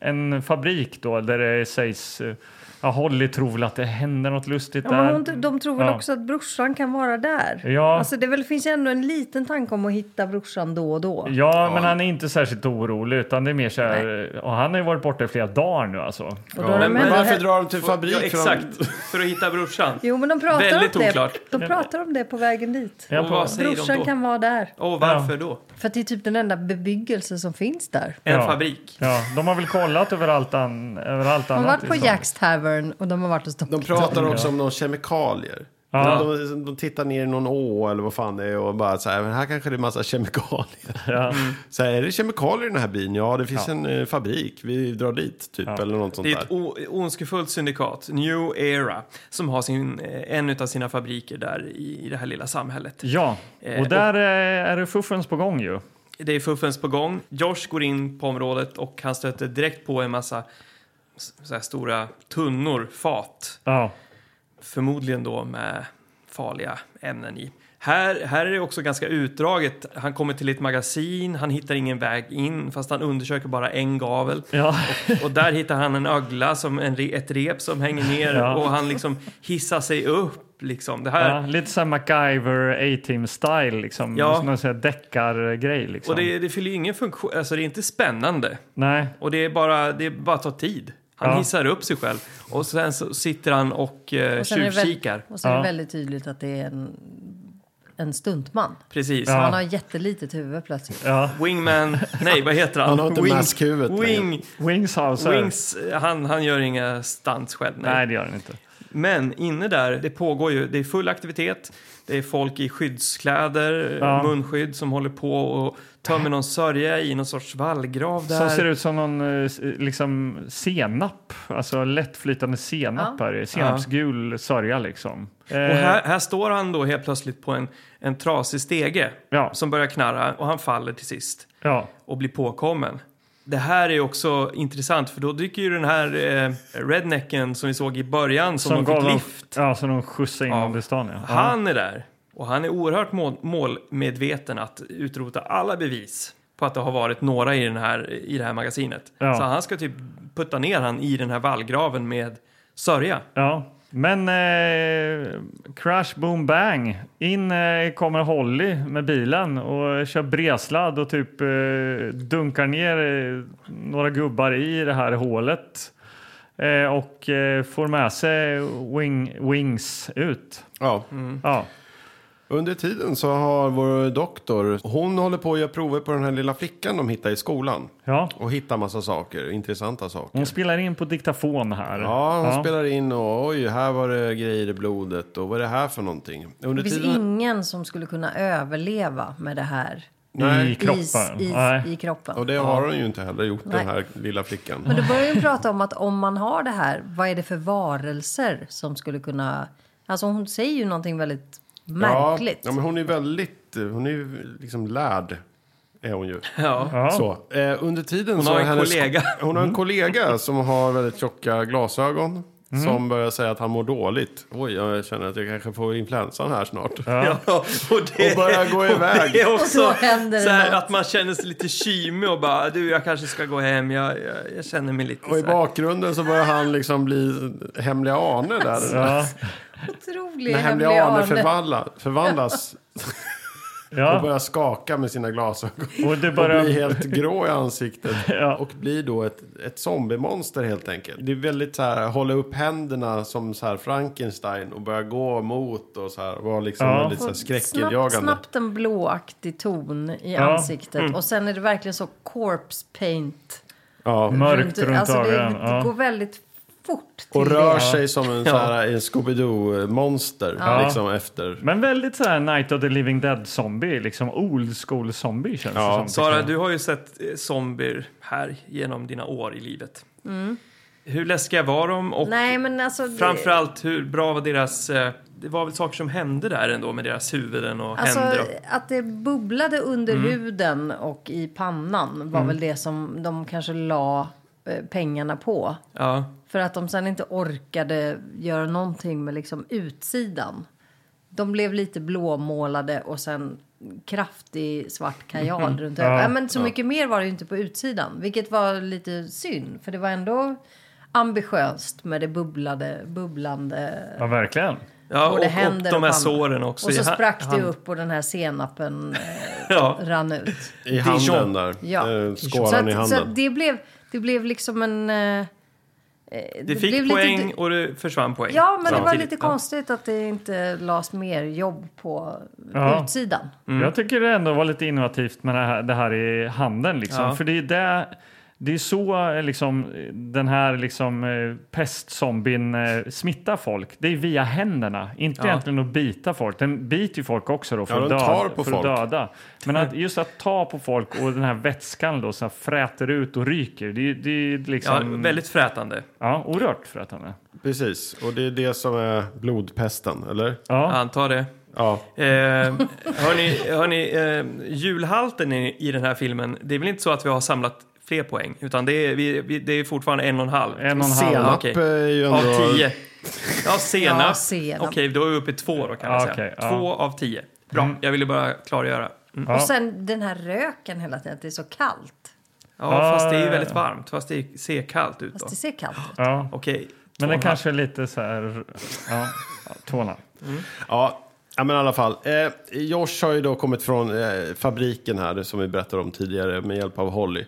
Speaker 4: en fabrik då där det sägs... eh, Ja, Holly tror väl att det händer något lustigt
Speaker 1: Ja,
Speaker 4: där.
Speaker 1: men hon, de tror väl
Speaker 4: Ja.
Speaker 1: också att brorsan kan vara där?
Speaker 4: Ja.
Speaker 1: Alltså, det väl, finns ändå en liten tanke om att hitta brorsan då och då.
Speaker 4: Ja, men han är inte särskilt orolig utan det är mer så här, och han har ju varit borta i flera dagar nu alltså.
Speaker 1: Och då har de
Speaker 2: men
Speaker 1: ändå-
Speaker 3: Varför drar de till fabrik?
Speaker 2: Ja,
Speaker 3: för
Speaker 2: exakt. För att hitta brorsan.
Speaker 1: Jo, men de pratar
Speaker 2: Väldigt
Speaker 1: om det.
Speaker 2: oklart.
Speaker 1: De pratar om det på vägen dit.
Speaker 4: Jag
Speaker 2: Och vad säger de
Speaker 1: Brorsan
Speaker 2: då?
Speaker 1: kan vara där.
Speaker 2: Och varför då?
Speaker 1: För att det är typ den enda bebyggelse som finns där.
Speaker 2: En
Speaker 4: Ja.
Speaker 2: fabrik.
Speaker 4: Ja, de har väl kollat överallt, an, överallt
Speaker 1: De
Speaker 4: annat.
Speaker 1: har varit på
Speaker 4: liksom.
Speaker 1: Jacks Tavern och de har varit hos
Speaker 3: De
Speaker 1: Stockholm.
Speaker 3: pratar också om någon kemikalier.
Speaker 4: Ja.
Speaker 3: De, de, de tittar ner i någon å eller vad fan det är och bara så här, men här kanske det är massa kemikalier. Så här, är det kemikalier i den här byn? Ja, det finns en eh, fabrik, vi drar dit typ eller något sånt
Speaker 2: Det är ett
Speaker 3: där.
Speaker 2: o- ondskefullt syndikat, New Era, som har sin, eh, en av sina fabriker där i i det här lilla samhället.
Speaker 4: Ja,
Speaker 2: Eh,
Speaker 4: och
Speaker 2: och-
Speaker 4: där eh, är det fuffens på gång ju.
Speaker 2: Det är fuffens på gång. Josh går in på området och han stöter direkt på en massa s- så här stora tunnor, fat,
Speaker 4: Ja,
Speaker 2: förmodligen då med farliga ämnen i. Här, här är det också ganska utdraget. Han kommer till ett magasin, han hittar ingen väg in fast han undersöker bara en gavel.
Speaker 4: ja,
Speaker 2: Och där hittar han en ögla, som en, re- ett rep som hänger ner
Speaker 4: Ja.
Speaker 2: och han liksom hissar sig upp. Liksom. Det här,
Speaker 4: ja lite så här MacGyver A-team style liksom.
Speaker 2: Ja.
Speaker 4: Som någon sån här deckargrej liksom.
Speaker 2: Och det, det fyller ju ingen funktion, alltså det är inte spännande.
Speaker 4: Nej,
Speaker 2: Och det är bara, det är bara att ta tid. Han
Speaker 4: Ja.
Speaker 2: hissar upp sig själv och sen så sitter han och, eh,
Speaker 1: Och sen är det väl-
Speaker 2: tjuvkikar.
Speaker 1: Och sen är
Speaker 4: Ja.
Speaker 1: det väldigt tydligt att det är en, en stuntman.
Speaker 2: Precis.
Speaker 1: Han har jättelitet huvud plötsligt.
Speaker 4: ja.
Speaker 2: Wingman, nej vad heter han?
Speaker 3: Han har inte
Speaker 2: Wing-
Speaker 3: maskhuvudet längre.
Speaker 2: Wing,
Speaker 4: Wings Hauser.
Speaker 2: Wings, eh, han, han gör inga stunts själv. Nej.
Speaker 4: Nej, det gör den inte.
Speaker 2: Men inne där, det pågår ju, det är full aktivitet. Det är folk i skyddskläder,
Speaker 4: Ja. Äh.
Speaker 2: munskydd som håller på och tömmer någon sörja i någon sorts vallgrav där.
Speaker 4: Som ser ut som någon eh, s- liksom senap, alltså lättflytande senap här. i. Senapsgul sörja liksom.
Speaker 2: Och här, här står han då helt plötsligt på en, en trasig stege
Speaker 4: Ja.
Speaker 2: som börjar knarra och han faller till sist.
Speaker 4: Ja.
Speaker 2: och blir påkommen. Det här är också intressant för då dyker ju den här eh, rednecken som vi såg i början som, de fick
Speaker 4: dem-
Speaker 2: lift.
Speaker 4: Ja, som de skjutsade in
Speaker 2: Ja.
Speaker 4: under stan. Ja.
Speaker 2: Han är där och han är oerhört mål, målmedveten att utrota alla bevis på att det har varit några i, den här, i det här magasinet.
Speaker 4: Ja.
Speaker 2: Så han ska typ putta ner han i den här vallgraven med sörja.
Speaker 4: Ja. Men eh, crash, boom, bang. In eh, kommer Holly med bilen och kör bredsladd och typ eh, dunkar ner eh, några gubbar i det här hålet. Eh, och eh, får med sig wing, Wings ut.
Speaker 3: Ja.
Speaker 4: Ja.
Speaker 3: Under tiden så har vår doktor, hon håller på att göra prover på den här lilla flickan de hittar i skolan.
Speaker 4: ja.
Speaker 3: Och hittar massa saker, intressanta saker.
Speaker 4: Hon spelar in på diktafon här.
Speaker 3: Ja, hon spelar in och oj, här var det grejer i blodet och vad är det här för någonting? Under
Speaker 1: Det finns ingen som skulle kunna överleva med det här
Speaker 4: I
Speaker 3: Nej,
Speaker 1: i,
Speaker 4: kroppen.
Speaker 1: i,
Speaker 4: Nej.
Speaker 1: i kroppen.
Speaker 3: och det har hon ju inte heller gjort,
Speaker 1: Nej.
Speaker 3: den här lilla flickan.
Speaker 1: Men då börjar vi prata om att om man har det här, vad är det för varelser som skulle kunna... Alltså hon säger ju någonting väldigt märkligt.
Speaker 3: Ja, ja, men hon är väldigt, eh, hon är ju liksom lärd. Är hon ju.
Speaker 2: Ja.
Speaker 4: Ja.
Speaker 3: Så, eh, under tiden
Speaker 2: Hon
Speaker 3: så
Speaker 2: har en
Speaker 3: hennes-
Speaker 2: kollega. Mm.
Speaker 3: Hon har en kollega som har väldigt tjocka glasögon.
Speaker 4: Mm.
Speaker 3: Som börjar säga att han mår dåligt. Oj, jag känner att jag kanske får influensan här snart.
Speaker 2: Ja. och det,
Speaker 3: Och börjar gå iväg.
Speaker 2: Det är också
Speaker 1: Och då händer det
Speaker 2: så här
Speaker 1: något.
Speaker 2: att man känner sig lite kymig och bara du jag kanske ska gå hem, jag, jag, jag känner mig lite
Speaker 3: Och i
Speaker 2: så här.
Speaker 3: bakgrunden så börjar han liksom bli hemliga Arne där.
Speaker 4: Ja.
Speaker 1: Otrolig
Speaker 3: När hemliga
Speaker 1: hemlig
Speaker 3: Arne
Speaker 1: ane.
Speaker 3: förvandla, förvandlas och
Speaker 4: Ja.
Speaker 3: börjar skaka med sina glasögon.
Speaker 4: Och det
Speaker 3: Och blir
Speaker 4: börjar...
Speaker 3: helt grå i ansiktet.
Speaker 4: Ja.
Speaker 3: Och blir då ett, ett zombiemonster helt enkelt. Det är väldigt så här, hålla upp händerna som så här Frankenstein och börja gå mot och så här. Vara liksom
Speaker 4: Ja.
Speaker 3: väldigt så här
Speaker 1: Snabbt,
Speaker 3: skräckinjagande.
Speaker 1: snabbt en blåaktig ton i
Speaker 4: Ja. Mm.
Speaker 1: ansiktet. Och sen är det verkligen så corpse paint.
Speaker 3: Ja.
Speaker 2: Mm.
Speaker 4: Mörkt runt
Speaker 1: alltså det,
Speaker 4: ögonen.
Speaker 1: det går
Speaker 4: Ja.
Speaker 1: väldigt fort. till
Speaker 3: Och
Speaker 1: det.
Speaker 3: rör sig som en, så här, en Scooby-Doo-monster.
Speaker 4: Ja.
Speaker 3: Liksom efter.
Speaker 4: Men väldigt så här Night of the Living Dead-zombie, liksom old school-zombie känns det som.
Speaker 2: Sara, du har ju sett eh, zombier här genom dina år i livet. Hur läskiga var de och
Speaker 1: Mm. Nej, men alltså... det-
Speaker 2: framförallt hur bra var deras... eh, Det var väl saker som hände där ändå med deras huvuden och
Speaker 1: Alltså
Speaker 2: händer. och-
Speaker 1: att det bubblade under huden och i pannan var väl det som de kanske la eh, pengarna på.
Speaker 2: Ja.
Speaker 1: För att de sen inte orkade göra någonting med liksom utsidan. De blev lite blåmålade och sen kraftig svart kajal runt ögonen. Mm-hmm. Ja, men så mycket mer var det ju inte på utsidan. Vilket var lite synd. För det var ändå ambitiöst med det bubblade, bubblande.
Speaker 4: Ja, verkligen.
Speaker 1: både
Speaker 2: Ja, och, och
Speaker 1: händer
Speaker 2: de här
Speaker 1: panna.
Speaker 2: såren också.
Speaker 1: Och
Speaker 2: i
Speaker 1: så
Speaker 2: ha-
Speaker 1: sprack det
Speaker 2: hand.
Speaker 1: upp och den här senapen eh,
Speaker 2: Ja.
Speaker 1: rann ut.
Speaker 3: I
Speaker 2: Dijon.
Speaker 3: handen där.
Speaker 1: Ja.
Speaker 3: Eh,
Speaker 1: Så,
Speaker 3: Skålan i
Speaker 1: att, så
Speaker 3: handen.
Speaker 1: att det, blev, det blev liksom en... eh, eh, Det,
Speaker 2: Det
Speaker 1: blev
Speaker 2: fick
Speaker 1: lite
Speaker 2: poäng
Speaker 1: dy-
Speaker 2: och det försvann poäng.
Speaker 1: Ja, men det var
Speaker 2: samtidigt.
Speaker 1: lite konstigt att det inte lades mer jobb på
Speaker 4: Ja. Mm.
Speaker 1: utsidan.
Speaker 4: Jag tycker det ändå var lite innovativt med det här, det här i handen. Liksom.
Speaker 2: Ja.
Speaker 4: För det är, det, det är så eh, liksom, eh, den här liksom, eh, pestzombien eh, smittar folk. Det är via händerna, inte
Speaker 2: Ja.
Speaker 4: egentligen att bita folk. Den biter ju folk också då för,
Speaker 3: Ja,
Speaker 4: att,
Speaker 3: den
Speaker 4: döda,
Speaker 3: tar på
Speaker 4: för
Speaker 3: folk.
Speaker 4: att döda. Men att, just att ta på folk och den här vätskan då, så här, fräter ut och ryker. Det, är- det är
Speaker 2: Ja,
Speaker 4: liksom, ja,
Speaker 2: väldigt frätande.
Speaker 4: orört frätande.
Speaker 3: Precis. Och det är det som är blodpesten, eller?
Speaker 2: Jag
Speaker 4: Ja.
Speaker 2: antar det.
Speaker 3: Ja.
Speaker 2: Eh, hörni, hörni eh, julhalten i, i den här filmen, det är väl inte så att vi har samlat fler poäng, utan det är, vi, vi, det är fortfarande en och en halv.
Speaker 4: En och en halv.
Speaker 3: Senap
Speaker 2: okej.
Speaker 3: är ju
Speaker 2: Av
Speaker 3: ändå...
Speaker 2: tio. Ja, senap.
Speaker 1: Ja, senap.
Speaker 2: Okej, då är vi uppe i två då kan
Speaker 4: Ja,
Speaker 2: jag säga.
Speaker 4: Ah, okej, ja. Mm.
Speaker 2: Två av tio. Bra, jag ville bara klargöra. Mm.
Speaker 4: Ja.
Speaker 1: Och sen den här röken hela tiden, att det är så kallt.
Speaker 2: Ja,
Speaker 4: Ja,
Speaker 2: fast det är ju
Speaker 4: Ah, ja,
Speaker 2: väldigt
Speaker 4: ja.
Speaker 2: varmt, fast det ser kallt ut då.
Speaker 1: Fast det ser kallt ut.
Speaker 4: Ja.
Speaker 2: Okej. två och
Speaker 4: Men det
Speaker 2: en halv.
Speaker 4: kanske är lite så här... Ja, ja, tårna.
Speaker 3: Ja, ja, men i alla fall. Eh, Josh har ju då kommit från eh, fabriken här, det som vi berättade om tidigare, med hjälp av Holly.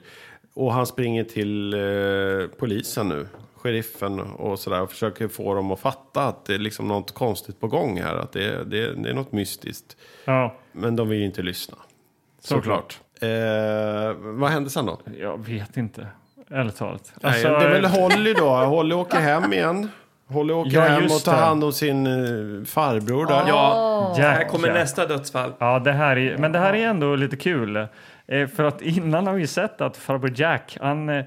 Speaker 3: Och han springer till eh, polisen nu, sheriffen och sådär, och försöker få dem att fatta att det är liksom något konstigt på gång här, att det, det, det är något mystiskt.
Speaker 4: Ja,
Speaker 3: Men de vill ju inte lyssna.
Speaker 4: såklart.
Speaker 3: Eh, vad hände sen då?
Speaker 4: Jag vet inte, ärligt talat.
Speaker 3: Nej,
Speaker 4: Alltså,
Speaker 3: det är väl Holly då, Holly åker hem igen. Holly åker
Speaker 4: Ja,
Speaker 3: hem
Speaker 4: just
Speaker 3: och tar
Speaker 4: det.
Speaker 3: hand om sin eh, farbror där.
Speaker 2: Ja, här kommer
Speaker 4: Alltså, Jäklar.
Speaker 2: nästa dödsfall.
Speaker 4: Ja, det här är, men det här är ändå lite kul. Eh, För att innan har vi sett att farbror Jack, han, eh,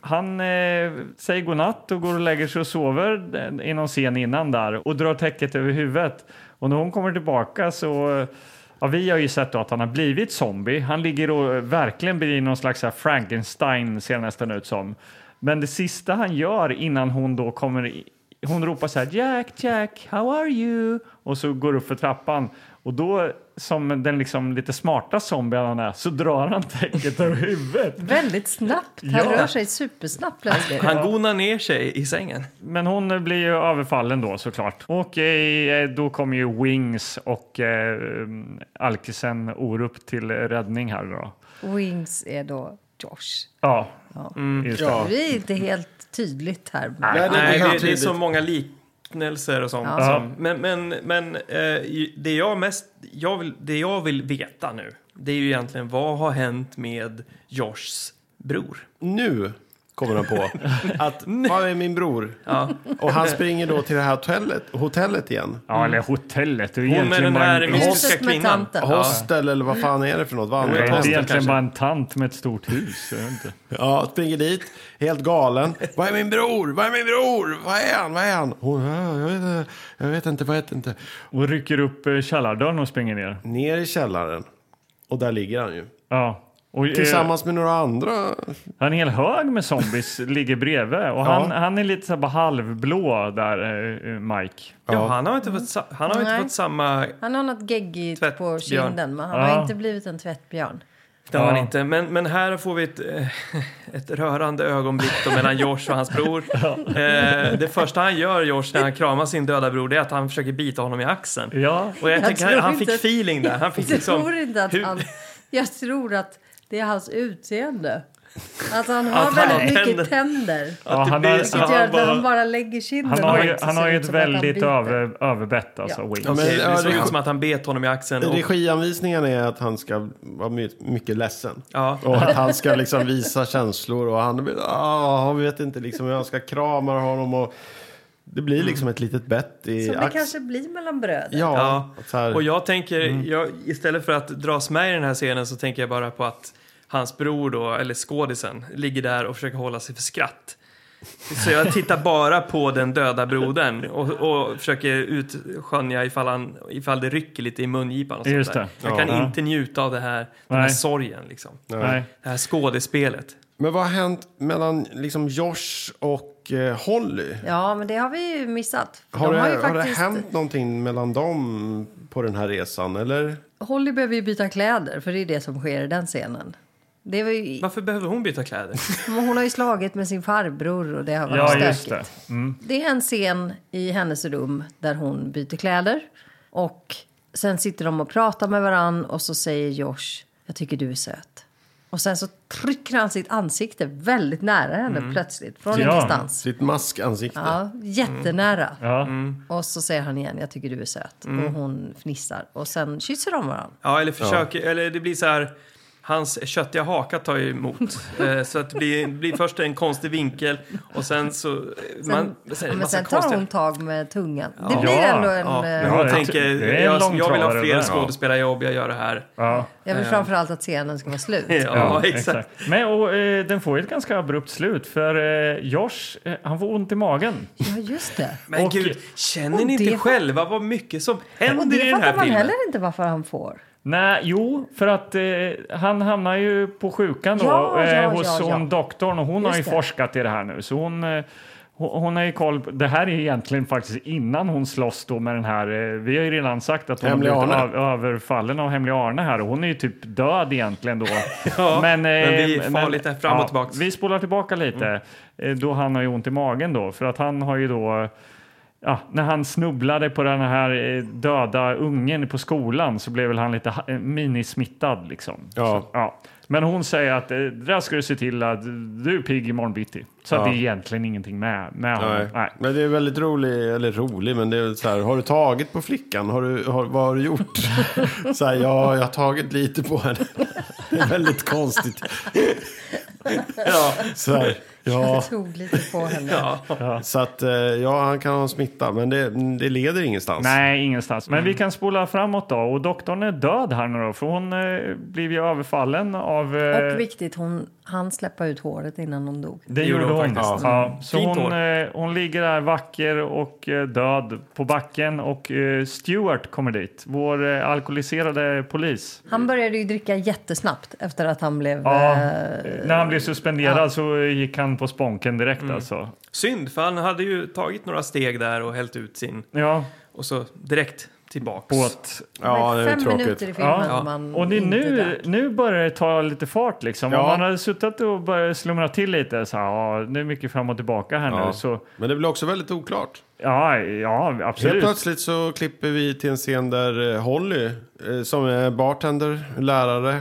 Speaker 4: han eh, säger godnatt och går och lägger sig och sover eh, i någon scen innan där och drar täcket över huvudet. Och när hon kommer tillbaka så eh, Ja, vi har ju sett då att han har blivit zombie. Han ligger och eh, verkligen blir någon slags så här Frankenstein ser det nästan ut som. Men det sista han gör innan hon då kommer i- hon ropar så här Jack, Jack, how are you? Och så går upp för trappan och då som den liksom lite smarta zombie han är så drar han täcket över huvudet.
Speaker 1: Väldigt snabbt. Han
Speaker 4: Ja.
Speaker 1: rör sig supersnabbt plötsligt.
Speaker 2: Han gonar ner sig i sängen.
Speaker 4: Men hon blir ju överfallen då såklart. Och eh, då kommer ju Wings och eh, Alkisen Orup till räddning här då.
Speaker 1: Wings är då Josh.
Speaker 4: Ja, Mm. just det.
Speaker 1: Det är inte helt tydligt här.
Speaker 3: Nej, det,
Speaker 2: Nej,
Speaker 3: är
Speaker 2: det,
Speaker 3: helt
Speaker 2: det är
Speaker 3: tydligt.
Speaker 2: så många liknelser och sånt.
Speaker 1: Ja.
Speaker 2: Som, men men, men eh, ju- det, jag mest, jag vill, det jag vill veta nu det är ju egentligen vad har hänt med Joshs bror?
Speaker 3: Nu kommer han på att var är min bror?
Speaker 2: Ja.
Speaker 3: Och han springer då till det här hotellet, hotellet igen.
Speaker 4: Ja, eller hotellet. Det är ju
Speaker 2: Mm. Hon med
Speaker 4: egentligen
Speaker 2: den
Speaker 4: bara
Speaker 2: här
Speaker 4: en,
Speaker 1: mystiskt
Speaker 2: mystiska
Speaker 1: Huset med
Speaker 2: kvinnan.
Speaker 1: tanten.
Speaker 2: Ja.
Speaker 3: Hostel eller vad fan är det för något? Vad
Speaker 4: det är
Speaker 3: annat
Speaker 4: egentligen
Speaker 3: hostel?
Speaker 2: kanske.
Speaker 4: bara en tant med ett stort hus. jag vet inte.
Speaker 3: Ja, springer dit, helt galen. Vad är min bror? Vad är min bror? Vad är han? Vad är han? Hon, "Ja, jag vet inte, jag vet inte, vad heter inte.
Speaker 4: Och rycker upp eh, källardörren och springer ner.
Speaker 3: Ner i källaren. Och där ligger han ju.
Speaker 4: Ja. Och, eh,
Speaker 3: Tillsammans med några andra.
Speaker 4: han är en hel hög med zombies, ligger bredvid. Och han, han är lite så här bara halvblå där, eh, eh, Mike.
Speaker 2: Ja, han har inte fått, sa- han har inte
Speaker 1: Nej.
Speaker 2: fått samma...
Speaker 1: Han har något geggigt på
Speaker 2: Tvättbjörn.
Speaker 1: kinden, men han
Speaker 4: Ja.
Speaker 1: har inte blivit en tvättbjörn.
Speaker 2: Det har han inte. Men, men här får vi ett, eh, ett rörande ögonblick då mellan Josh och hans bror. Eh, det första han gör, Josh, när han kramar sin döda bror, det är att han försöker bita honom i axeln.
Speaker 4: Ja,
Speaker 2: Och jag,
Speaker 1: Jag
Speaker 2: tänker, han,
Speaker 1: tror
Speaker 2: han
Speaker 1: inte
Speaker 2: fick
Speaker 1: att-
Speaker 2: feeling där. Han fick
Speaker 1: jag
Speaker 2: liksom,
Speaker 1: tror inte att
Speaker 2: hur-
Speaker 1: han... Jag tror att det är hans utseende. Att han har
Speaker 2: Att han
Speaker 1: väldigt
Speaker 2: har
Speaker 1: mycket tänder.
Speaker 4: ja
Speaker 2: det
Speaker 4: han,
Speaker 2: blir
Speaker 4: har,
Speaker 2: så-
Speaker 1: Vilket
Speaker 4: han,
Speaker 1: gör
Speaker 2: han
Speaker 1: att när
Speaker 2: bara-
Speaker 1: han bara lägger kinden
Speaker 4: han har
Speaker 1: och
Speaker 4: ju,
Speaker 1: inte
Speaker 4: han
Speaker 1: ser
Speaker 4: har ju
Speaker 1: ut
Speaker 4: ett
Speaker 1: som att han
Speaker 4: väldigt eh,
Speaker 1: biter.
Speaker 4: över, överbett, alltså, Wings.
Speaker 3: Ja, men,
Speaker 2: Okej, det såg
Speaker 3: ja,
Speaker 2: ut som att han bet honom i axeln. Och,
Speaker 3: regianvisningen är att han ska vara my- mycket ledsen.
Speaker 2: ja.
Speaker 3: Och att han ska liksom visa känslor och han ah, han vet inte liksom hur han ska krama honom och det blir
Speaker 2: Mm.
Speaker 3: liksom ett litet bett i
Speaker 1: Som det
Speaker 3: ax-
Speaker 1: kanske blir mellan bröder.
Speaker 3: Ja,
Speaker 2: Ja,
Speaker 3: att Så här,
Speaker 2: Och jag tänker,
Speaker 4: Mm.
Speaker 2: jag, istället för att dras med i den här scenen så tänker jag bara på att hans bror då, eller skådisen, ligger där och försöker hålla sig för skratt. Så jag tittar bara på den döda brodern och, och försöker utskönja ifall, han, ifall det rycker lite i mungipan. Och sånt
Speaker 4: Just
Speaker 2: Där.
Speaker 4: det.
Speaker 2: Jag kan
Speaker 4: Ja.
Speaker 2: inte njuta av det här, den här
Speaker 4: Nej.
Speaker 2: sorgen, liksom.
Speaker 4: Nej.
Speaker 2: det här skådespelet.
Speaker 3: Men vad har hänt mellan liksom Josh och eh, Holly?
Speaker 1: Ja, men det har vi ju missat. För
Speaker 3: Har,
Speaker 1: de
Speaker 3: det,
Speaker 1: har
Speaker 3: har,
Speaker 1: ju faktiskt...
Speaker 3: det hänt någonting mellan dem på den här resan eller?
Speaker 1: Holly behöver ju byta kläder, för det är det som sker i den scenen. Det var ju...
Speaker 2: Varför behöver hon byta kläder?
Speaker 1: Hon har ju slagit med sin farbror och det har varit
Speaker 4: Ja,
Speaker 1: stökigt.
Speaker 4: just det.
Speaker 1: Det är en scen i hennes rum där hon byter kläder. Och sen sitter de och pratar med varann och så säger Josh, jag tycker du är söt. Och sen så trycker han sitt ansikte väldigt nära henne plötsligt, från
Speaker 4: Mm. Ja. Mm.
Speaker 1: ingenstans.
Speaker 3: Sitt maskansikte.
Speaker 1: Ja, jättenära.
Speaker 4: Ja.
Speaker 2: Mm.
Speaker 4: Mm.
Speaker 1: Och så säger han igen, jag tycker du är söt. Och hon fnissar. Och sen kysser de varann.
Speaker 2: Ja, eller försöker, eller det blir så här... Hans köttiga haka tar ju emot. Eh, så att det blir, blir först en konstig vinkel och sen så... eh,
Speaker 1: Sen,
Speaker 2: man, sen,
Speaker 1: ja, men
Speaker 2: massa
Speaker 1: sen tar
Speaker 2: konstiga...
Speaker 1: hon tag med tungan. Det blir
Speaker 4: Ja.
Speaker 1: ändå en...
Speaker 2: Ja, men
Speaker 1: eh,
Speaker 2: hon
Speaker 4: det-
Speaker 2: tänker,
Speaker 4: det är en
Speaker 2: jag, jag vill ha
Speaker 4: långtradare
Speaker 2: fler
Speaker 4: där.
Speaker 2: skådespelarjobb, jag gör det här. Ja,
Speaker 4: Ja.
Speaker 1: Jag vill framförallt att scenen ska vara slut.
Speaker 2: exakt.
Speaker 4: Men, och, eh, den får ju ett ganska abrupt slut för eh, Josh, eh, han får ont i magen.
Speaker 1: Ja, just det.
Speaker 2: Men
Speaker 4: Och-
Speaker 2: gud, känner
Speaker 1: och
Speaker 2: ni inte
Speaker 1: det-
Speaker 2: själva vad mycket som
Speaker 1: Och
Speaker 2: händer i
Speaker 1: det
Speaker 2: den här
Speaker 1: fattar man
Speaker 2: filmen?
Speaker 1: heller inte varför han får.
Speaker 4: Nej, jo, för att eh, han hamnar ju på sjukan då
Speaker 1: Ja, ja,
Speaker 4: eh, hos
Speaker 1: ja, ja.
Speaker 4: hon doktorn och hon har ju
Speaker 1: det.
Speaker 4: forskat i det här nu. Så hon, eh, hon, hon har ju koll på, det här är egentligen faktiskt innan hon slåss då med den här, eh, vi har ju redan sagt att hon
Speaker 3: Hemliga
Speaker 4: har blivit
Speaker 3: Arne.
Speaker 4: av, överfallen av Hemliga Arne här och hon är ju typ död egentligen då.
Speaker 2: Ja, men,
Speaker 4: eh,
Speaker 2: vi far lite fram och tillbaks. Mm.
Speaker 4: Vi spolar tillbaka lite eh, då han har ju ont i magen då för att han har ju då eh, ja, när han snubblade på den här eh, döda ungen på skolan så blev väl han lite ha- eh, minismittad. Liksom.
Speaker 3: Ja.
Speaker 4: Så, ja. Men hon säger att eh, det där ska du se till att du är pigg imorgon bitti. Så att det är egentligen ingenting med, med honom.
Speaker 3: Nej.
Speaker 4: Nej.
Speaker 3: Men det är väldigt rolig, eller rolig, men det är väl så här, har du tagit på flickan? Har du, har, vad har du gjort? så här, ja, jag har tagit lite på henne. det är väldigt konstigt.
Speaker 2: Ja,
Speaker 3: Så här,
Speaker 1: Jag tog lite på henne.
Speaker 3: Så att, eh, ja, han kan ha en smitta, men det, det leder ingenstans.
Speaker 4: Nej, ingenstans. Men vi kan spola framåt då. Och doktorn är död här nu då, för hon eh, blev ju överfallen av... eh,
Speaker 1: Och viktigt, hon han släppa ut håret innan hon dog.
Speaker 4: det
Speaker 2: gjorde
Speaker 4: gjorde
Speaker 2: hon
Speaker 4: hon.
Speaker 2: faktiskt.
Speaker 4: Ja, så
Speaker 2: Fint
Speaker 4: hon,
Speaker 2: hår.
Speaker 4: eh, hon ligger där vacker och eh, död på backen och eh, Stewart kommer dit, vår eh, alkoholiserade polis.
Speaker 1: Han började ju dricka jättesnabbt efter att han blev...
Speaker 4: Ja,
Speaker 1: eh,
Speaker 4: När han blev suspenderad så gick han på sponken direkt alltså.
Speaker 2: Synd, för han hade ju tagit några steg där och hällt ut sin
Speaker 4: Ja,
Speaker 2: och så direkt tillbaks.
Speaker 4: båt.
Speaker 3: Ja,
Speaker 1: det var
Speaker 3: det är
Speaker 1: fem
Speaker 3: tråkigt.
Speaker 1: minuter i filmen
Speaker 4: Ja,
Speaker 1: om man
Speaker 4: och det är
Speaker 1: inte
Speaker 4: nu,
Speaker 1: drack.
Speaker 4: nu börjar det ta lite fart liksom.
Speaker 3: Ja.
Speaker 4: Om man hade suttit och börjat slumra till lite så här, ja, nu är mycket fram och tillbaka här
Speaker 3: Ja.
Speaker 4: nu så
Speaker 3: Men det blir också väldigt oklart.
Speaker 4: ja, ja
Speaker 3: Helt
Speaker 4: absolut.
Speaker 3: plötsligt så klipper vi till en scen där eh, Holly, eh, som är bartender, lärare,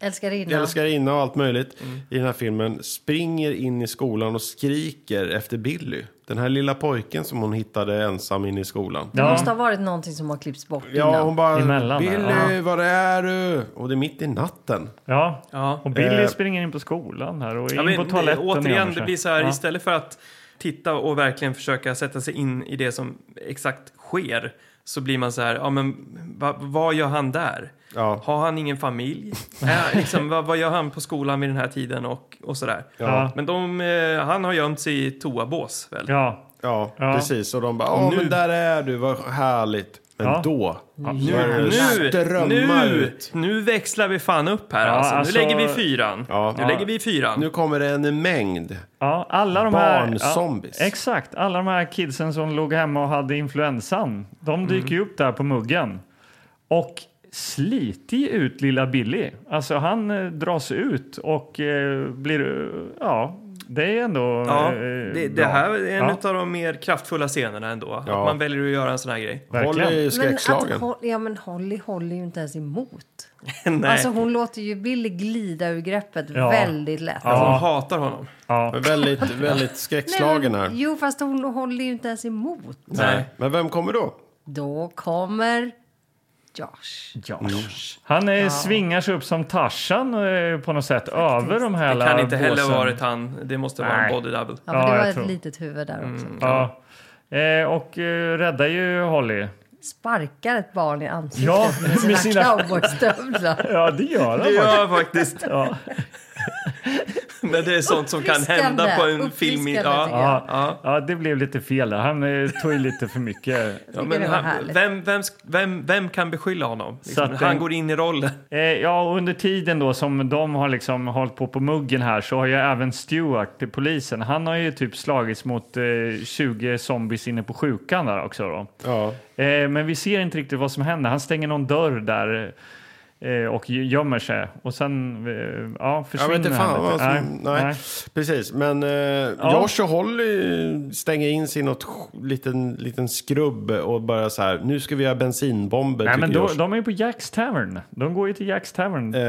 Speaker 1: Älskarinna.
Speaker 3: älskarinna och allt möjligt
Speaker 4: Mm.
Speaker 3: i den här filmen, springer in i skolan och skriker efter Billy. Den här lilla pojken som hon hittade ensam inne i skolan.
Speaker 1: Det
Speaker 4: ja.
Speaker 1: måste ha varit någonting som har klippts bort
Speaker 3: Ja,
Speaker 1: innan.
Speaker 3: hon bara,
Speaker 4: Emellan där,
Speaker 3: Billy, var är du? Och det är mitt i natten.
Speaker 4: Ja.
Speaker 2: Ja.
Speaker 4: och Billy
Speaker 3: Eh.
Speaker 4: springer in på skolan här och in
Speaker 2: Ja, men,
Speaker 4: på toaletten. igen
Speaker 2: återigen,
Speaker 4: och
Speaker 2: det blir så här,
Speaker 4: Ja.
Speaker 2: istället för att titta och verkligen försöka sätta sig in i det som exakt sker så blir man så här, ja men va, vad gör han där?
Speaker 3: Ja.
Speaker 2: Har han ingen familj? Äh, liksom, vad, vad gör han på skolan vid den här tiden och, och sådär.
Speaker 4: Ja.
Speaker 2: Men de, eh, han har gömt sig i toabås väl?
Speaker 4: Ja.
Speaker 3: Ja,
Speaker 4: Ja.
Speaker 3: precis. Och de bara, ja men där är du, vad härligt. Men
Speaker 4: Ja.
Speaker 3: då börjar
Speaker 2: Nu,
Speaker 3: det strömma
Speaker 2: nu,
Speaker 3: ut.
Speaker 2: nu växlar vi fan upp här
Speaker 4: Ja,
Speaker 2: alltså.
Speaker 4: alltså-
Speaker 2: Nu lägger vi fyran.
Speaker 3: Ja.
Speaker 2: Nu
Speaker 3: Ja.
Speaker 2: lägger vi fyran.
Speaker 3: Nu kommer det en mängd.
Speaker 4: Ja, alla de här...
Speaker 3: Barnzombies.
Speaker 4: Ja, exakt. Alla de här kidsen som låg hemma och hade influensan. De dyker ju upp där på muggen. Och sliter ut lilla Billy. Alltså han eh, dras ut och eh, blir... eh, Ja, det är ändå
Speaker 2: Ja,
Speaker 4: eh,
Speaker 2: det, det
Speaker 4: bra.
Speaker 2: här är en
Speaker 4: Ja.
Speaker 2: av de mer kraftfulla scenerna ändå.
Speaker 3: Ja.
Speaker 2: Att man väljer att göra en sån här grej.
Speaker 4: Verkligen.
Speaker 3: Holly är
Speaker 1: Men, att,
Speaker 3: skräckslagen.
Speaker 1: Hol- ja, men Holly håller ju inte ens emot.
Speaker 2: Nej,
Speaker 1: Alltså hon låter ju Billy glida ur greppet
Speaker 4: Ja.
Speaker 1: väldigt lätt.
Speaker 2: hon
Speaker 4: Ja.
Speaker 2: hatar honom.
Speaker 4: Ja.
Speaker 3: Väldigt, väldigt skräckslagen här.
Speaker 1: Jo, fast hon håller ju inte ens emot.
Speaker 2: Nej.
Speaker 3: Men vem kommer då?
Speaker 1: Då kommer Josh.
Speaker 4: Han eh, svingar sig upp som Tarzan eh, på något sätt över de här
Speaker 2: Det kan
Speaker 4: alla
Speaker 2: inte heller
Speaker 4: båsen.
Speaker 2: ha varit han. Det måste vara en
Speaker 4: Nej.
Speaker 2: body double.
Speaker 1: Ja, men
Speaker 4: Ja,
Speaker 1: det var
Speaker 4: jag
Speaker 1: ett
Speaker 4: tror- Mm.
Speaker 1: litet huvud där också.
Speaker 4: Ja. Eh, och eh, räddar ju Holly.
Speaker 1: Sparkar ett barn i ansiktet
Speaker 4: Ja,
Speaker 1: med sina,
Speaker 4: med sina-
Speaker 1: cowboystövlar.
Speaker 4: Ja, det gör
Speaker 2: Det
Speaker 4: han.
Speaker 2: gör han faktiskt.
Speaker 4: Ja.
Speaker 2: Men det är sånt som kan hända på en film. i-
Speaker 1: Uppfriskande, tycker
Speaker 2: Ja.
Speaker 1: jag.
Speaker 4: Ja, ja. det blev lite fel där. Han eh, tog i lite för mycket.
Speaker 2: Ja,
Speaker 1: tycker
Speaker 2: men
Speaker 1: det var
Speaker 2: han,
Speaker 1: härligt.
Speaker 2: vem, vem, sk- vem, vem kan beskylla honom?
Speaker 4: Så
Speaker 2: Liksom,
Speaker 4: att
Speaker 2: han
Speaker 4: den-
Speaker 2: går in i rollen.
Speaker 4: Eh, ja, och under tiden då som de har liksom hållit på på muggen här så har ju även Stewart, eh, polisen, han har ju typ slagits mot eh, 20 zombies inne på sjukan där också då.
Speaker 3: Ja.
Speaker 4: Eh, men vi ser inte riktigt vad som händer. Han stänger någon dörr där eh, och gömmer sig och sen eh, ja,
Speaker 3: Jag
Speaker 4: försvinner
Speaker 3: vet inte fan
Speaker 4: han
Speaker 3: vad
Speaker 4: lite.
Speaker 3: som, nej, Precis, men eh, Josh och Holly stänger in sig i något sj- liten, liten skrubb och bara så här, nu ska vi göra bensinbomber
Speaker 4: Nej,
Speaker 3: tycker
Speaker 4: men då,
Speaker 3: Josh.
Speaker 4: de är ju på Jacks Tavern. De går ju till Jacks Tavern.
Speaker 3: Eh,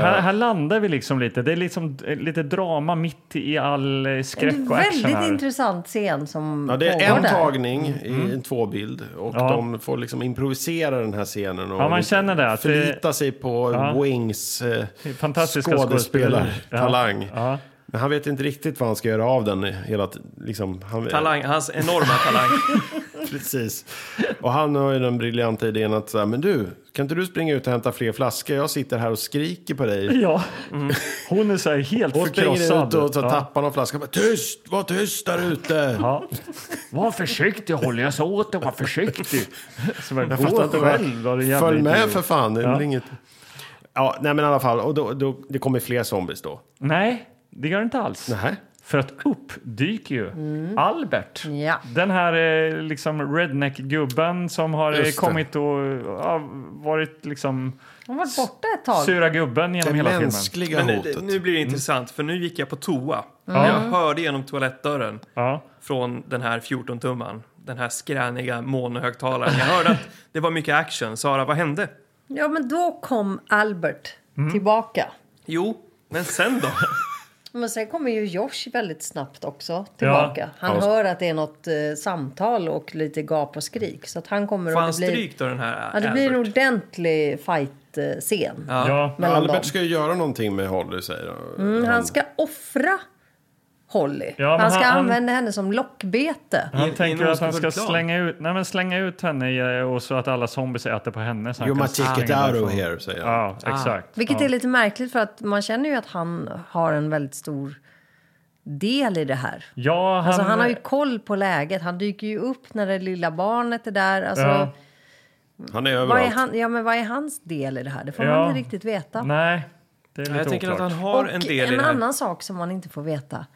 Speaker 4: Här, här landar vi liksom lite. Det är liksom eh, lite drama mitt i all eh,
Speaker 1: Det är
Speaker 4: skräck
Speaker 1: en
Speaker 4: och action
Speaker 1: väldigt
Speaker 4: här.
Speaker 1: intressant scen som
Speaker 3: Ja, det är
Speaker 1: pågår
Speaker 3: en
Speaker 1: där.
Speaker 3: tagning i en tvåbild och
Speaker 4: Mm. Ja.
Speaker 3: de får liksom improvisera den här scenen och
Speaker 4: Ja, man känner det, att det-
Speaker 3: förlita sig på
Speaker 4: Ja.
Speaker 3: Wings eh,
Speaker 4: Fantastiska
Speaker 3: skådespelartalang.
Speaker 4: skådespelare. Ja.
Speaker 3: Men han vet inte riktigt vad han ska göra av den. Hela, t- liksom, han,
Speaker 2: Talang, hans enorma talang.
Speaker 3: Precis. Och han har ju den briljanta idén att så här, men du, kan inte du springa ut och hämta fler flaskor? Jag sitter här och skriker på
Speaker 4: Ja.
Speaker 3: dig.
Speaker 4: ja. Hon är så här helt
Speaker 3: Och Mm. springer
Speaker 4: förkrossad.
Speaker 3: ut och så
Speaker 4: ja.
Speaker 3: tappar någon flaska. Bara, tyst, var tyst där ute.
Speaker 4: Ja. Var försiktig Holly, jag sa åt dig var försiktig. Så bara,
Speaker 3: Jag fattar
Speaker 4: gå
Speaker 3: inte vad
Speaker 4: själv. vad du jävla
Speaker 3: Följ med
Speaker 4: idiot.
Speaker 3: för fan. Det är väl inget... Ja, nej men i alla fall. Och då, då, det kommer fler zombies då.
Speaker 4: Nej, det gör det inte alls.
Speaker 3: Nej.
Speaker 4: För att upp dyker ju Albert.
Speaker 1: Mm. Ja.
Speaker 4: Den här eh, liksom redneck-gubben som har eh,
Speaker 3: Just det.
Speaker 4: kommit och ja, varit liksom
Speaker 1: Hon var borta ett tag.
Speaker 4: sura gubben genom
Speaker 3: Det
Speaker 4: hela filmen.
Speaker 3: mänskliga
Speaker 2: Men
Speaker 3: hotet.
Speaker 2: det, nu blir det
Speaker 4: Mm.
Speaker 2: intressant, för nu gick jag på toa.
Speaker 1: Mm.
Speaker 4: Ja.
Speaker 2: Jag hörde genom toalettdörren
Speaker 4: Ja.
Speaker 2: från den här 14-tumman. Den här skräniga monohögtalaren. Jag hörde att det var mycket action. Sara, vad hände?
Speaker 1: Ja, men då kom Albert tillbaka.
Speaker 2: Jo, men sen då?
Speaker 1: Men sen kommer ju Josh väldigt snabbt också tillbaka. Han
Speaker 3: Ja.
Speaker 1: hör att det är något eh, samtal och lite gap och skrik. Så att han kommer
Speaker 2: Får
Speaker 1: och
Speaker 2: han
Speaker 1: det blir-
Speaker 2: stryk då den här
Speaker 1: Ja, det blir en
Speaker 2: Albert?
Speaker 1: ordentlig fight-scen.
Speaker 2: Ja.
Speaker 4: Ja.
Speaker 1: mellan
Speaker 3: Albert
Speaker 1: dem.
Speaker 3: ska ju göra någonting med Holly säger
Speaker 1: Mm, han ska offra Holly.
Speaker 4: Ja, men
Speaker 1: han ska
Speaker 4: han- han-
Speaker 1: använda henne som lockbete.
Speaker 4: Han
Speaker 2: I- i
Speaker 4: tänker
Speaker 2: någon
Speaker 4: att han ska
Speaker 2: stor plan.
Speaker 4: slänga ut, nej, men slänga ut henne i- eh, och så att alla zombies äter på henne. Så han
Speaker 3: You
Speaker 4: kan
Speaker 3: must take it
Speaker 4: springa
Speaker 3: out of
Speaker 4: därifrån.
Speaker 3: here, säger han.
Speaker 4: alltså. Ja,
Speaker 2: Ah.
Speaker 4: exakt.
Speaker 1: Vilket
Speaker 4: ja.
Speaker 1: är lite märkligt för att man känner ju att han har en väldigt stor del i det här.
Speaker 4: Ja, han, eh,
Speaker 1: Alltså, han har ju koll på läget. Han dyker ju upp när det lilla barnet är där. Alltså,
Speaker 4: Ja.
Speaker 3: Han är
Speaker 1: vad, är
Speaker 3: överallt.
Speaker 1: han, ja, men vad är hans del i det här? Det får
Speaker 4: Ja.
Speaker 1: man inte riktigt veta.
Speaker 4: Nej, det är lite
Speaker 2: Jag tänker
Speaker 4: oklart.
Speaker 2: att han har
Speaker 1: Och
Speaker 2: en del i
Speaker 1: en
Speaker 2: det här.
Speaker 1: annan sak som man inte får veta.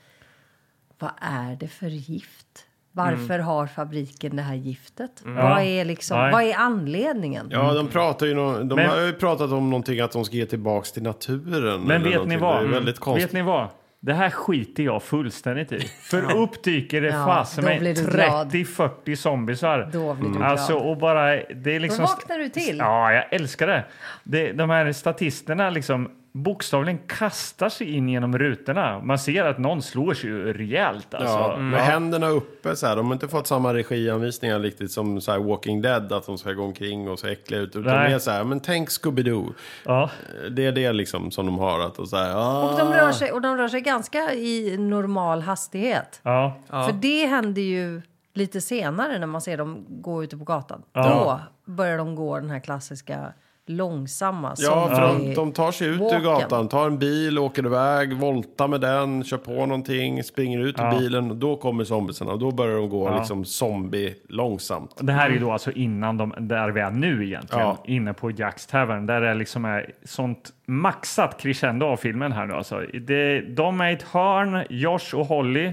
Speaker 1: Vad är det för gift? Varför har fabriken det här giftet? Vad, är liksom,
Speaker 4: Nej.
Speaker 1: vad är anledningen?
Speaker 3: Ja, de pratar ju no- de
Speaker 4: Mm. Men-
Speaker 3: har ju pratat om någonting att de ska ge tillbaks till naturen.
Speaker 4: Men
Speaker 3: eller
Speaker 4: vet ni
Speaker 3: någonting.
Speaker 4: vad? Mm.
Speaker 3: Det är väldigt konstigt.
Speaker 4: Vet ni vad? Det här skiter jag fullständigt i. För upp dyker det
Speaker 1: Ja,
Speaker 4: fasen
Speaker 1: då
Speaker 4: med
Speaker 1: blir du glad.
Speaker 4: 30-40 zombisar.
Speaker 1: Då blir du glad.
Speaker 4: Alltså och bara, det är liksom...
Speaker 1: Då vaknar du till.
Speaker 4: Ja, jag älskar det. det de här statisterna liksom bokstavligen kastar sig in genom rutorna. Man ser att någon slår sig ju rejält alltså.
Speaker 3: Ja, med händerna uppe så här. De har inte fått samma regianvisningar riktigt som så här Walking Dead, att de ska gå omkring och se äckliga ut. Utan
Speaker 4: Nej.
Speaker 3: det är så här, men tänk Scooby-Doo.
Speaker 4: Ja.
Speaker 3: Det är det liksom som de har att och så här,
Speaker 1: Och,
Speaker 3: ah.
Speaker 1: de rör sig, och de rör sig ganska i normal hastighet.
Speaker 4: Ja.
Speaker 1: För det händer ju lite senare när man ser dem gå ute på gatan.
Speaker 4: Ja.
Speaker 1: Då börjar de gå den här klassiska långsamma.
Speaker 3: Ja, för
Speaker 1: zombie-
Speaker 3: de, de tar sig ut ur
Speaker 1: Walken.
Speaker 3: gatan, tar en bil, åker iväg, voltar med den, kör på någonting, springer ut ur bilen. Och då kommer zombiesarna och då börjar de gå liksom zombie långsamt.
Speaker 4: Det här är ju då alltså innan de, där vi är nu egentligen,
Speaker 3: Mm. Ja.
Speaker 4: inne på Jacks Tavern, där det liksom är sånt maxat crescendo av filmen här nu alltså. Det, de är i ett hörn, Josh och Holly,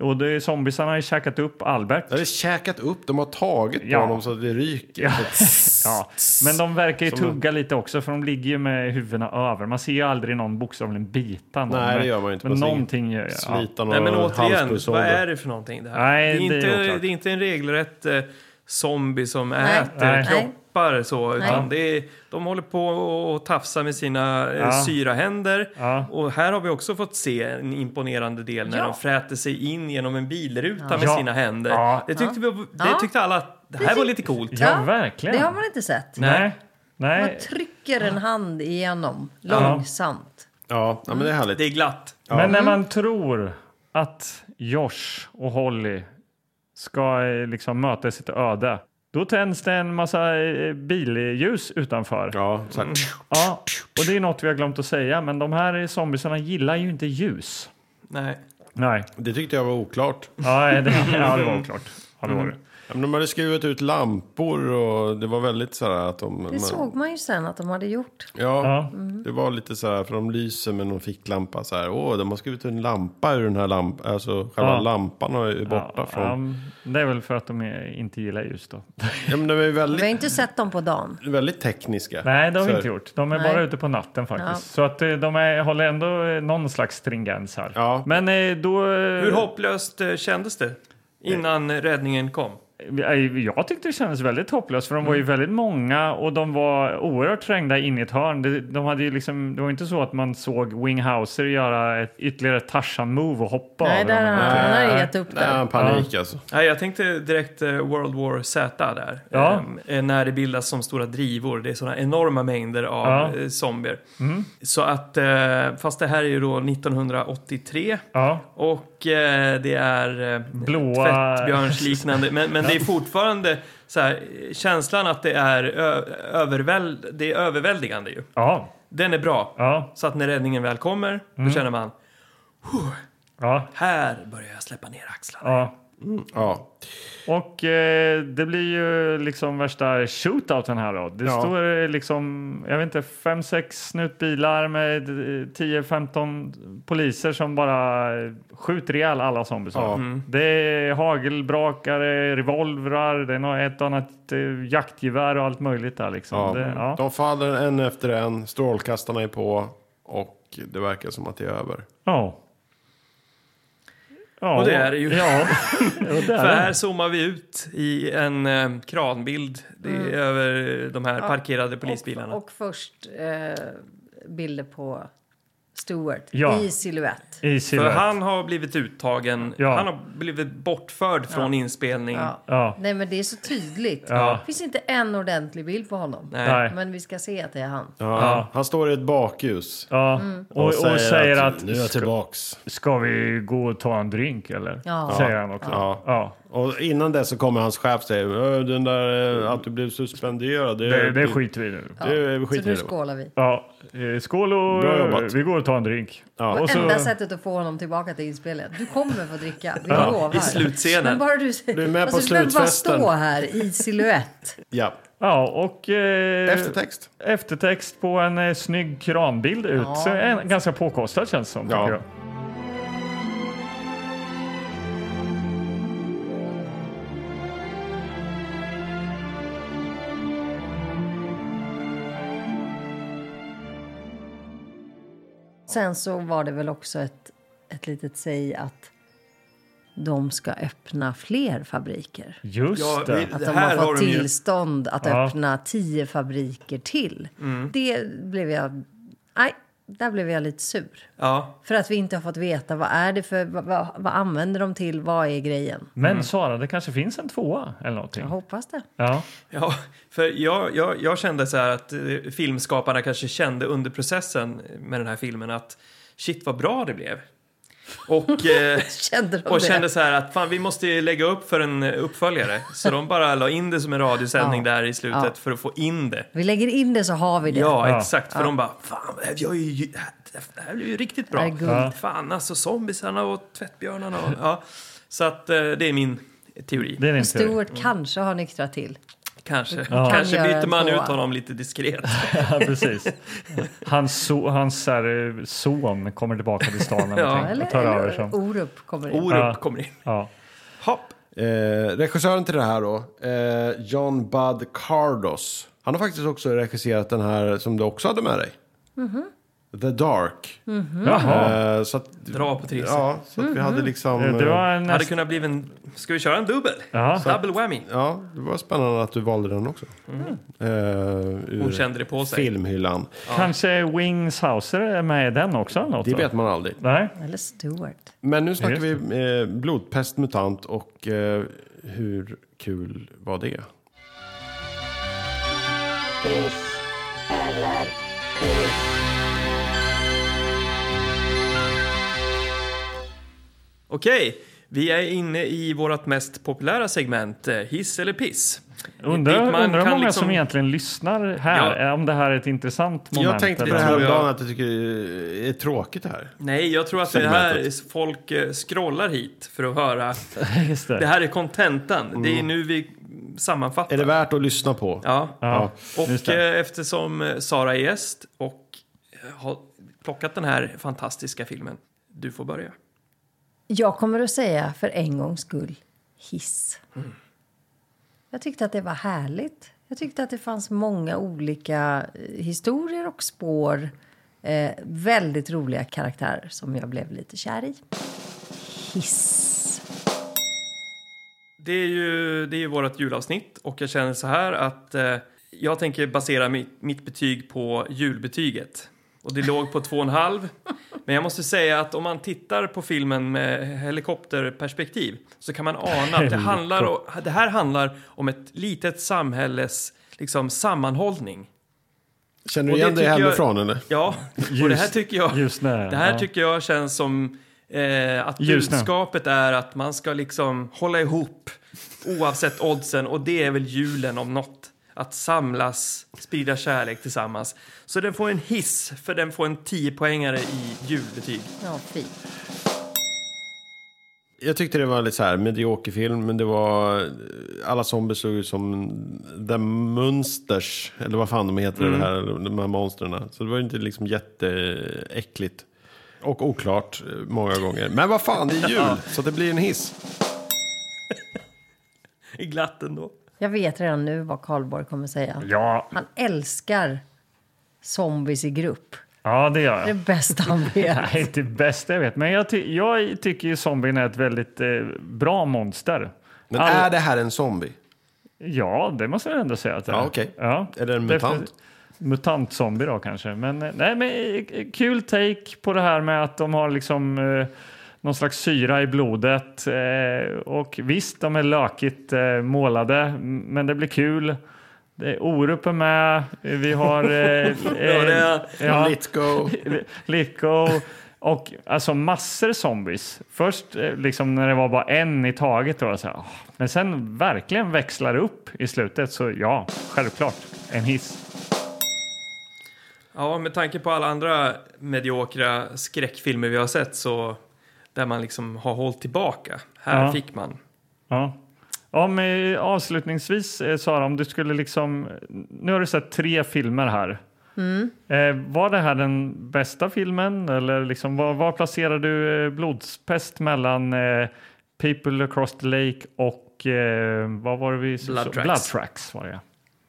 Speaker 4: och det är zombiesarna har ju käkat upp Albert.
Speaker 3: De har käkat upp, de har tagit på
Speaker 4: Ja.
Speaker 3: honom så att det ryker.
Speaker 4: Ja. ja. Men de verkar ju tugga lite också, för de ligger ju med huvudena över. Man ser ju aldrig någon bokstavligen bita någon.
Speaker 3: Nej, det
Speaker 4: men-
Speaker 3: gör man ju inte.
Speaker 4: Men
Speaker 3: Man ser
Speaker 4: någonting gör jag. Ja.
Speaker 3: Slita några
Speaker 2: Nej, men återigen,
Speaker 3: halspulsåder.
Speaker 2: vad är det för någonting det här?
Speaker 4: Nej,
Speaker 2: det, är
Speaker 4: det är
Speaker 2: inte, det, är
Speaker 4: oklart.
Speaker 2: inte en regelrätt eh, zombie som
Speaker 1: Nej.
Speaker 2: äter
Speaker 4: Nej.
Speaker 2: kroppar så, utan
Speaker 1: Nej.
Speaker 2: det är, de håller på och tafsar med sina eh,
Speaker 4: Ja.
Speaker 2: syrahänder.
Speaker 4: Ja.
Speaker 2: Och här har vi också fått se en imponerande del när
Speaker 1: Ja.
Speaker 2: de fräter sig in genom en bilruta med
Speaker 4: Ja.
Speaker 2: sina händer.
Speaker 4: Ja.
Speaker 2: Det, tyckte vi, det
Speaker 1: Ja.
Speaker 2: tyckte alla att det här var lite coolt.
Speaker 4: Ja, verkligen.
Speaker 1: Det har man inte sett.
Speaker 4: Nej. Nej.
Speaker 1: Man trycker en hand igenom långsamt.
Speaker 3: Ja, ja, men det är härligt.
Speaker 2: Det är glatt.
Speaker 4: Men när man tror att Josh och Holly ska eh, liksom möta sitt öde, då tänds det en massa eh, billjus utanför. Ja.
Speaker 3: Ja, så här.
Speaker 4: och det är något vi har glömt att säga, men de här zombiesarna gillar ju inte ljus.
Speaker 2: Nej.
Speaker 4: Nej,
Speaker 3: Det tyckte jag var oklart.
Speaker 4: ja, det, Mm. ja, det var oklart. Ja, det var det.
Speaker 3: Ja, men De hade skruvat ut lampor och det var väldigt så här att de...
Speaker 1: Det såg man ju sen att de hade gjort.
Speaker 3: Ja,
Speaker 4: Ja.
Speaker 3: det var lite så här för de lyser med någon ficklampa så här. Åh, de har skrivit ut en lampa ur den här lampan. Alltså själva
Speaker 4: Ja.
Speaker 3: lampan är ju borta från...
Speaker 4: Ja, um, det är väl för att de eh, inte gillar ljus då.
Speaker 3: Ja, men de är
Speaker 1: Vi har
Speaker 3: väldigt,
Speaker 1: inte sett dem på dagen.
Speaker 3: väldigt tekniska.
Speaker 4: Nej, det har
Speaker 3: Så
Speaker 4: vi
Speaker 3: här.
Speaker 4: inte gjort. De är
Speaker 1: Nej.
Speaker 4: bara ute på natten faktiskt.
Speaker 1: Ja.
Speaker 4: Så att eh, de är, håller ändå eh, någon slags stringens här.
Speaker 3: Ja.
Speaker 4: Men eh, då...
Speaker 2: Hur hopplöst eh, kändes det innan räddningen kom?
Speaker 4: Eh, Jag tyckte det kändes väldigt hopplöst för de var
Speaker 1: Mm.
Speaker 4: ju väldigt många och de var oerhört trängda in i ett hörn. Det- De hade ju liksom, det var inte så att man såg Winghauser göra ett, ytterligare ett Tarzan-move och hoppa
Speaker 1: Nej,
Speaker 4: över
Speaker 1: där har
Speaker 4: dem.
Speaker 1: han, han har gett upp
Speaker 3: Nej,
Speaker 1: där.
Speaker 3: han panik alltså.
Speaker 2: Nej, jag tänkte direkt eh, World War Z där.
Speaker 4: Ja.
Speaker 2: Eh, när det bildas som stora drivor. Det är sådana enorma mängder av
Speaker 4: Ja. Mm.
Speaker 2: eh, zombier. Så att, eh, fast det här är ju då 1983.
Speaker 4: Ja,
Speaker 2: Och eh, det är eh,
Speaker 4: Blåa-
Speaker 2: tvättbjörnsliknande. Men, men det är fortfarande så här, eh, känslan att det är, ö- överväl, det är överväldigande ju.
Speaker 4: ja,
Speaker 2: Den är bra.
Speaker 4: ja, Mm.
Speaker 2: Så att när räddningen väl kommer, då känner man
Speaker 4: ja.
Speaker 2: här börjar jag släppa ner axlarna.
Speaker 4: ja.
Speaker 3: Ja.
Speaker 4: Och eh, det blir ju liksom värsta shootouten här då. Det står eh, liksom, jag vet inte, fem, sex snutbilar med eh, 10-15 poliser som bara eh, skjuter ihjäl alla zombies.
Speaker 3: Ja.
Speaker 2: Mm.
Speaker 4: Det är hagelbrakare, revolvrar, det är något, ett och annat eh, jaktgevär och allt möjligt där liksom.
Speaker 3: Ja. Mm.
Speaker 4: Det, ja.
Speaker 3: De faller en efter en, strålkastarna är på och det verkar som att det är över.
Speaker 4: Ja. Ja.
Speaker 2: Och det är det ju.
Speaker 4: Ja, och det
Speaker 2: För
Speaker 4: är det.
Speaker 2: här zoomar vi ut i en eh, kranbild det är
Speaker 1: Mm.
Speaker 2: över de här parkerade polisbilarna.
Speaker 1: Och, och först eh, bilder på Stewart
Speaker 4: Ja.
Speaker 1: i silhuett.
Speaker 4: I
Speaker 2: För
Speaker 4: silhuett.
Speaker 2: han har blivit uttagen.
Speaker 4: Ja.
Speaker 2: Han har blivit bortförd från inspelning.
Speaker 1: Ja.
Speaker 4: Ja.
Speaker 1: Nej, men det är så tydligt.
Speaker 4: Ja.
Speaker 1: Det finns inte en ordentlig bild på honom.
Speaker 2: Nej.
Speaker 4: Nej.
Speaker 1: Men vi ska se att det är han.
Speaker 3: Ja, Han står i ett bakljus.
Speaker 4: Ja. Och, och säger, att,
Speaker 3: nu är jag typ tillbaks.
Speaker 4: ska vi gå och ta en drink eller?
Speaker 1: Ja.
Speaker 4: Säger han också.
Speaker 3: Ja.
Speaker 4: Ja.
Speaker 3: Och innan det så kommer hans chef och säger "Ö, den där eh, att du blev suspenderad. Det,
Speaker 4: Det, det skiter vi i nu.
Speaker 3: Det, det,
Speaker 1: Så
Speaker 3: skiter
Speaker 1: nu
Speaker 3: vi i.
Speaker 1: skålar vi.
Speaker 4: Ja. eh, Skål och
Speaker 3: Bra jobbat.
Speaker 4: vi går och tar en drink.
Speaker 3: Ja.
Speaker 4: Och
Speaker 1: Enda sättet att få honom tillbaka till inspelningen. Du kommer få dricka, vi lovar.
Speaker 2: I slutscenen.
Speaker 1: Men bara du säger...
Speaker 3: Du är med på
Speaker 1: du behöver bara
Speaker 3: slutfesten.
Speaker 1: stå här i silhuett.
Speaker 3: Ja.
Speaker 4: Ja, och eh,
Speaker 5: Eftertext.
Speaker 4: eftertext på en eh, snygg kranbild ut. Så en, ganska påkostad känns det som.
Speaker 3: Ja.
Speaker 4: tycker jag.
Speaker 1: Sen så var det väl också ett, ett litet säg att de ska öppna fler fabriker.
Speaker 4: Just
Speaker 2: Ja,
Speaker 4: det.
Speaker 2: vi-
Speaker 1: Att de
Speaker 2: Mm.
Speaker 1: har
Speaker 2: här har
Speaker 1: fått
Speaker 2: de ju-
Speaker 1: tillstånd att
Speaker 4: Ja.
Speaker 1: öppna tio fabriker till.
Speaker 2: Mm.
Speaker 1: Det blev jag... Nej, där blev jag lite sur.
Speaker 2: Ja.
Speaker 1: För att vi inte har fått veta vad är det för... Vad, vad, vad använder de till? Vad är grejen?
Speaker 4: Men
Speaker 3: Mm.
Speaker 4: Sara, det kanske finns en tvåa eller någonting.
Speaker 1: Jag hoppas det.
Speaker 4: Ja.
Speaker 2: Ja, för jag, jag, jag kände så här att eh, filmskaparna kanske kände under processen med den här filmen att shit vad bra det blev. Och, eh,
Speaker 1: Kände de
Speaker 2: och
Speaker 1: det?
Speaker 2: kände så här att fan vi måste lägga upp för en eh, uppföljare. Så de bara la in det som en radiosändning
Speaker 1: Ja.
Speaker 2: där i slutet
Speaker 1: Ja.
Speaker 2: för att få in det.
Speaker 1: Vi lägger in det så har vi det.
Speaker 2: Ja,
Speaker 4: Ja.
Speaker 2: exakt. För de bara, fan, jag är ju, det här- det här blir ju riktigt
Speaker 1: Det
Speaker 2: bra.
Speaker 1: här är guld. Ja.
Speaker 2: Fan, alltså zombiesarna och tvättbjörnarna. Och, ja. Så att eh, det är min teori.
Speaker 4: Det är inte
Speaker 1: Stewart kanske har nyktrat till.
Speaker 2: Kanske.
Speaker 1: Kan
Speaker 2: Kanske
Speaker 1: göra
Speaker 2: byter
Speaker 1: en
Speaker 2: man
Speaker 1: tvåa.
Speaker 2: ut honom lite diskret.
Speaker 4: Ja, precis. Hans, so, hans så här, eh, son kommer tillbaka till stan eller
Speaker 2: Ja.
Speaker 4: någonting
Speaker 1: Eller,
Speaker 4: och tar över.
Speaker 1: eller
Speaker 4: Som.
Speaker 1: Orup kommer in.
Speaker 2: Orup
Speaker 4: Ja.
Speaker 2: kommer in.
Speaker 4: Ja.
Speaker 2: Hopp.
Speaker 3: Eh, regissören till det här då, eh, John Bud Cardos. Han har faktiskt också regisserat den här som du också hade med dig.
Speaker 1: Mhm.
Speaker 3: The Dark.
Speaker 4: Jaha.
Speaker 3: Eh, så att,
Speaker 2: Dra på trisen.
Speaker 3: Ja, så att vi
Speaker 2: Mm-hmm.
Speaker 3: hade liksom...
Speaker 4: Eh, Det var en,
Speaker 2: Hade kunnat bli en... Ska vi köra en dubbel?
Speaker 4: Ja.
Speaker 2: Double whammy.
Speaker 3: Ja, det var spännande att du valde den också. Eh, ur
Speaker 2: Mm-hmm. Hon kände det på sig.
Speaker 3: filmhyllan.
Speaker 4: Kanske Wings Hauser är med i den också? eller Något,
Speaker 3: Det
Speaker 4: då?
Speaker 3: vet man aldrig.
Speaker 4: Nej.
Speaker 1: Eller Stewart.
Speaker 3: Men nu snackar vi eh, blodpest, mutant och eh, hur kul var det?
Speaker 2: Okej, vi är inne i vårt mest populära segment, eh, hiss eller piss.
Speaker 4: Undrar
Speaker 2: Dit man
Speaker 4: undrar hur
Speaker 2: kan
Speaker 4: många
Speaker 2: liksom-
Speaker 4: som egentligen lyssnar här. Om det här är ett intressant moment.
Speaker 3: jag tänkte på
Speaker 4: eller något.
Speaker 3: det här om
Speaker 2: tror jag.
Speaker 3: dagen att jag tycker det är tråkigt det här.
Speaker 2: Nej, jag tror att det här är- folk eh, scrollar hit för att höra.
Speaker 4: Just
Speaker 2: Det
Speaker 4: det.
Speaker 2: här är kontentan. Det är nu vi sammanfattar.
Speaker 3: Är det värt att lyssna på?
Speaker 2: Ja.
Speaker 4: Ja. just
Speaker 2: Och
Speaker 4: det.
Speaker 2: eh, eftersom eh, Sara är gäst och eh, har plockat den här fantastiska filmen. Du får börja.
Speaker 1: Jag kommer att säga för en gångs skull hiss. Jag tyckte att det var härligt. Jag tyckte att det fanns många olika eh, historier och spår. Eh, väldigt roliga karaktärer som jag blev lite kär i. Hiss.
Speaker 2: Det är ju, det är ju vårt julavsnitt och jag känner så här att eh, jag tänker basera mitt, mitt betyg på julbetyget. Och det låg på 2,5. Men jag måste säga att om man tittar på filmen med helikopterperspektiv så kan man ana att det, handlar om, det här handlar om ett litet samhälles liksom, sammanhållning.
Speaker 3: Känner
Speaker 2: Och det
Speaker 3: du igen det
Speaker 2: tycker jag-
Speaker 3: hemifrån eller?
Speaker 2: Ja, och det här tycker jag,
Speaker 4: Just nära,
Speaker 2: det här
Speaker 4: ja.
Speaker 2: tycker jag känns som eh, att
Speaker 4: Just nära.
Speaker 2: budskapet är att man ska liksom hålla ihop oavsett oddsen och det är väl julen om något. Att samlas, sprida kärlek tillsammans. Så den får en hiss för den får en 10-poängare i julbetyg.
Speaker 1: Ja, fint.
Speaker 3: Jag tyckte det var lite så här medioker film, men det var... Alla zombies såg ut som The Munsters, eller vad fan de heter,
Speaker 4: Mm.
Speaker 3: det här, de här monstren. Så det var ju inte liksom jätteäckligt. Och oklart eh, många gånger. Men vad fan, det är jul, så det blir en hiss.
Speaker 2: Glatt ändå.
Speaker 1: Jag vet redan nu vad Karlborg kommer säga.
Speaker 4: Ja.
Speaker 1: Han älskar zombies i grupp.
Speaker 4: ja, det gör
Speaker 1: Det är
Speaker 4: jag.
Speaker 1: det bästa han vet.
Speaker 4: Nej, inte bäst jag vet. Men jag, ty jag tycker ju zombien är ett väldigt eh, bra monster.
Speaker 3: Men
Speaker 4: All-
Speaker 3: är det här en zombie?
Speaker 4: Ja, det måste jag ändå säga att det
Speaker 3: Ja,
Speaker 4: är.
Speaker 3: okej.
Speaker 4: Ja.
Speaker 3: Är det en mutant?
Speaker 4: Definitivt. Mutantzombie då kanske. Men eh, nej, men eh, kul take på det här med att de har liksom eh, någon slags syra i blodet. Eh, och visst, de är lökigt eh, målade, m- men det blir kul. Det är Orup är med, eh, vi har... Eh, eh, ja,
Speaker 5: Let's go.
Speaker 4: Litko och alltså massor zombies. Först eh, liksom när det var bara en i taget. Då, så här, "Åh." men sen verkligen växlar det upp i slutet. Så ja, självklart. En hiss.
Speaker 2: Ja, med tanke på alla andra mediokra skräckfilmer vi har sett så där man liksom har hållit tillbaka. Här
Speaker 4: Ja.
Speaker 2: fick man.
Speaker 4: Ja. Om, eh, avslutningsvis, eh, Sara, om du skulle liksom... Nu har du sett tre filmer här.
Speaker 1: Mm.
Speaker 4: Eh, var det här den bästa filmen? Eller liksom, var, var placerar du eh, blodspest mellan eh, People Across the Lake och eh, vad var det vi
Speaker 2: Blood
Speaker 4: så-
Speaker 2: Tracks.
Speaker 4: Blood Tracks var det, ja.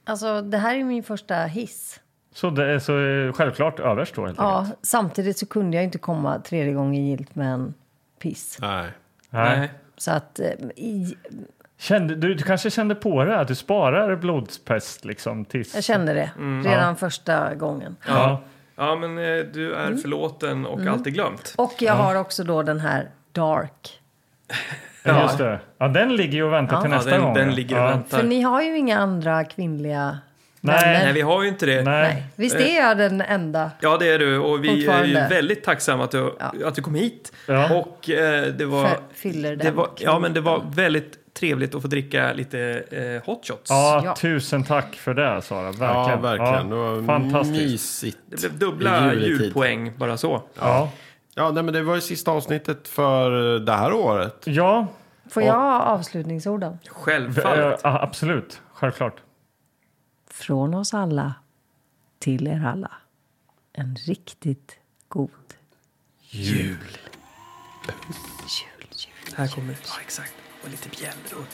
Speaker 1: Alltså, det här är min första hiss.
Speaker 4: Så det är så eh, självklart överst då helt
Speaker 1: Ja,
Speaker 4: enkelt?
Speaker 1: samtidigt så kunde jag inte komma tredje gången gilt med en piss.
Speaker 3: Nej.
Speaker 4: Nej.
Speaker 2: Nej.
Speaker 1: Så att... eh, I,
Speaker 4: Kände, du, du kanske kände på det att du sparar blodspest liksom tills...
Speaker 1: jag kände det redan första gången.
Speaker 4: Ja.
Speaker 2: Ja, men eh, du är förlåten och alltid glömt.
Speaker 1: Och jag har också då den här Dark.
Speaker 4: Ja. Just det. Ja, den ligger ju och väntar till
Speaker 2: Ja,
Speaker 4: nästa
Speaker 2: den,
Speaker 4: gång.
Speaker 2: den
Speaker 4: ja.
Speaker 2: ligger och
Speaker 4: ja.
Speaker 2: väntar.
Speaker 1: För ni har ju inga andra kvinnliga
Speaker 4: Nej.
Speaker 1: vänner.
Speaker 2: Nej, vi har ju inte det.
Speaker 4: Nej.
Speaker 1: Nej. Visst är jag den enda?
Speaker 2: Ja, det är du. Och vi är ju
Speaker 1: Fortfarande.
Speaker 2: väldigt tacksamma att du, att du kom hit.
Speaker 4: Ja.
Speaker 2: Och eh, det var...
Speaker 1: För- fyller
Speaker 2: det
Speaker 1: den
Speaker 2: var, Ja,
Speaker 1: kvoten.
Speaker 2: men det var väldigt trevligt att få dricka lite eh, hot shots.
Speaker 4: Ja,
Speaker 1: Ja.
Speaker 4: tusen tack för det Sara. Verkligen.
Speaker 3: Ja, verkligen. det var
Speaker 4: fantastiskt.
Speaker 3: mysigt.
Speaker 2: Det blev dubbla
Speaker 3: I juletid.
Speaker 2: ljudpoäng bara så.
Speaker 4: Ja.
Speaker 3: Ja, nej, men det var ju sista avsnittet för eh, det här året.
Speaker 4: ja,
Speaker 1: Får jag avslutningsorden?
Speaker 2: Självfallet.
Speaker 4: eh, ja, absolut. Självklart.
Speaker 1: Från oss alla till er alla. En riktigt god jul. Jul, jul.
Speaker 2: Här kommer... Ja, exakt. Och lite bjällror.